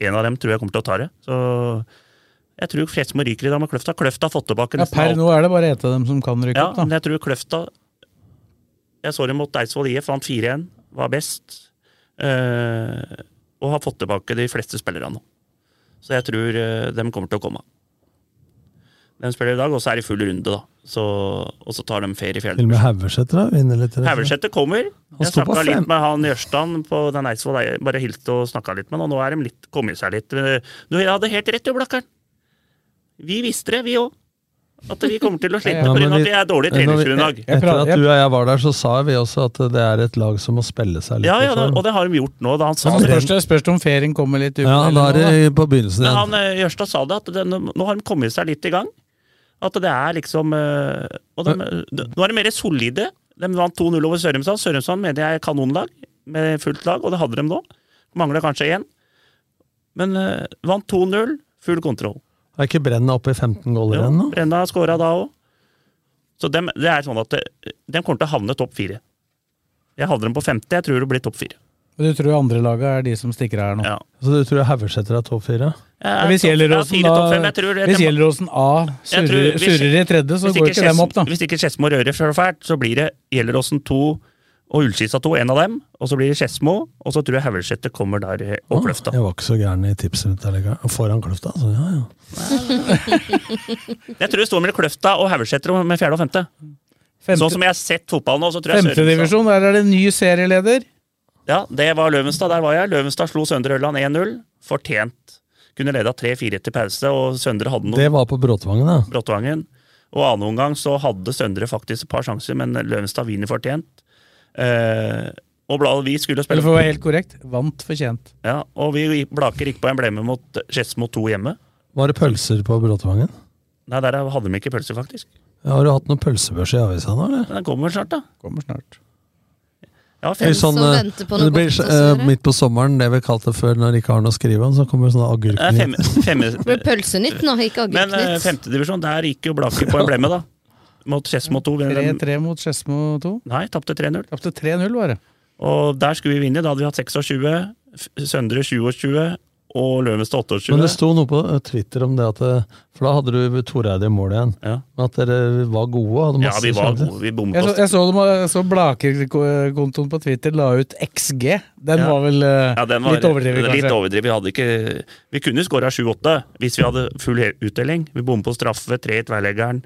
Speaker 7: En av dem tror jeg kommer til å ta det. Så jeg tror Skedsmo ryker i dag med Kløfta. Kløfta har fått tilbake
Speaker 5: ja,
Speaker 7: nesten alt.
Speaker 5: per nå er det bare ett av dem som kan rykke
Speaker 7: Ja,
Speaker 5: opp, da.
Speaker 7: men jeg tror Kløfta Jeg så dem mot Eidsvoll IF, vant 4-1, var best. eh, og har fått tilbake de fleste spillerne nå. Så jeg tror eh, dem kommer til å komme. De spiller i dag, og så er det full runde, da. Så, og så tar de ferie i
Speaker 2: Til og med
Speaker 7: fjellet.
Speaker 2: Haugesæter da, vinner litt.
Speaker 7: Haugesæter kommer. Jeg
Speaker 2: sto på
Speaker 7: snakka
Speaker 2: fem.
Speaker 7: litt med han Jørstad på den Eidsvoll, jeg bare hilste og snakka litt med han, og nå er de litt, kommet seg litt eh, Du hadde helt rett, du, Blakkaren. Vi visste det, vi òg. At vi kommer til å slite
Speaker 2: Ja,
Speaker 7: på grunn
Speaker 2: men
Speaker 7: av at
Speaker 2: vi-
Speaker 7: vi er dårlig
Speaker 2: Når vi-
Speaker 7: treningsgrunnlag.
Speaker 2: Etter
Speaker 5: prater-
Speaker 2: at du og jeg var der, så sa vi også at det er et lag som må spille seg litt liksom.
Speaker 7: Ja, ja,
Speaker 2: i form.
Speaker 7: og det har de gjort nå. Da han sa
Speaker 5: Så
Speaker 7: det.
Speaker 5: spørs det spørs det om ferien kommer litt i uken
Speaker 2: Ja, da
Speaker 5: eller
Speaker 2: er
Speaker 5: noe, da.
Speaker 2: det på begynnelsen
Speaker 7: Men
Speaker 2: igjen.
Speaker 7: han eh, Jørstad sa det, at det, nå har de kommet seg litt i gang. At det er liksom eh, og de, de, Nå er de mer solide. De vant 2-0 over Sørumsand. Sørumsand mener jeg er kanonlag, med fullt lag, og det hadde de nå. Mangler kanskje én. Men eh, vant 2-0, full kontroll.
Speaker 2: Er ikke Brenna oppe i 15 goller igjen nå?
Speaker 7: Jo, Brenna skåra da òg. Så dem, det er sånn at eh, de kommer til å havne topp fire. Jeg hadde dem på femte, jeg tror det blir topp fire.
Speaker 5: Men Du tror andre laga er de som stikker her nå?
Speaker 7: Ja.
Speaker 2: Så du tror Haugesæter er topp fire?
Speaker 7: Jeg
Speaker 5: Ja,
Speaker 7: er
Speaker 5: Hvis
Speaker 7: topp- ja,
Speaker 5: Gjelleråsen
Speaker 7: fire, topp fem, jeg tror
Speaker 5: da-
Speaker 7: det-
Speaker 5: hvis
Speaker 7: dem-
Speaker 5: Gjelleråsen A
Speaker 7: Jeg tror-
Speaker 5: surrer,
Speaker 7: hvis-
Speaker 5: surrer i tredje, så
Speaker 7: Hvis
Speaker 5: går
Speaker 7: ikke,
Speaker 5: ikke dem
Speaker 7: Skedsmo-
Speaker 5: opp, da.
Speaker 7: Hvis ikke Skedsmo rører så fælt, så blir det Gjelleråsen 2 og Ullskisa 2, en av dem. Og så blir det Skedsmo, og så tror jeg Haugesæter kommer der eh, og Kløfta.
Speaker 2: Å, Jeg var ikke så gæren i tipset mitt allikevel. Foran Kløfta, altså. Ja, ja.
Speaker 7: Jeg tror det står mellom Kløfta og Haugesæter med fjerde og femte. Sånn som jeg har sett fotball nå, så tror jeg
Speaker 5: Femtedivisjon, der er det ny serieleder.
Speaker 7: Ja, det var Løvenstad. Der var jeg. Løvenstad slo Søndre Ørland 1-0. Fortjent. Kunne leda 3-4 til pause, og Søndre hadde noe
Speaker 2: Det var på Bråtvangen, da.
Speaker 7: Bråttvangen. Og annen omgang så hadde Søndre faktisk et par sjanser, men Løvenstad vinner fortjent. Eh, og bla, vi skulle spille
Speaker 5: Eller for å være helt korrekt, vant fortjent.
Speaker 7: Ja, Og vi Blaker gikk på emblemet mot Skedsmo 2 hjemme.
Speaker 2: Var det pølser på Bråtvangen?
Speaker 7: Nei, der hadde de ikke pølser, faktisk.
Speaker 2: Har du hatt noen pølsebørs i avisa nå, eller?
Speaker 7: Den kommer vel snart, da.
Speaker 5: Kommer snart.
Speaker 7: Ja,
Speaker 2: Eller sånn, eh, det blir eh, midt på sommeren, det vi kalte før når de ikke har noe å skrive om, så kommer sånne
Speaker 7: Nei, fem,
Speaker 2: agurknyheter.
Speaker 7: fem,
Speaker 6: Det blir Pølsenytt nå, ikke
Speaker 7: men eh,
Speaker 6: agurknytt.
Speaker 7: femtedivisjon, der gikk jo Blaker på emblemet, da. Mot Skedsmo 2. men de-
Speaker 5: 3-3 mot Skedsmo 2.
Speaker 7: Nei, tapte 3-0.
Speaker 5: Tapte 3-0, var det.
Speaker 7: Og der skulle vi vinne. Da hadde vi hatt 26, F- Søndre 27 og Løvenstad 28.
Speaker 2: Men det sto noe på eh, Twitter om det at eh, For da hadde du Toreide i mål igjen. Men at dere var gode og hadde
Speaker 7: Ja,
Speaker 2: masse
Speaker 7: vi var
Speaker 2: sjanser.
Speaker 7: gode. Vi bommet
Speaker 5: Jeg så,
Speaker 7: oss.
Speaker 5: jeg så, dem, jeg så Blaker-kontoen på Twitter la ut XG. Den
Speaker 7: Ja.
Speaker 5: var vel eh,
Speaker 7: Ja, den var
Speaker 5: litt overdrevet, kanskje.
Speaker 7: Litt overdrevet. Vi, hadde ikke, vi kunne skåra 7-8 hvis vi hadde full he- utdeling. Vi bommet på straffe, tre i tverrleggeren,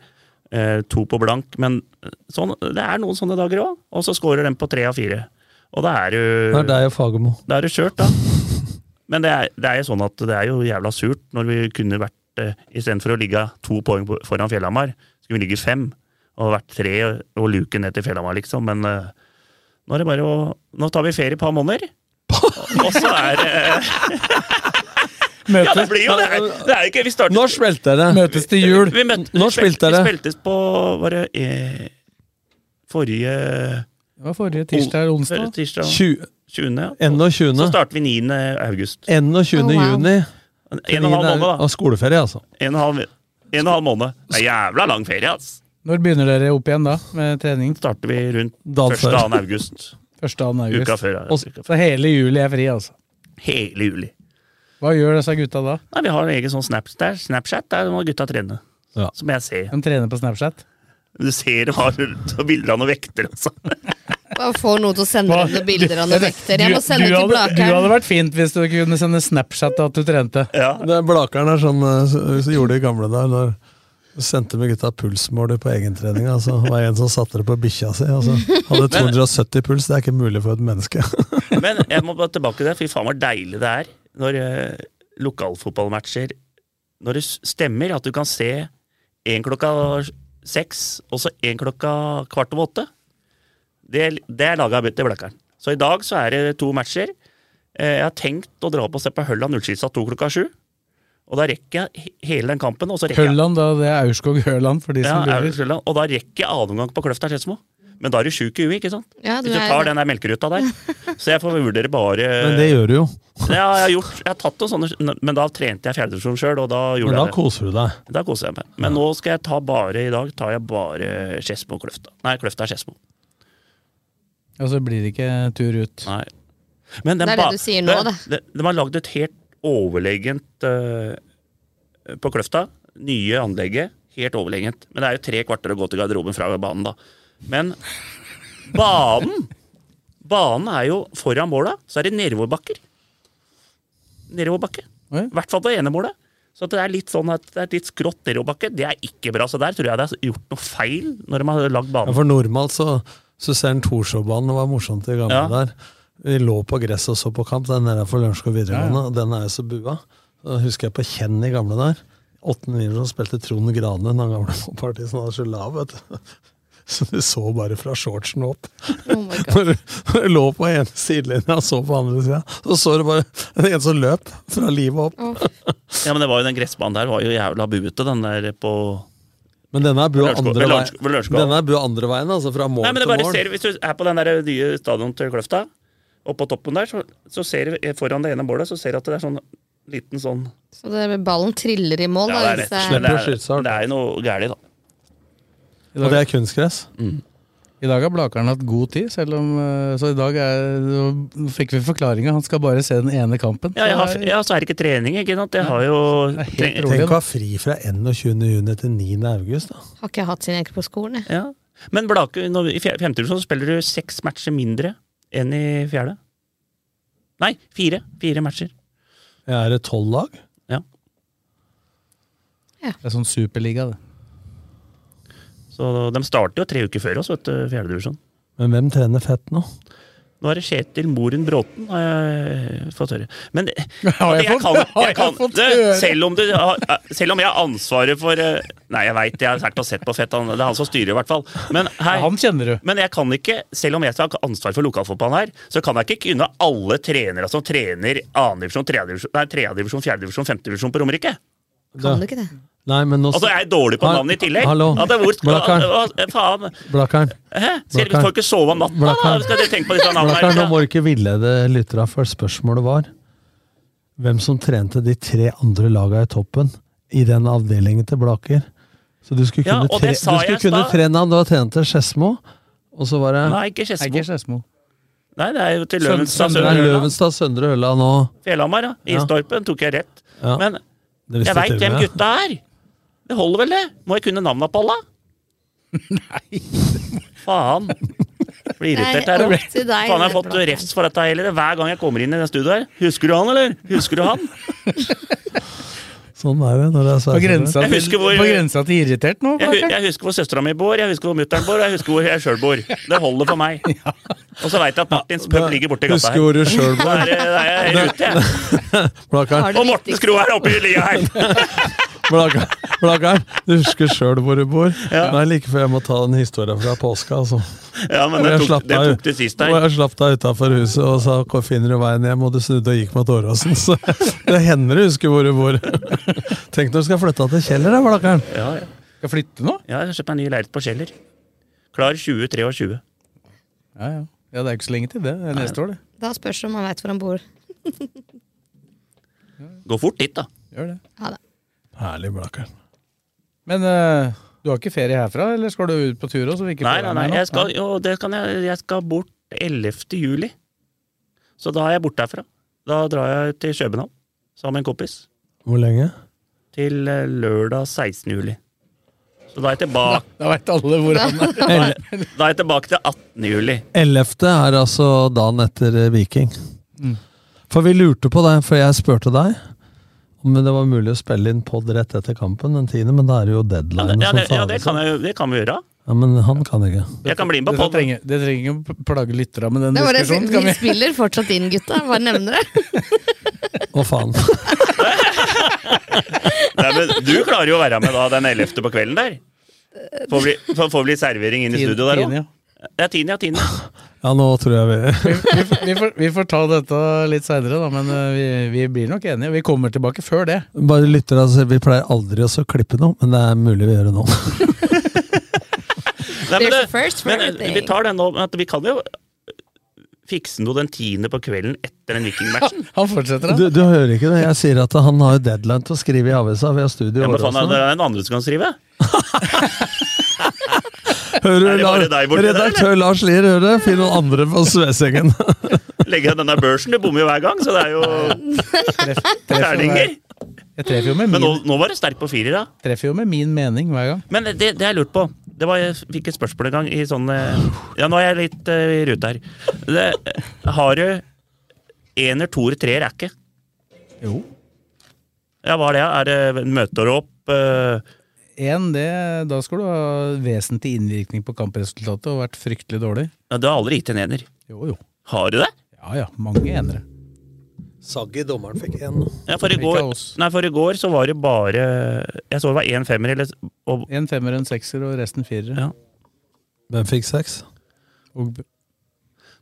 Speaker 7: eh, to på blank. Men sånn, det er noen sånne dager òg. Og så skårer den på tre av fire. Og da er
Speaker 2: Det er
Speaker 7: du
Speaker 2: deg og Fagermo.
Speaker 7: Da er det kjørt, da. Men det er, det er jo sånn at det er jo jævla surt når vi kunne vært eh, Istedenfor å ligge to poeng på- foran Fjellhamar, skulle vi ligge fem. Og vært tre og luke ned til Fjellhamar, liksom. Men eh, nå er det bare å Nå tar vi ferie et par måneder. Og så er det Ja, det blir jo det! er- det er jo ikke, vi startet
Speaker 2: Når spilte dere?
Speaker 5: Møtes til jul.
Speaker 7: vi møtte,
Speaker 2: Når
Speaker 7: vi spilte
Speaker 2: spilte dere?
Speaker 7: Vi spiltes på Var det eh, forrige
Speaker 5: Det var forrige tirsdag eller onsdag.
Speaker 7: Tirsdag,
Speaker 2: Tju-
Speaker 7: 20. ja.
Speaker 2: 21.
Speaker 7: Så starter vi 9. august.
Speaker 2: 21.
Speaker 6: Oh, wow.
Speaker 2: juni.
Speaker 7: En og en halv måned, da.
Speaker 2: Og skoleferie, altså.
Speaker 7: En og en halv, en og en halv måned. Det er jævla lang ferie, ass!
Speaker 5: Når begynner dere opp igjen da, med trening?
Speaker 7: Starter vi rundt
Speaker 2: Dagen
Speaker 7: 1.
Speaker 2: før.
Speaker 7: 2. august.
Speaker 5: Første av august.
Speaker 7: Uka før. Ja. Uka før.
Speaker 5: Så hele juli er fri, altså.
Speaker 7: Hele juli.
Speaker 5: Hva gjør disse gutta da?
Speaker 7: Nei, vi har en egen sånn Snapchat der. Snapchat der må gutta trene.
Speaker 2: Ja.
Speaker 7: Som jeg ser.
Speaker 5: De trener på Snapchat.
Speaker 7: Du ser de har bilder av noen vekter, altså.
Speaker 6: Bare få noen til å sende
Speaker 5: Hva?
Speaker 6: meg noen bilder av noen vekter. Jeg må sende
Speaker 5: du,
Speaker 6: til
Speaker 5: hadde, du hadde
Speaker 6: Blakeren.
Speaker 5: vært fint hvis du kunne sende Snapchat av at du trente.
Speaker 7: Ja.
Speaker 2: Det er Blakeren er sånn eh, s- som gjorde det i gamle dager. Når sendte med gutta pulsmåler på egentreninga. Altså, det var en som satte det på bikkja si. Altså, hadde 270 puls. Det er ikke mulig for et menneske.
Speaker 7: Men jeg må bare tilbake der. Fy faen, hvor deilig det er når eh, lokalfotballmatcher Når det s- stemmer at du kan se én klokka seks, og så én klokka kvart over åtte. Det, det er laga til Blakkaren. Så i dag så er det to matcher. Eh, Jeg har tenkt å dra opp og se på Hølla Nullskisa to klokka sju. Og da rekker jeg he- hele den kampen. Og så rekker jeg
Speaker 5: Høland, da. Det er Aurskog-Høland for de
Speaker 7: ja,
Speaker 5: som lurer.
Speaker 7: Aurskog-Høland. Og da rekker jeg annen omgang på Kløfta Skedsmo. Men da er du sjuk i huet, ikke sant?
Speaker 6: Ja, du
Speaker 7: Hvis du
Speaker 6: er-
Speaker 7: tar den der melkeruta der. Så jeg får vurdere bare
Speaker 2: Men det gjør du jo.
Speaker 7: ja, jeg har gjort, jeg har tatt noen sånne, men da trente jeg fjerdedivisjon sjøl, og da
Speaker 2: Men
Speaker 7: gjorde
Speaker 2: da
Speaker 7: jeg det.
Speaker 2: koser du deg.
Speaker 7: Da koser jeg meg. Men nå skal jeg ta bare, i dag tar jeg bare Skedsmo og Kløfta. Nei, Kløfta er Skedsmo.
Speaker 5: Og så blir det ikke tur ut.
Speaker 7: Nei. Men den
Speaker 6: Det er
Speaker 7: ba-
Speaker 6: det du sier nå,
Speaker 7: de, de, de har lagd et helt overlegent eh, på Kløfta. Nye anlegget. Helt overlegent. Men det er jo tre kvarter å gå til garderoben fra banen, da. Men banen Banen er jo foran måla, så er det nedoverbakker. Nedoverbakke.
Speaker 5: Oi.
Speaker 7: I hvert fall på ene målet. Så at det er litt sånn at det er litt skrått nedoverbakke, det er ikke bra. Så der tror jeg det er gjort noe feil når de har lagd
Speaker 2: Ja,
Speaker 7: banen.
Speaker 2: for normalt så, så ser en Torshov-banen, det var morsomt i gamle
Speaker 7: Ja.
Speaker 2: der. Vi lå på gress og så på kamp, den der er for Lørenskog videregående, og den er jo så bua. Da husker jeg på Kjenn i gamle der. 8-9 som spilte Trond Grane, den gamle partiet som hadde så lav, vet du. Så du så bare fra shortsen opp.
Speaker 6: Oh my God.
Speaker 2: Når du- når du lå på ene sidelinja og så på andre sida, så så du bare en som løp fra livet opp.
Speaker 7: Ja, men det var jo den gressbanen der var jo jævla buete, den der på
Speaker 2: Men denne er bua
Speaker 7: Lørenskog-
Speaker 2: andre,
Speaker 7: ved
Speaker 2: vei-
Speaker 7: Lørenskog- ved Lørenskog.
Speaker 2: denne er bua andre veien, altså fra mål
Speaker 7: Nei, men det
Speaker 2: til
Speaker 7: bare
Speaker 2: mål.
Speaker 7: ser, Hvis du er på den der nye stadion til Kløfta, oppå toppen der, så, så ser du eh, foran det ene målet så ser du at det er sånn liten sånn
Speaker 6: Så det, ballen triller i mål, da.
Speaker 7: Ja, det
Speaker 6: hvis
Speaker 7: er rett og
Speaker 6: det
Speaker 2: slett.
Speaker 6: er-
Speaker 7: slett
Speaker 2: Slipper å skyte seg.
Speaker 7: det er- Det er jo noe gærent, da.
Speaker 5: I
Speaker 2: Og det
Speaker 5: dag,
Speaker 2: er kunstgress.
Speaker 5: I dag har Blakeren hatt god tid, selv om eh, Så i dag er, nå fikk vi forklaringa. Han skal bare se den ene kampen.
Speaker 7: Ja, jeg har,
Speaker 5: Så det er-
Speaker 7: ja, så er det ikke trening, ikke sant. Jeg har jo
Speaker 5: det er
Speaker 7: treng-
Speaker 5: helt rolig.
Speaker 2: Tenk å ha fri fra 21. juni til 9. august, da.
Speaker 6: Har ikke jeg hatt sin egen på skolen, jeg.
Speaker 7: ja. Men Blake, når, i fjer- femte divisjon så spiller du seks matcher mindre enn i fjerde. Nei, fire. Fire matcher.
Speaker 2: Jeg er det tolv lag?
Speaker 5: Det er sånn superliga, det.
Speaker 7: Så de starter jo tre uker før oss, vet du, fjerdedivisjon.
Speaker 2: Men hvem trener fett nå?
Speaker 7: Nå er det Kjetil Moren Bråten, har jeg fått høre. Men det-
Speaker 5: Har jeg
Speaker 7: jeg
Speaker 5: fått-
Speaker 7: kan,
Speaker 5: har
Speaker 7: jeg
Speaker 5: jeg
Speaker 7: kan
Speaker 5: fått
Speaker 7: det,
Speaker 5: høre?
Speaker 7: selv, om det, selv om jeg har ansvaret for eh, Nei, jeg veit, jeg har vært og sett på Fett, han- det er han som styrer i hvert fall. Men, hei,
Speaker 5: Han kjenner du.
Speaker 7: men jeg kan ikke, selv om jeg har ansvar for lokalfotballen her, så kan jeg ikke kunne alle trenere som trener 2. divisjon, 3. divisjon, nei, 3. divisjon, 4. divisjon, 5. divisjon på Romerike.
Speaker 2: Kan
Speaker 6: du ikke det?
Speaker 2: Nei, men nå
Speaker 7: Altså, jeg er dårlig på
Speaker 2: Ha-
Speaker 7: navnet i tillegg.
Speaker 2: Hallo,
Speaker 7: At det er hvor,
Speaker 2: Blakkaren.
Speaker 7: Hva- hva- faen.
Speaker 2: Blakkaren.
Speaker 7: Hæ? Skal
Speaker 2: Blakkaren.
Speaker 7: dere folk ikke sove om natta, da?
Speaker 2: Blakkaren.
Speaker 7: Skal dere tenke på disse
Speaker 2: Blakkaren, nå
Speaker 7: navnene? her?
Speaker 2: må du ikke villede lytterne, for spørsmålet var hvem som trente de tre andre lagene i toppen i den avdelingen til Blaker. Så du skulle
Speaker 7: Ja,
Speaker 2: kunne,
Speaker 7: og
Speaker 2: tre,
Speaker 7: det
Speaker 2: du
Speaker 7: sa jeg
Speaker 2: skulle
Speaker 7: i
Speaker 2: kunne
Speaker 7: stad.
Speaker 2: trene han. Du har trent til Skedsmo, og så var det
Speaker 7: Nei, ikke Skedsmo.
Speaker 5: Skedsmo.
Speaker 7: Nei, det er jo til
Speaker 2: Søn-
Speaker 7: Løvenstad.
Speaker 2: Søndre-
Speaker 7: Sør-
Speaker 2: Løvenstad, Søndre Ørland og
Speaker 7: Fjellhamar, ja.
Speaker 2: Ja.
Speaker 7: Istorpen tok jeg rett.
Speaker 2: Ja.
Speaker 7: Men
Speaker 2: Det visste
Speaker 7: jeg veit
Speaker 2: til og
Speaker 7: hvem
Speaker 2: med.
Speaker 7: gutta er! Det holder vel, det? Må jeg kunne navna på alle? Nei Faen. Blir irritert
Speaker 6: Det er
Speaker 7: her òg.
Speaker 6: opp til deg,
Speaker 7: Faen, jeg har
Speaker 6: det,
Speaker 7: fått refs for dette hele, hver gang jeg kommer inn i det studioet her. Husker du han, eller? Husker du han?
Speaker 2: Sånn er det når det er
Speaker 5: På
Speaker 2: sveisebrød.
Speaker 5: grensa
Speaker 7: Jeg
Speaker 5: til,
Speaker 7: husker hvor-
Speaker 5: på grensa til irritert
Speaker 7: Jeg,
Speaker 5: nå,
Speaker 7: hu-
Speaker 5: Blakkaren.
Speaker 7: jeg husker hvor søstera mi bor, jeg husker hvor mutter'n bor, og jeg husker hvor jeg sjøl bor. Det holder for meg. Og så veit jeg at Martins pub ligger borti gata
Speaker 2: Husker hvor du selv bor.
Speaker 7: Da er det- da er jeg helt ute, jeg.
Speaker 2: Blakkaren,
Speaker 7: Og Morten Skro er oppe i lia her!
Speaker 2: Blakkaren, Blakkaren, du husker sjøl hvor du bor. Nei, like før jeg må ta den historien fra påska, altså.
Speaker 7: Ja, men
Speaker 2: Og jeg
Speaker 7: det tok
Speaker 2: slapp
Speaker 7: det,
Speaker 2: deg-
Speaker 7: tok det sist
Speaker 2: Og
Speaker 7: her.
Speaker 2: jeg slapp deg utafor huset og sa hvor finner du veien hjem, og du snudde og gikk mot Åråsen. Så det hender du husker hvor du bor. Tenk når du skal flytte til Kjeller, da, Blakkaren.
Speaker 7: Ja, ja.
Speaker 5: Skal jeg flytte nå?
Speaker 7: Ja, jeg har kjøpt meg ny leilighet på Kjeller. Klar 2023.
Speaker 5: Ja, ja. ja, det er jo ikke så lenge til det. Det er neste år, det.
Speaker 6: Da spørs det om han veit hvor han bor.
Speaker 7: Gå fort dit, da.
Speaker 5: Gjør det.
Speaker 6: Ha det.
Speaker 2: Herlig, Blakkaren.
Speaker 5: Men eh, du har ikke ferie herfra, eller skal du ut på tur? Også, så vi ikke
Speaker 7: Nei,
Speaker 5: får
Speaker 7: nei,
Speaker 5: deg
Speaker 7: nei.
Speaker 5: med nå?
Speaker 7: Jeg skal, jo, det kan jeg, jeg skal bort 11. juli. Så da er jeg borte herfra. Da drar jeg til København sammen med en kompis.
Speaker 2: Hvor lenge?
Speaker 7: Til eh, lørdag 16. juli. Så da er jeg tilbake,
Speaker 5: Da veit alle hvor han er.
Speaker 7: da er, da er jeg tilbake til 18. juli.
Speaker 2: 11. er altså dagen etter eh, Viking.
Speaker 7: Mm.
Speaker 2: For vi lurte på deg, for jeg spurte deg om det var mulig å spille inn pod rett etter kampen den 10., men da er det jo
Speaker 7: Ja,
Speaker 2: deadline.
Speaker 7: det, ja,
Speaker 2: som
Speaker 5: sånn
Speaker 7: det, ja,
Speaker 2: faen,
Speaker 7: det,
Speaker 2: så-
Speaker 7: kan, jeg, det kan vi gjøre.
Speaker 2: Ja, men han kan ikke.
Speaker 7: Jeg kan bli med på
Speaker 5: Dette
Speaker 7: podden.
Speaker 5: trenger- Det trenger ikke å plage lytterne med den
Speaker 6: Det var det,
Speaker 5: diskusjonen. Skal
Speaker 6: vi
Speaker 5: vi?
Speaker 6: spiller fortsatt inn, gutta. Bare nevner det.
Speaker 2: Å, faen.
Speaker 7: Nei, men du klarer jo å være med da den 11. på kvelden der. Får bli, får, får bli servering inn i studio der òg.
Speaker 5: Tine, ja.
Speaker 7: Det er 10. ja, 10.
Speaker 2: Ja, nå tror jeg vi
Speaker 5: vi, vi, får- vi, får, vi får ta dette litt seinere, da, men eh, vi, vi blir nok enige. Vi kommer tilbake før det.
Speaker 2: Bare lytter, altså. Vi pleier aldri å så klippe noe, men det er mulig vi gjør det nå.
Speaker 7: Nei, men
Speaker 6: There's a
Speaker 7: det,
Speaker 6: first for
Speaker 7: men
Speaker 6: everything.
Speaker 7: vi tar den nå, men at vi kan jo fikse noe den tiende på kvelden etter den vikingmatchen.
Speaker 5: Han fortsetter,
Speaker 2: Du,
Speaker 5: da.
Speaker 2: du hører ikke det? Jeg sier at han har jo deadline til å skrive i avisa. Vi har studio i
Speaker 7: Ja, men faen, det
Speaker 2: Åråsen.
Speaker 7: er en andre som kan skrive.
Speaker 2: Hører
Speaker 7: er det bare
Speaker 2: du,
Speaker 7: deg
Speaker 2: Lars-
Speaker 7: borti der,
Speaker 2: Redaktør Lars Lier, hører du? Finn noen andre på Svesengen.
Speaker 7: Legger jeg den der børsen, det bommer jo hver gang, så det er jo
Speaker 5: Treff, treffer
Speaker 7: terninger.
Speaker 5: hver- jeg treffer jo, med
Speaker 7: Men nå,
Speaker 5: min,
Speaker 7: nå var det sterkt på firer, da.
Speaker 5: treffer jo med min mening hver gang.
Speaker 7: Men det, det jeg lurte på det var, Jeg fikk et spørsmål en gang i sånn eh, Ja, nå er jeg litt eh, i rute her. Det, har du ener, toer, treer er ikke?
Speaker 5: Jo.
Speaker 7: Ja, hva er det? Er det møter opp? eh,
Speaker 5: En, det, da skal du ha vesentlig innvirkning på kampresultatet og vært fryktelig dårlig.
Speaker 7: ja, du har aldri gitt en ener.
Speaker 5: Jo, jo.
Speaker 7: Har du det?
Speaker 5: Ja ja, mange enere.
Speaker 2: Saggi, dommeren, fikk én.
Speaker 7: Ja, for i
Speaker 5: Ikke
Speaker 7: går,
Speaker 5: av oss.
Speaker 7: nei, for i går så var det bare Jeg så det var én femmer, eller og,
Speaker 5: En femmer, en sekser og resten firere.
Speaker 7: Ja.
Speaker 2: Hvem fikk seks?
Speaker 5: Og,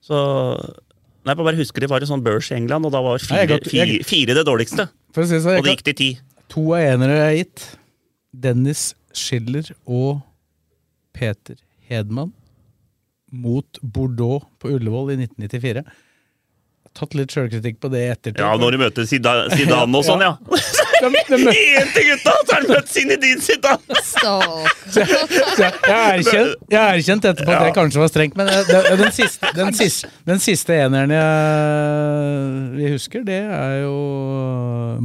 Speaker 7: Så Nei, jeg bare husker det var en sånn børs i England, og da var
Speaker 5: Nei,
Speaker 7: fire,
Speaker 5: jeg kan ikke-
Speaker 7: fire,
Speaker 5: jeg-
Speaker 7: fire det dårligste.
Speaker 5: for å si det sånn,
Speaker 7: Og det
Speaker 5: jeg
Speaker 7: gikk til ti.
Speaker 5: kan, to av enere jeg har gitt. Dennis Schiller og Peter Hedman mot Bordeaux på Ullevål i 1994. Jeg har tatt litt sjølkritikk på det i ettertid.
Speaker 7: Ja, når du møter Sida- Zidane og sånn, ja.
Speaker 5: de, de møtte
Speaker 7: Én til gutta, så har du møtt Zinedine Zidane!
Speaker 6: Så
Speaker 5: Så jeg, jeg, har erkjent, jeg har erkjent etterpå at jeg kanskje var strengt, men eh, det, det, den, siste, den, siste, den siste eneren jeg, vi husker, det er jo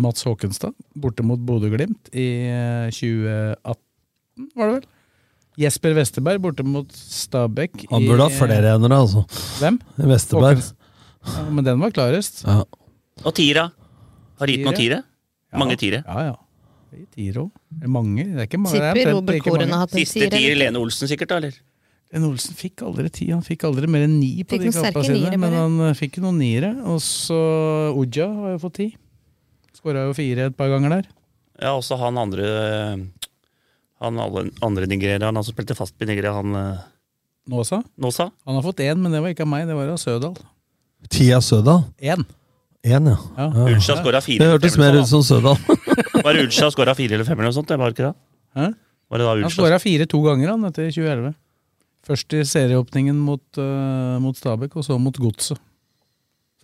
Speaker 5: Mats Håkenstad. Borte mot Bodø-Glimt i eh, 2018, var det vel? Jesper Westerberg borte mot Stabæk
Speaker 2: Han burde
Speaker 5: i- eh,
Speaker 2: hatt flere enere, altså.
Speaker 5: Hvem?
Speaker 2: Vesterberg.
Speaker 5: Håkens- Ja, men den var klarest.
Speaker 2: Ja.
Speaker 7: Og Tira. Har du gitt noen
Speaker 5: Tira?
Speaker 7: Tire? Mange Tire.
Speaker 5: Ja, ja.
Speaker 10: Tiro. Det er mange. Det er ikke mange. det er
Speaker 11: Tipper
Speaker 10: omtrent
Speaker 11: Robert
Speaker 10: like
Speaker 11: Koren
Speaker 10: mange.
Speaker 11: har hatt en Siste tier, tier eller?
Speaker 7: Lene Olsen sikkert, da, eller?
Speaker 10: Lene Olsen fikk aldri ti. Han fikk aldri mer enn ni på de
Speaker 11: Fikk noen sterke
Speaker 10: kampene sine.
Speaker 11: niere,
Speaker 10: Men
Speaker 11: bare.
Speaker 10: han eh, fikk jo noen niere. Og så Oja har jo fått ti. Skåra jo fire et par ganger der.
Speaker 7: Ja, også han andre eh, Han alle- andre nigerian, han som spilte fast i Nigeria, han eh,
Speaker 10: Nåsa.
Speaker 7: Nåsa.
Speaker 10: Han har fått én, men det var ikke av meg, det var av Sødal.
Speaker 2: Tia Sødal?
Speaker 10: Én.
Speaker 2: Én, ja.
Speaker 10: Ja.
Speaker 2: Ja.
Speaker 7: Ulsha skåra fire.
Speaker 2: Det
Speaker 7: sånn.
Speaker 2: hørtes mer ut som Sødal.
Speaker 7: Var det Ulsha skåra fire eller fem eller noe sånt? Det var ikke det?
Speaker 10: Hæ?
Speaker 7: Var det da
Speaker 10: Han
Speaker 7: Ulsha
Speaker 10: skåra fire to ganger han etter 2011. Først i serieåpningen mot, eh, mot Stabæk, og så mot Godset.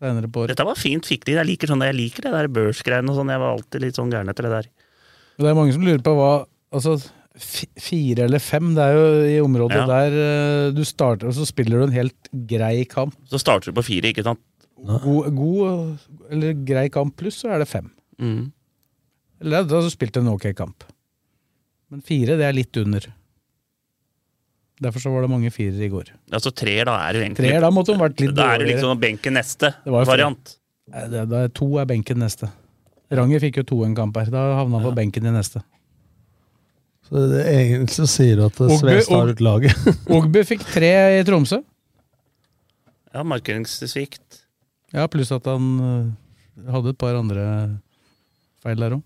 Speaker 10: Senere på året.
Speaker 7: Dette var fint fiktiv. Jeg liker sånn, jeg liker det der børsgreiene og sånn. Jeg var alltid litt sånn gæren etter det der.
Speaker 10: Men Det er mange som lurer på hva altså, fi- Fire eller fem, det er jo i området
Speaker 7: Ja.
Speaker 10: der eh, du starter, og så spiller du en helt grei kamp.
Speaker 7: Så starter du på fire, ikke sant?
Speaker 10: God, god eller grei kamp pluss, så er det fem.
Speaker 7: Mm.
Speaker 10: Eller da har du spilt en ok kamp. Men fire, det er litt under. Derfor så var det mange firere i går.
Speaker 7: Altså treer, da er du egentlig
Speaker 10: Treer, da måtte hun vært litt
Speaker 7: Da er det
Speaker 10: dårligere.
Speaker 7: liksom benken neste
Speaker 10: Det var jo
Speaker 7: variant.
Speaker 10: Nei, Det, det er to er benken neste. Ranger fikk jo to en kamp her. Da havna han på benken i neste.
Speaker 2: Så det er egentlig så sier du at
Speaker 10: Ogbu-
Speaker 2: Svestad
Speaker 10: Og-
Speaker 2: har ut laget.
Speaker 10: Ogbu fikk tre i Tromsø.
Speaker 7: Ja, markeringssvikt.
Speaker 10: Ja, pluss at han øh, hadde et par andre feil der òg.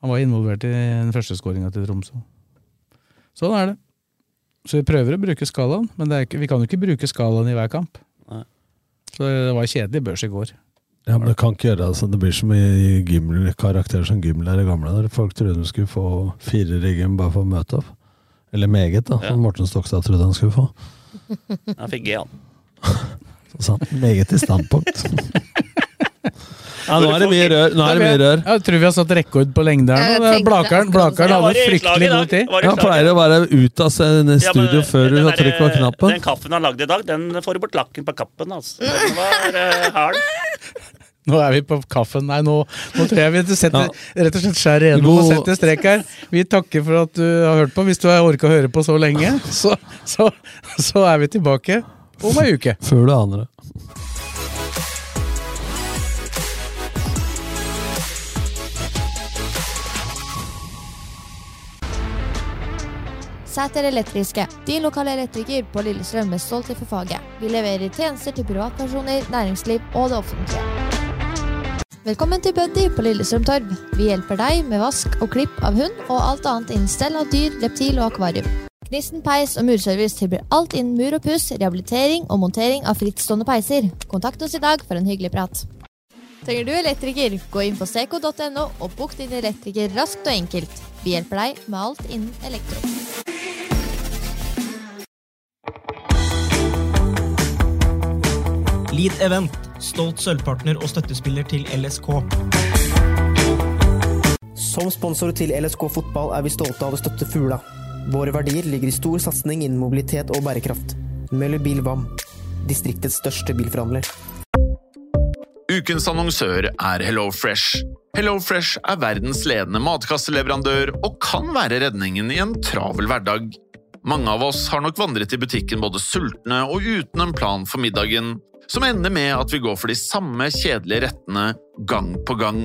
Speaker 10: Han var involvert i den første skåringa til Tromsø. Sånn er det. Så vi prøver å bruke skalaen, men det er ikke, vi kan jo ikke bruke skalaen i hver kamp.
Speaker 7: Nei.
Speaker 10: Så det var kjedelig børs i går.
Speaker 2: Ja, men det kan ikke gjøre det. Altså. Det blir så mye gyml- karakterer som gymlærer i gamle dager. Folk trodde de skulle få firer i gym bare for å møte opp. Eller meget, da, som Morten Stokstad trodde han skulle få.
Speaker 7: Han fikk G, han.
Speaker 2: Så sa han meget i standpunkt. ja, nå er det mye rør. Nå er det mye rør.
Speaker 10: Jeg tror vi har satt rekord på lengde her
Speaker 2: Jeg
Speaker 10: nå. Det er
Speaker 2: tenkte
Speaker 10: Blakeren,
Speaker 2: akkurat
Speaker 10: Blakeren
Speaker 7: det. Jeg var
Speaker 10: hadde
Speaker 7: i slaget i
Speaker 10: fryktelig
Speaker 7: dag.
Speaker 10: god tid.
Speaker 7: Var i
Speaker 2: Han
Speaker 7: slaget.
Speaker 2: pleier å være ut av sin
Speaker 7: Ja, men
Speaker 2: studio før
Speaker 7: den
Speaker 2: hun har
Speaker 7: der,
Speaker 2: trykket på
Speaker 7: eh,
Speaker 2: knappen.
Speaker 7: Den kaffen han lagde i dag, den får du bort lakken på kappen, altså. Den var eh, hard.
Speaker 10: Nå er vi på kaffen. Nei, nå, nå tror jeg vi setter, rett og slett skjærer igjennom
Speaker 2: God-
Speaker 10: og setter strek her. Vi takker for at du har hørt på. Hvis du har orka å høre på så lenge, så, så, så er vi tilbake om ei uke.
Speaker 2: Før du aner det.
Speaker 6: Sæter Elektriske, din lokale elektriker på Lillestrøm med stolthet for faget. Vi leverer tjenester til privatpersoner, næringsliv og det offentlige. Velkommen til Buddy på Lillestrøm Torv. Vi hjelper deg med vask og klipp av hund og alt annet innen stell av dyr, reptil og akvarium. Gnisten peis og murservice tilbyr alt innen mur og puss, rehabilitering og montering av frittstående peiser. Kontakt oss i dag for en hyggelig prat. Trenger du elektriker, gå inn på seco.no og bok din elektriker raskt og enkelt. Vi hjelper deg med alt innen elektro.
Speaker 8: Lead Event, stolt sølvpartner og støttespiller til LSK.
Speaker 3: Som sponsor til LSK fotball er vi stolte av å støtte Fula. Våre verdier ligger i stor satsing innen mobilitet og bærekraft. Møller Bil VAM, distriktets største bilforhandler.
Speaker 5: Ukens annonsør er HelloFresh. HelloFresh er verdens ledende matkasseleverandør og kan være redningen i en travel hverdag. Mange av oss har nok vandret i butikken både sultne og uten en plan for middagen, som ender med at vi går for de samme kjedelige rettene gang på gang.